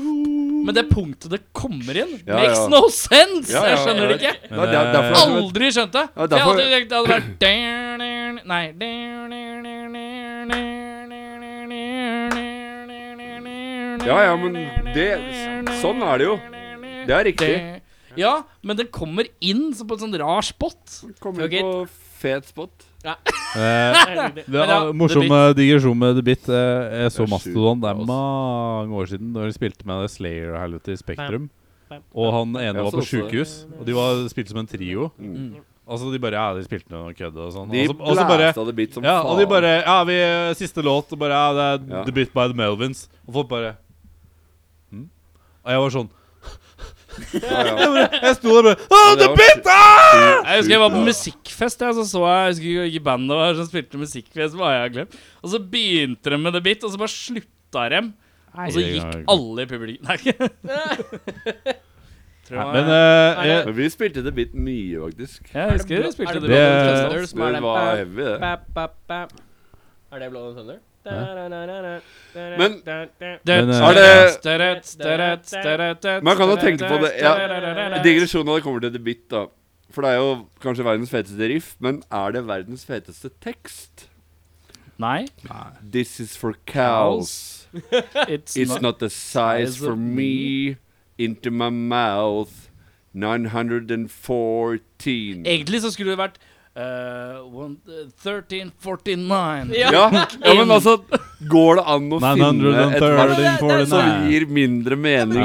Men det punktet det kommer inn,
Ja,
makes
ja.
no sense!
Ja, ja,
Jeg skjønner det
ja.
ikke.
Det er der- derfor jeg-
Aldri skjønt det.
Ja,
det,
derfor-
hadde, det hadde vært Nei.
Ja, ja, men det Sånn er det jo. Det er riktig.
Ja, men den kommer inn så på en sånn rar spot.
Kommer
Ok.
på fet spot.
eh, Det
[laughs] Men ja,
er morsom
The Bit.
eh, digresjon med The Bit. Eh, jeg
Det
så
er
Mastodon det er
sjukt, altså.
mange år siden, da de spilte med det Slayer-helvete i Spektrum. Og han
Jeg
ene var
så
på
også det. Mm.
sjukehus, og de var, spilte som en trio.
Mm.
Altså, de bare Ja, de spilte noe kødd og sånn.
De
Og så- og så bare
blæsta det bit som
Ja, og de
faen.
bare Ja, vi siste låt, og bare Ja, det er
Ja.
The Bit by the Melvins. Og folk bare «Hm?» Og jeg var sånn
Ja, ja.
Jeg, bare, jeg sto der bare «Å,
Ja, det
The
var
Bit! Ah!
Jeg husker jeg var på musikkfest, jeg, så så jeg, jeg husker ikke hvilket band det var som spilte musikkfest. Var jeg glemt. Og så begynte de med The Bit, og så bare slutta dem. Og så
det kan jeg
Altså, gikk
ikke.
alle i publikum. Nei. Tror jeg-
Men eh, jeg,
Men vi spilte det bit mye, faktisk.
jeg husker vi
Er
spilte
det
The
bra?
Bit.
Det-
Thunder som er
Det
den-
var heavy, det.
Bap, bap, bap. Er det Blood and Thunder?
Men-
Men, eh,
Er det-
det
Man kan jo tenke på det, ja. Digresjon når det kommer til The Bit, da. For det er jo kanskje verdens feteste riff, men er det verdens feteste tekst?
Nei.
This is for cows.
It's
It's
not.
not the size for me. Into my mouth. 914.
Egentlig så skulle det vært eh, one- eh, 1349.
Ja.
Ja, ja, men altså Går det an å finne et vers
930
som gir mindre mening i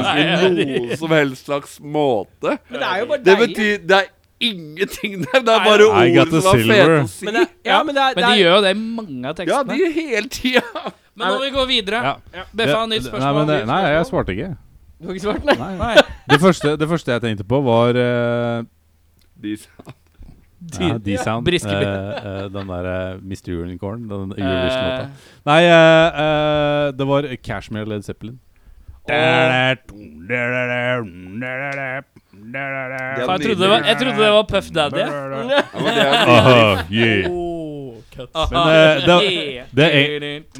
noe som helst slags måte?
Men det er jo bare
Det
deilig.
betyr Det er ingenting der. Det er bare
I got
ord
the
som er fete
silver.
å si.
Men det, ja, men det er,
Men
det
de
er
gjør jo det i mange av
Ja,
tekstene.
de hele tida.
Men nå må vi gå videre.
Ja.
Beffa, nytt
Nei,
spørsmål.
men, eh, nei, jeg svarte ikke.
Du har ikke svart, nei?
Nei. [laughs] Det, første, det første jeg tenkte på, var [laughs] eh,
De
ja, D-Sound.
Briskeby.
eh, eh, den derre Mr. Unicorn, den
Eh,
Eurovision-låta. Nei, eh, eh, det var Cashmere Led Zeppelin.
Det
faen, jeg, trodde det var, jeg trodde det var Puff Daddy. jeg.
Aha, [laughs] yeah.
oh, [laughs]
Men, eh,
Yeah.
det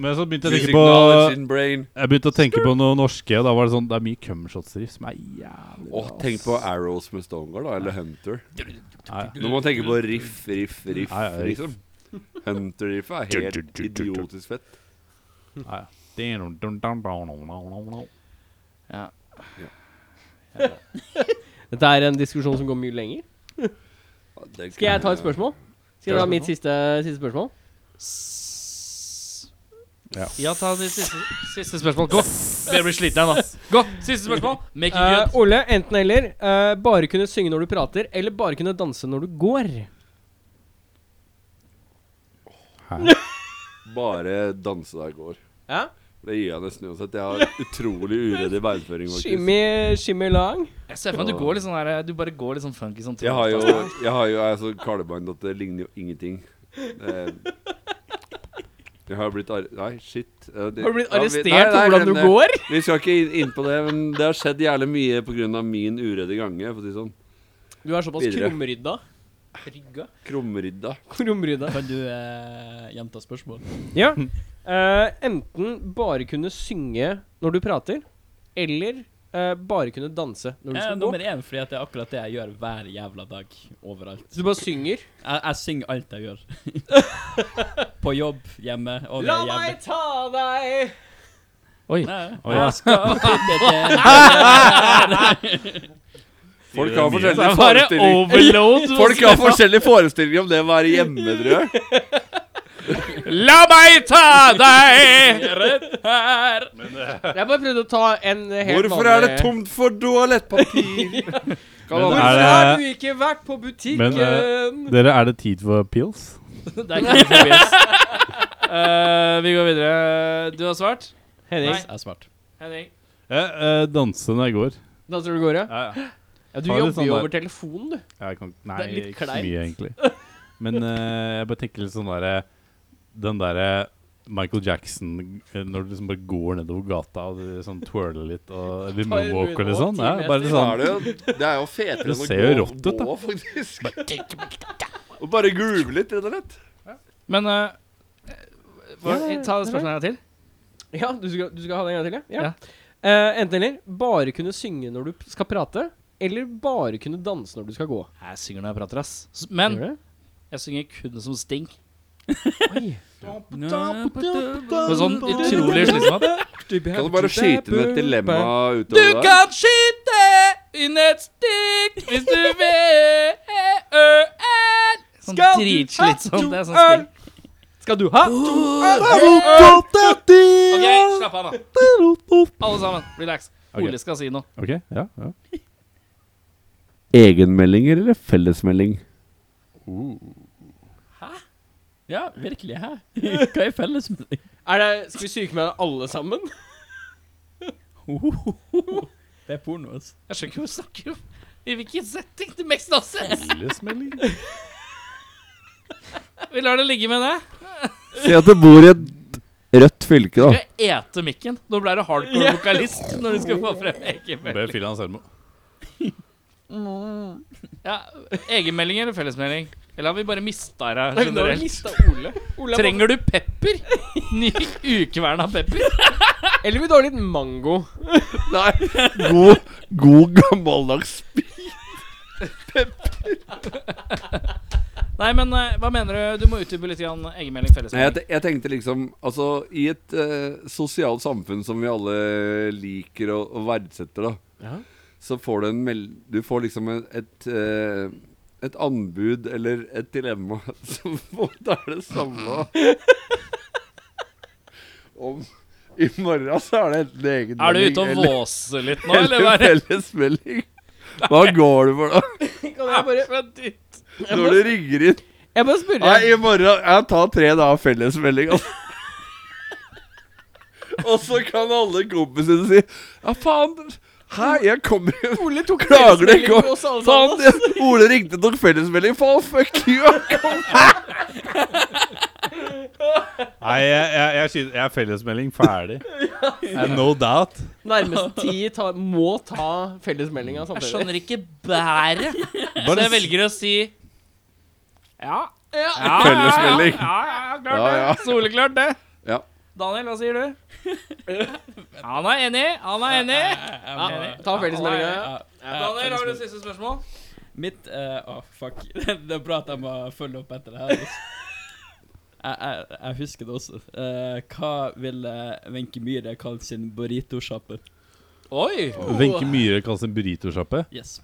Men så begynte jeg å tenke på Jeg begynte å tenke på noe norske, og da var det sånn Det er mye cumshots-riff som er jævlig
Åh, tenk på Arrows med Stoneguard, da. Eller Hunter.
Nei,
Når man tenker på riff, riff, riff,
Ja, ja, riff.
liksom. Hunter-riffet er helt idiotisk fett.
nei. Det
Dette er en diskusjon som går mye lenger. Skal jeg ta et spørsmål? Skal jeg ta mitt siste, siste spørsmål?
Ja.
Ja, ta ditt siste, siste spørsmål. Gå! Jeg blir sliten igjen, da. Gå! Siste spørsmål. Make
Eh,
it good.
Ole, enten eller. eh, bare kunne synge når du prater, eller bare kunne danse når du går.
Bare danse der går.
Ja?
Det gir jeg nesten uansett. Jeg har utrolig uredd i beinføring, faktisk.
Shimmy, shimmy lang.
Jeg ser for meg at du går litt sånn her Du bare går litt sånn funky sånn
Jeg har jo Jeg har jo, jeg er så kaleband at det ligner jo ingenting. Det, jeg har blitt ar... Nei, shit. Har
Har du blitt arrestert for hvordan du går?
Vi skal ikke inn- inn på det, men det har skjedd jævlig mye pga. min uredde gange. for å si det sånn.
Du er såpass
Videre.
krumrydda.
Rygga?
Krumrydda.
Krumrydda.
Kan du eh, gjenta spørsmålet?
Ja.
Hm.
Eh, enten bare kunne synge når du prater, eller eh, bare kunne danse når du
Eh,
skal gå.
nummer én, fordi at det er akkurat det jeg gjør hver jævla dag. Overalt.
Så du bare synger?
Jeg, jeg synger alt jeg gjør. På jobb, hjemme, over
La
jævla
meg ta deg!
Oi.
Nei,
Å, ja.
Jeg skal finne det.
Folk har
Sier det
forskjellige forestillinger. [laughs]
overload.
Folk har forskjellige forestillinger om det å være hjemme, tror jeg.
La meg ta deg!
Jeg bare prøvde å ta en eh, [laughs] helt
Hvorfor er det tomt for
[laughs]
toalettpapir? Kan alle-
Men Er
Hvorfor
det-
har du ikke vært på
eh,
butikken?
Men, Dere, er det tid for pills?
Det er ikke forbi. Uh, vi går videre. Du har svart?
Henning,
Jeg er smart.
Henning.
Jeg eh, danser når jeg går.
danser du går, ja? ja du
Har du
jobber
sånn
jo
der-
over telefonen, du.
Jeg kan, nei,
Det er litt
ikke så
kleint.
mye,
[laughs]
egentlig. Men eh, jeg bare tenker litt sånn derre Den derre Michael Jackson eh, når du liksom bare går nedover gata og du sånn twirler litt og
[laughs]
eller
Tar en
moonwalker eller
moonwalk
sånn. Ja,
ti
bare
Da
sånn
er det, jo, det er jo fetere enn
Det
å
ser jo
gå-
rått ut, da.
gå, faktisk. Og bare groove litt, rett og slett.
Men eh, hva, ta det spørsmålet her til.
Ja, du skal, du skal ha det en gang til, ja?
Ja.
Eh, enten eller. Bare kunne synge når du p- skal prate, eller bare kunne danse når du skal gå.
Jeg synger når jeg prater, ass. S- Men
Gjør du det?
jeg synger kun som Sting.
Oi.
Med sånn utrolig slitsomt.
Kan du bare skyte inn et dilemma
Du
utover der?
kan skyte inn et stikk hvis du vil. Sånn
Skal du
dritslitsomt.
ha
Det er
to
sånn Sting.
Skal du ha?
Ok, slapp av, da. Alle sammen, relax.
Ok.
Ole skal si noe.
OK, ja. ja.
[laughs]
Egenmeldinger eller fellesmelding?
Ja, virkelig. Hæ? Hva er felles med deg? [laughs]
Er det, skal vi sykemelde alle sammen?
Det er porno, altså.
Jeg skjønner ikke hva du snakker om. I hvilken setting? Det makes no sense.
Fellesmelding?
[laughs] Vi lar det ligge med det.
Si at du bor i et rødt fylke, da.
Skal jeg ete mikken? Nå ble det hardcore vokalist når du skal få frem egenmelding.
Bare fyll hans arm.
Ja, egenmelding eller fellesmelding? Eller har vi bare mista deg
Nei, nå har vi
generelt?
mistet Ole. Ole er
Trenger du pepper? Ny ukevern av pepper?
bare- Eller vil du ha litt mango?
Nei, god, god gammeldags
Nei, men eh, hva mener du? Du må utdype litt grann egenmelding,
Nei, jeg,
fellesmelding.
te- jeg tenkte liksom Altså, i et eh, sosialt samfunn som vi alle liker og, og verdsetter, da,
Ja.
så får du en meld... Du får liksom en- et eh, et anbud eller et dilemma [laughs] som på en måte er det samme. Om I morgen så er det enten egen
Er du ute og
eller,
våser litt nå, eller?
eller
Bare?
fellesmelding. Hva går du for, da?
Kan jeg bare,
Når du ringer inn
jeg bare spør
Nei, i morgen Jeg tar tre dager fellesmelding altså. Og så kan alle kompisene si Ja, faen Hæ, jeg kommer jo
Ole tok
Klager du
fellesmelding
ikke
på oss alle
Faen,
sammen.
jeg- Ole ringte nok fellesmelding Faen, fuck you jeg kom.
Nei, jeg, jeg, jeg, skyter- jeg er fellesmelding ferdig. Eh, No doubt.
Nærmeste ti ta, må ta fellesmeldinga
Jeg
samtidig.
skjønner ikke [laughs] bæret. Så jeg velger å si Ja. ja
Fellesmelding.
Ja, ja, ja, klart
Ja, ja.
det. Soleklart det.
Ja.
Daniel, hva [laughs] sier du? Han er enig. Han er enig.
Ja, ta fellesmeldinga.
Daniel, har du siste spørsmål?
Mitt eh, Å, fuck. [laughs] Det er bra at jeg må følge opp etter det her. altså. Jeg, jeg, jeg husker det også. Eh, hva ville Wenche Myhre kalt sin burrito-sjapper?
Oi!
Wenche Myhre kalles en burritosjappe.
Yes.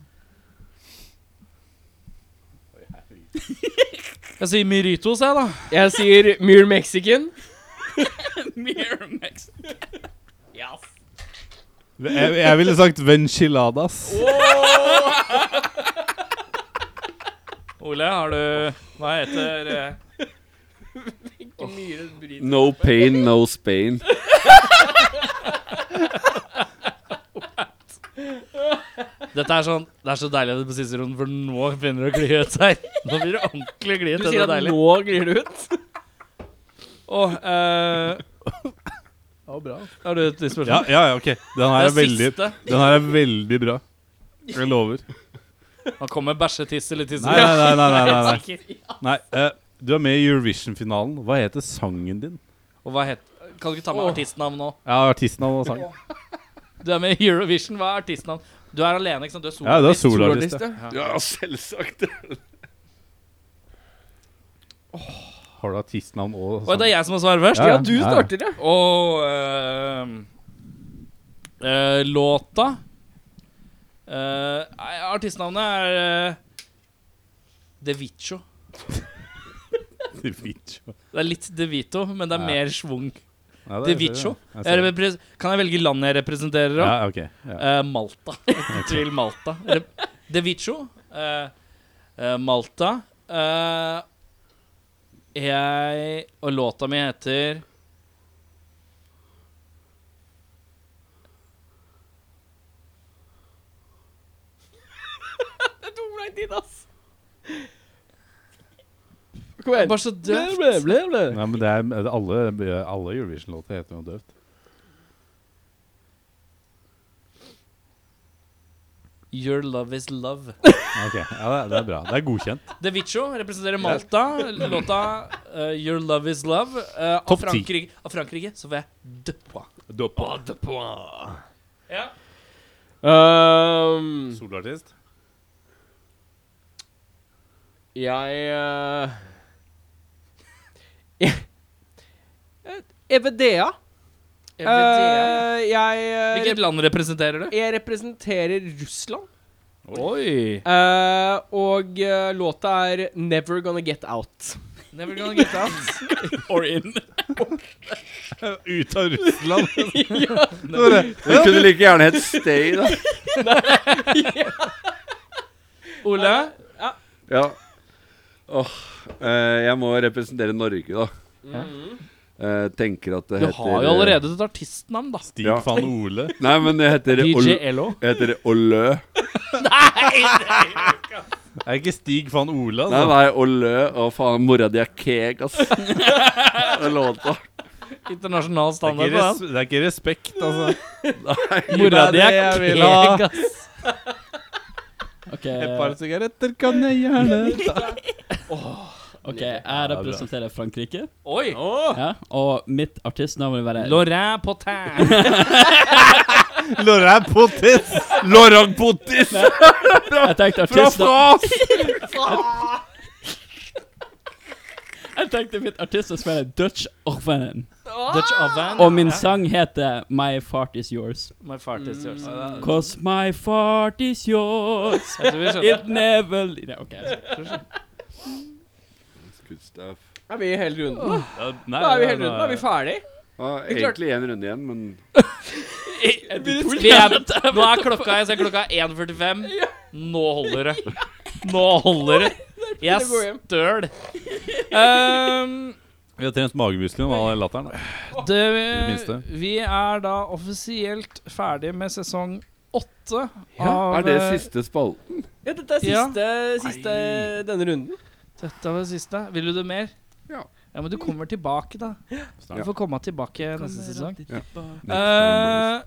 Jeg sier Myritos, [laughs] jeg, da.
Jeg sier Muir Mexican.
Miramax. yes.
Jeg, jeg ville sagt Venchiladas.
Ole, har du Hva heter eh,
No pain, no spain
Dette er sånn, Det er så deilig at det på siste runden, for nå begynner det å gli ut her. Nå blir det ordentlig gli ut.
Du
dette
sier
er
at
deilig.
nå glir det ut?
Åh, eh, Har du et nytt
Ja,
spørsmål?
ja, ja, ok. Den her er veldig,
siste.
den her er veldig bra. Jeg lover.
Han kommer med bæsjetiss eller tiss.
Nei, nei, nei. nei, nei, nei, nei. nei eh, du er med i Eurovision-finalen. Hva heter sangen din?
Og hva het Kan du ikke ta med artistnavn nå?
Ja, artistnavn og sang.
Du er med i Eurovision. Hva er artistnavn? Du er alene, ikke sant? Du er
Ja, det er
soloartist.
soloartist. ja.
Ja, selvsagt.
Har du artistnavn og
Oi, det er jeg som må svare først?
Ja,
Ja,
ja. [laughs]
du starter, ja.
Og ehm, eh, låta eh, nei, Artistnavnet er eh, De Vicio.
De Vicio.
Det er litt De Vito, men det er
Ja.
mer schwung.
Ja,
De
det-
Vicio.
jeg ser
Jeg
det.
repres- Kan jeg velge landet jeg representerer? da?
Ja, ok. Ja.
Eh,
[laughs]
Malta. Ikke Tvil Malta. Eller De Vicio. eh, eh, Malta. Eh, jeg Og låta mi heter
Det tok lang tid, ass. Kom igjen.
Bare så døvt.
Nei, men det er, det er alle, alle Eurovision-låter heter noe døvt.
Your love is love.
Ok, ja, det, det er bra. Det er godkjent.
De Vicio representerer Malta. Låta eh, 'Your Love Is Love'. eh, av,
Topp ti.
Frankrike, av Frankrike så får jeg døppa.
Ehm,
Um, Soloartist?
jeg eh, Eh, EVDA. Eh, jeg eh,
Hvilket land representerer du?
Jeg representerer Russland.
Oi.
Eh, og eh, låta er 'Never Gonna Get Out'.
Never gonna get out. Or in.
Ut av Russland!
[laughs] Den kunne like gjerne hett Stay, da.
[laughs] Ole?
Ja. Åh, eh, jeg må representere Norge, da. Eh, tenker at det
Mm. Du
heter
har jo allerede et artistnavn, da.
Stig
Ja.
van Ole.
Nei, men det heter Ol-
DJ Elo.
det heter Olø.
Er det ikke Stig van Ole?
Nei,
Altså?
nei, Olø. Å, faen, mora di er keeg,
[laughs]
ass. Den låta.
Internasjonal
Det er,
standard
ikke
på
res
den.
det er ikke respekt, altså.
Mora
det
di er
jeg vil ha.
keg, ass.
Ok,
Et par sigaretter kan jeg gjerne ta.
ok, jeg representerer Frankrike.
Oi.
Ja, og mitt artistnavn vil være
Laurin Potin.
Laurent Potis!
Laurent Pottis!
Jeg tenkte
Fra
artistnavn
Fras!
Jeg tenkte mitt artistnavn skulle være Dutch Orphan.
Dutch oven.
Og min sang heter My Fart Is Yours.
My fart is yours. Jeg
Cause my fart is
[laughs]
yours.
tror vi skjønner.
It never Nei, OK.
Good stuff.
Er vi i hele runden?
Ja, nei,
Da er vi i
nei,
hele runden. Da er vi
nei.
ferdig.
Ja, egentlig én runde igjen, men
Vi er, nå er klokka jeg ser klokka er 1.45. Nå holder det. Nå holder det. Jeg
går hjem.
støl. Um,
Vi har trent magemusklene med all den latteren.
det,
minste.
vi er da offisielt ferdig med sesong åtte
Er
av
det
eh,
siste spalten?
Ja, dette er
Ja.
siste, siste denne runden.
Dette var det siste. Vil du det mer?
Ja.
Ja, Men du kommer tilbake, da. Du får komme tilbake neste sesong.
Next
Eh,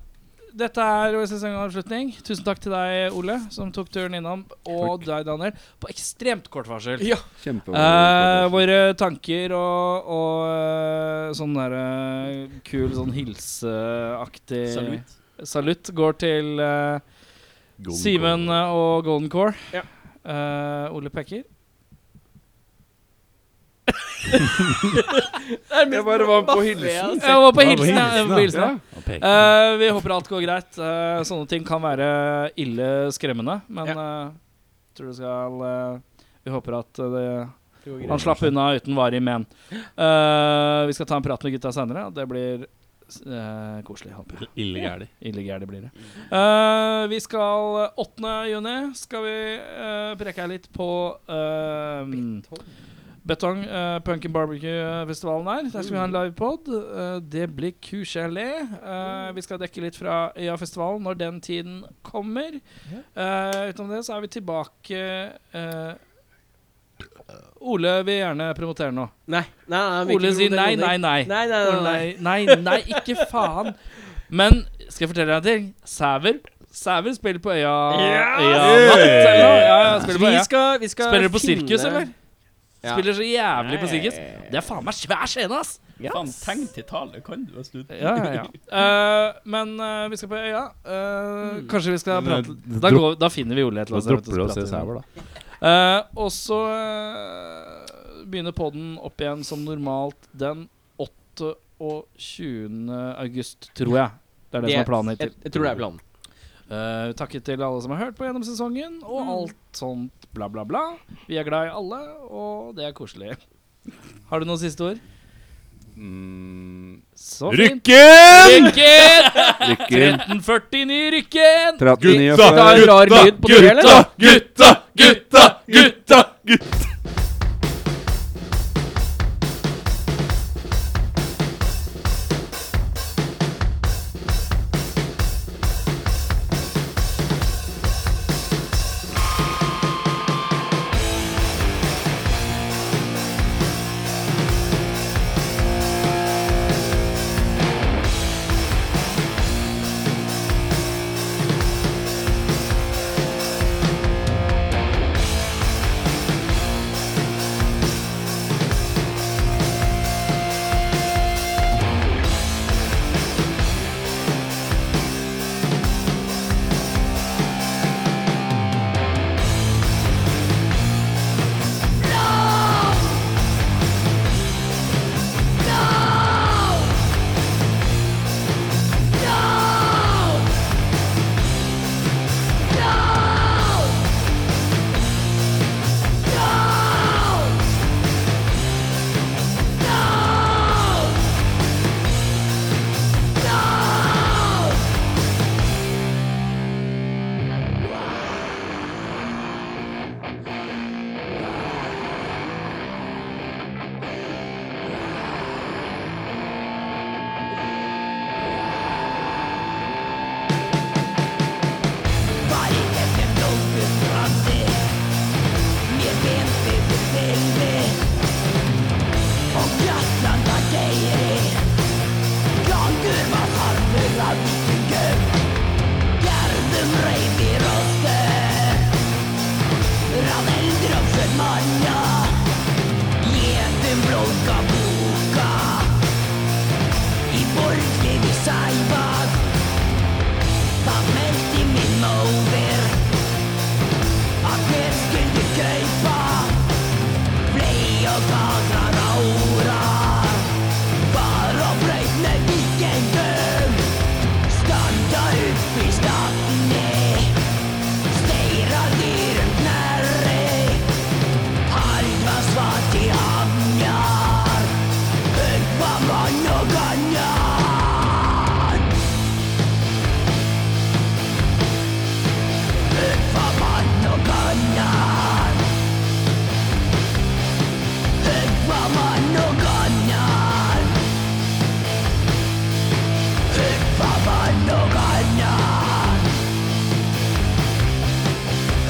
dette er vår sesongavslutning. Tusen takk til deg, Ole, som tok turen innom, og deg, Daniel, på ekstremt kort varsel.
Ja.
Kjempe
Eh, våre tanker og, og eh, sånn der eh, kul sånn hilseaktig
Salut.
salutt går til eh, Simen eh, og Golden Core.
Ja.
Eh, Ole Pekker.
Jeg bare var på hilsen.
Jeg var på hilsen, ja.
hilsen,
jeg var På hilsen, ja. Eh, vi håper alt går greit. Eh, sånne ting kan være ille skremmende, men eh, tror du skal eh, Vi håper at eh, det Han slapp unna uten varig men. Eh, vi skal ta en prat med gutta senere, og det blir eh, koselig, håper jeg.
Ille gæli.
Ille gærent blir det. Eh, vi skal 8. juni skal vi eh, preke her litt på eh, Betong, uh, Punk and Barbecue-festivalen der. Der skal vi ha en livepod. Eh, det blir kuselig. Eh, vi skal dekke litt fra Øyafestivalen når den tiden kommer. Eh, utenom det så er vi tilbake eh, Ole vil gjerne promotere nå.
Nei, nei, nei, vi
Ole
ikke
sier
noe
nei,
teknologi.
nei, nei.
Nei, nei,
Å,
nei, nei.
nei, nei, nei, ikke faen. Men skal jeg fortelle deg en ting? Sæver Sæver spiller på E Øya
Ja!
Øya Natt, eller noe? Ja, ja, spiller på E
Vi
Øya.
skal, vi skal
Spiller du på
finne-
sirkus, eller?
Ja.
Spiller så jævlig på sirkus. Det er faen meg svær scene, ass!
Ja.
Faen, tegn til tale kan du ha slutt.
Ja, ja, ja. [laughs] Eh, men eh, vi skal på Øya. Eh,
Mm.
Kanskje vi skal
Men,
prate Da,
eh, dropp-
går, da finner vi Ole et
Da
eller annet.
dropper du å se Sæver, da.
Eh, og så eh, begynner podden opp igjen som normalt den 28. august, tror jeg. Det er det, som er planen hittil.
Jeg, jeg tror det er planen.
Eh, takket til alle som har hørt på gjennom sesongen, og alt sånt bla, bla, bla. Vi er glad i alle, og det er koselig. [laughs] Har du noen siste ord? Så fint.
Mm. Rykken!
Rykken!
Lykke
1349 Rykken!
39
Gutta!
Det er en rar lyd på døra, eller?
Gutta! Gutta! Gutta! Gutta! Gutta!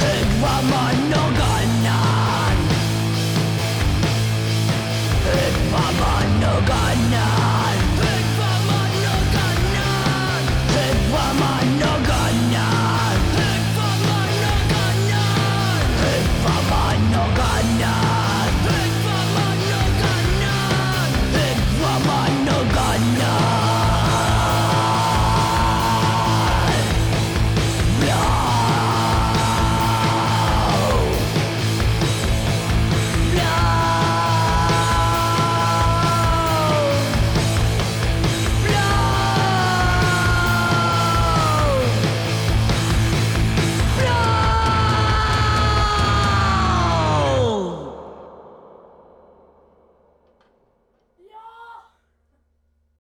Mamma no gonna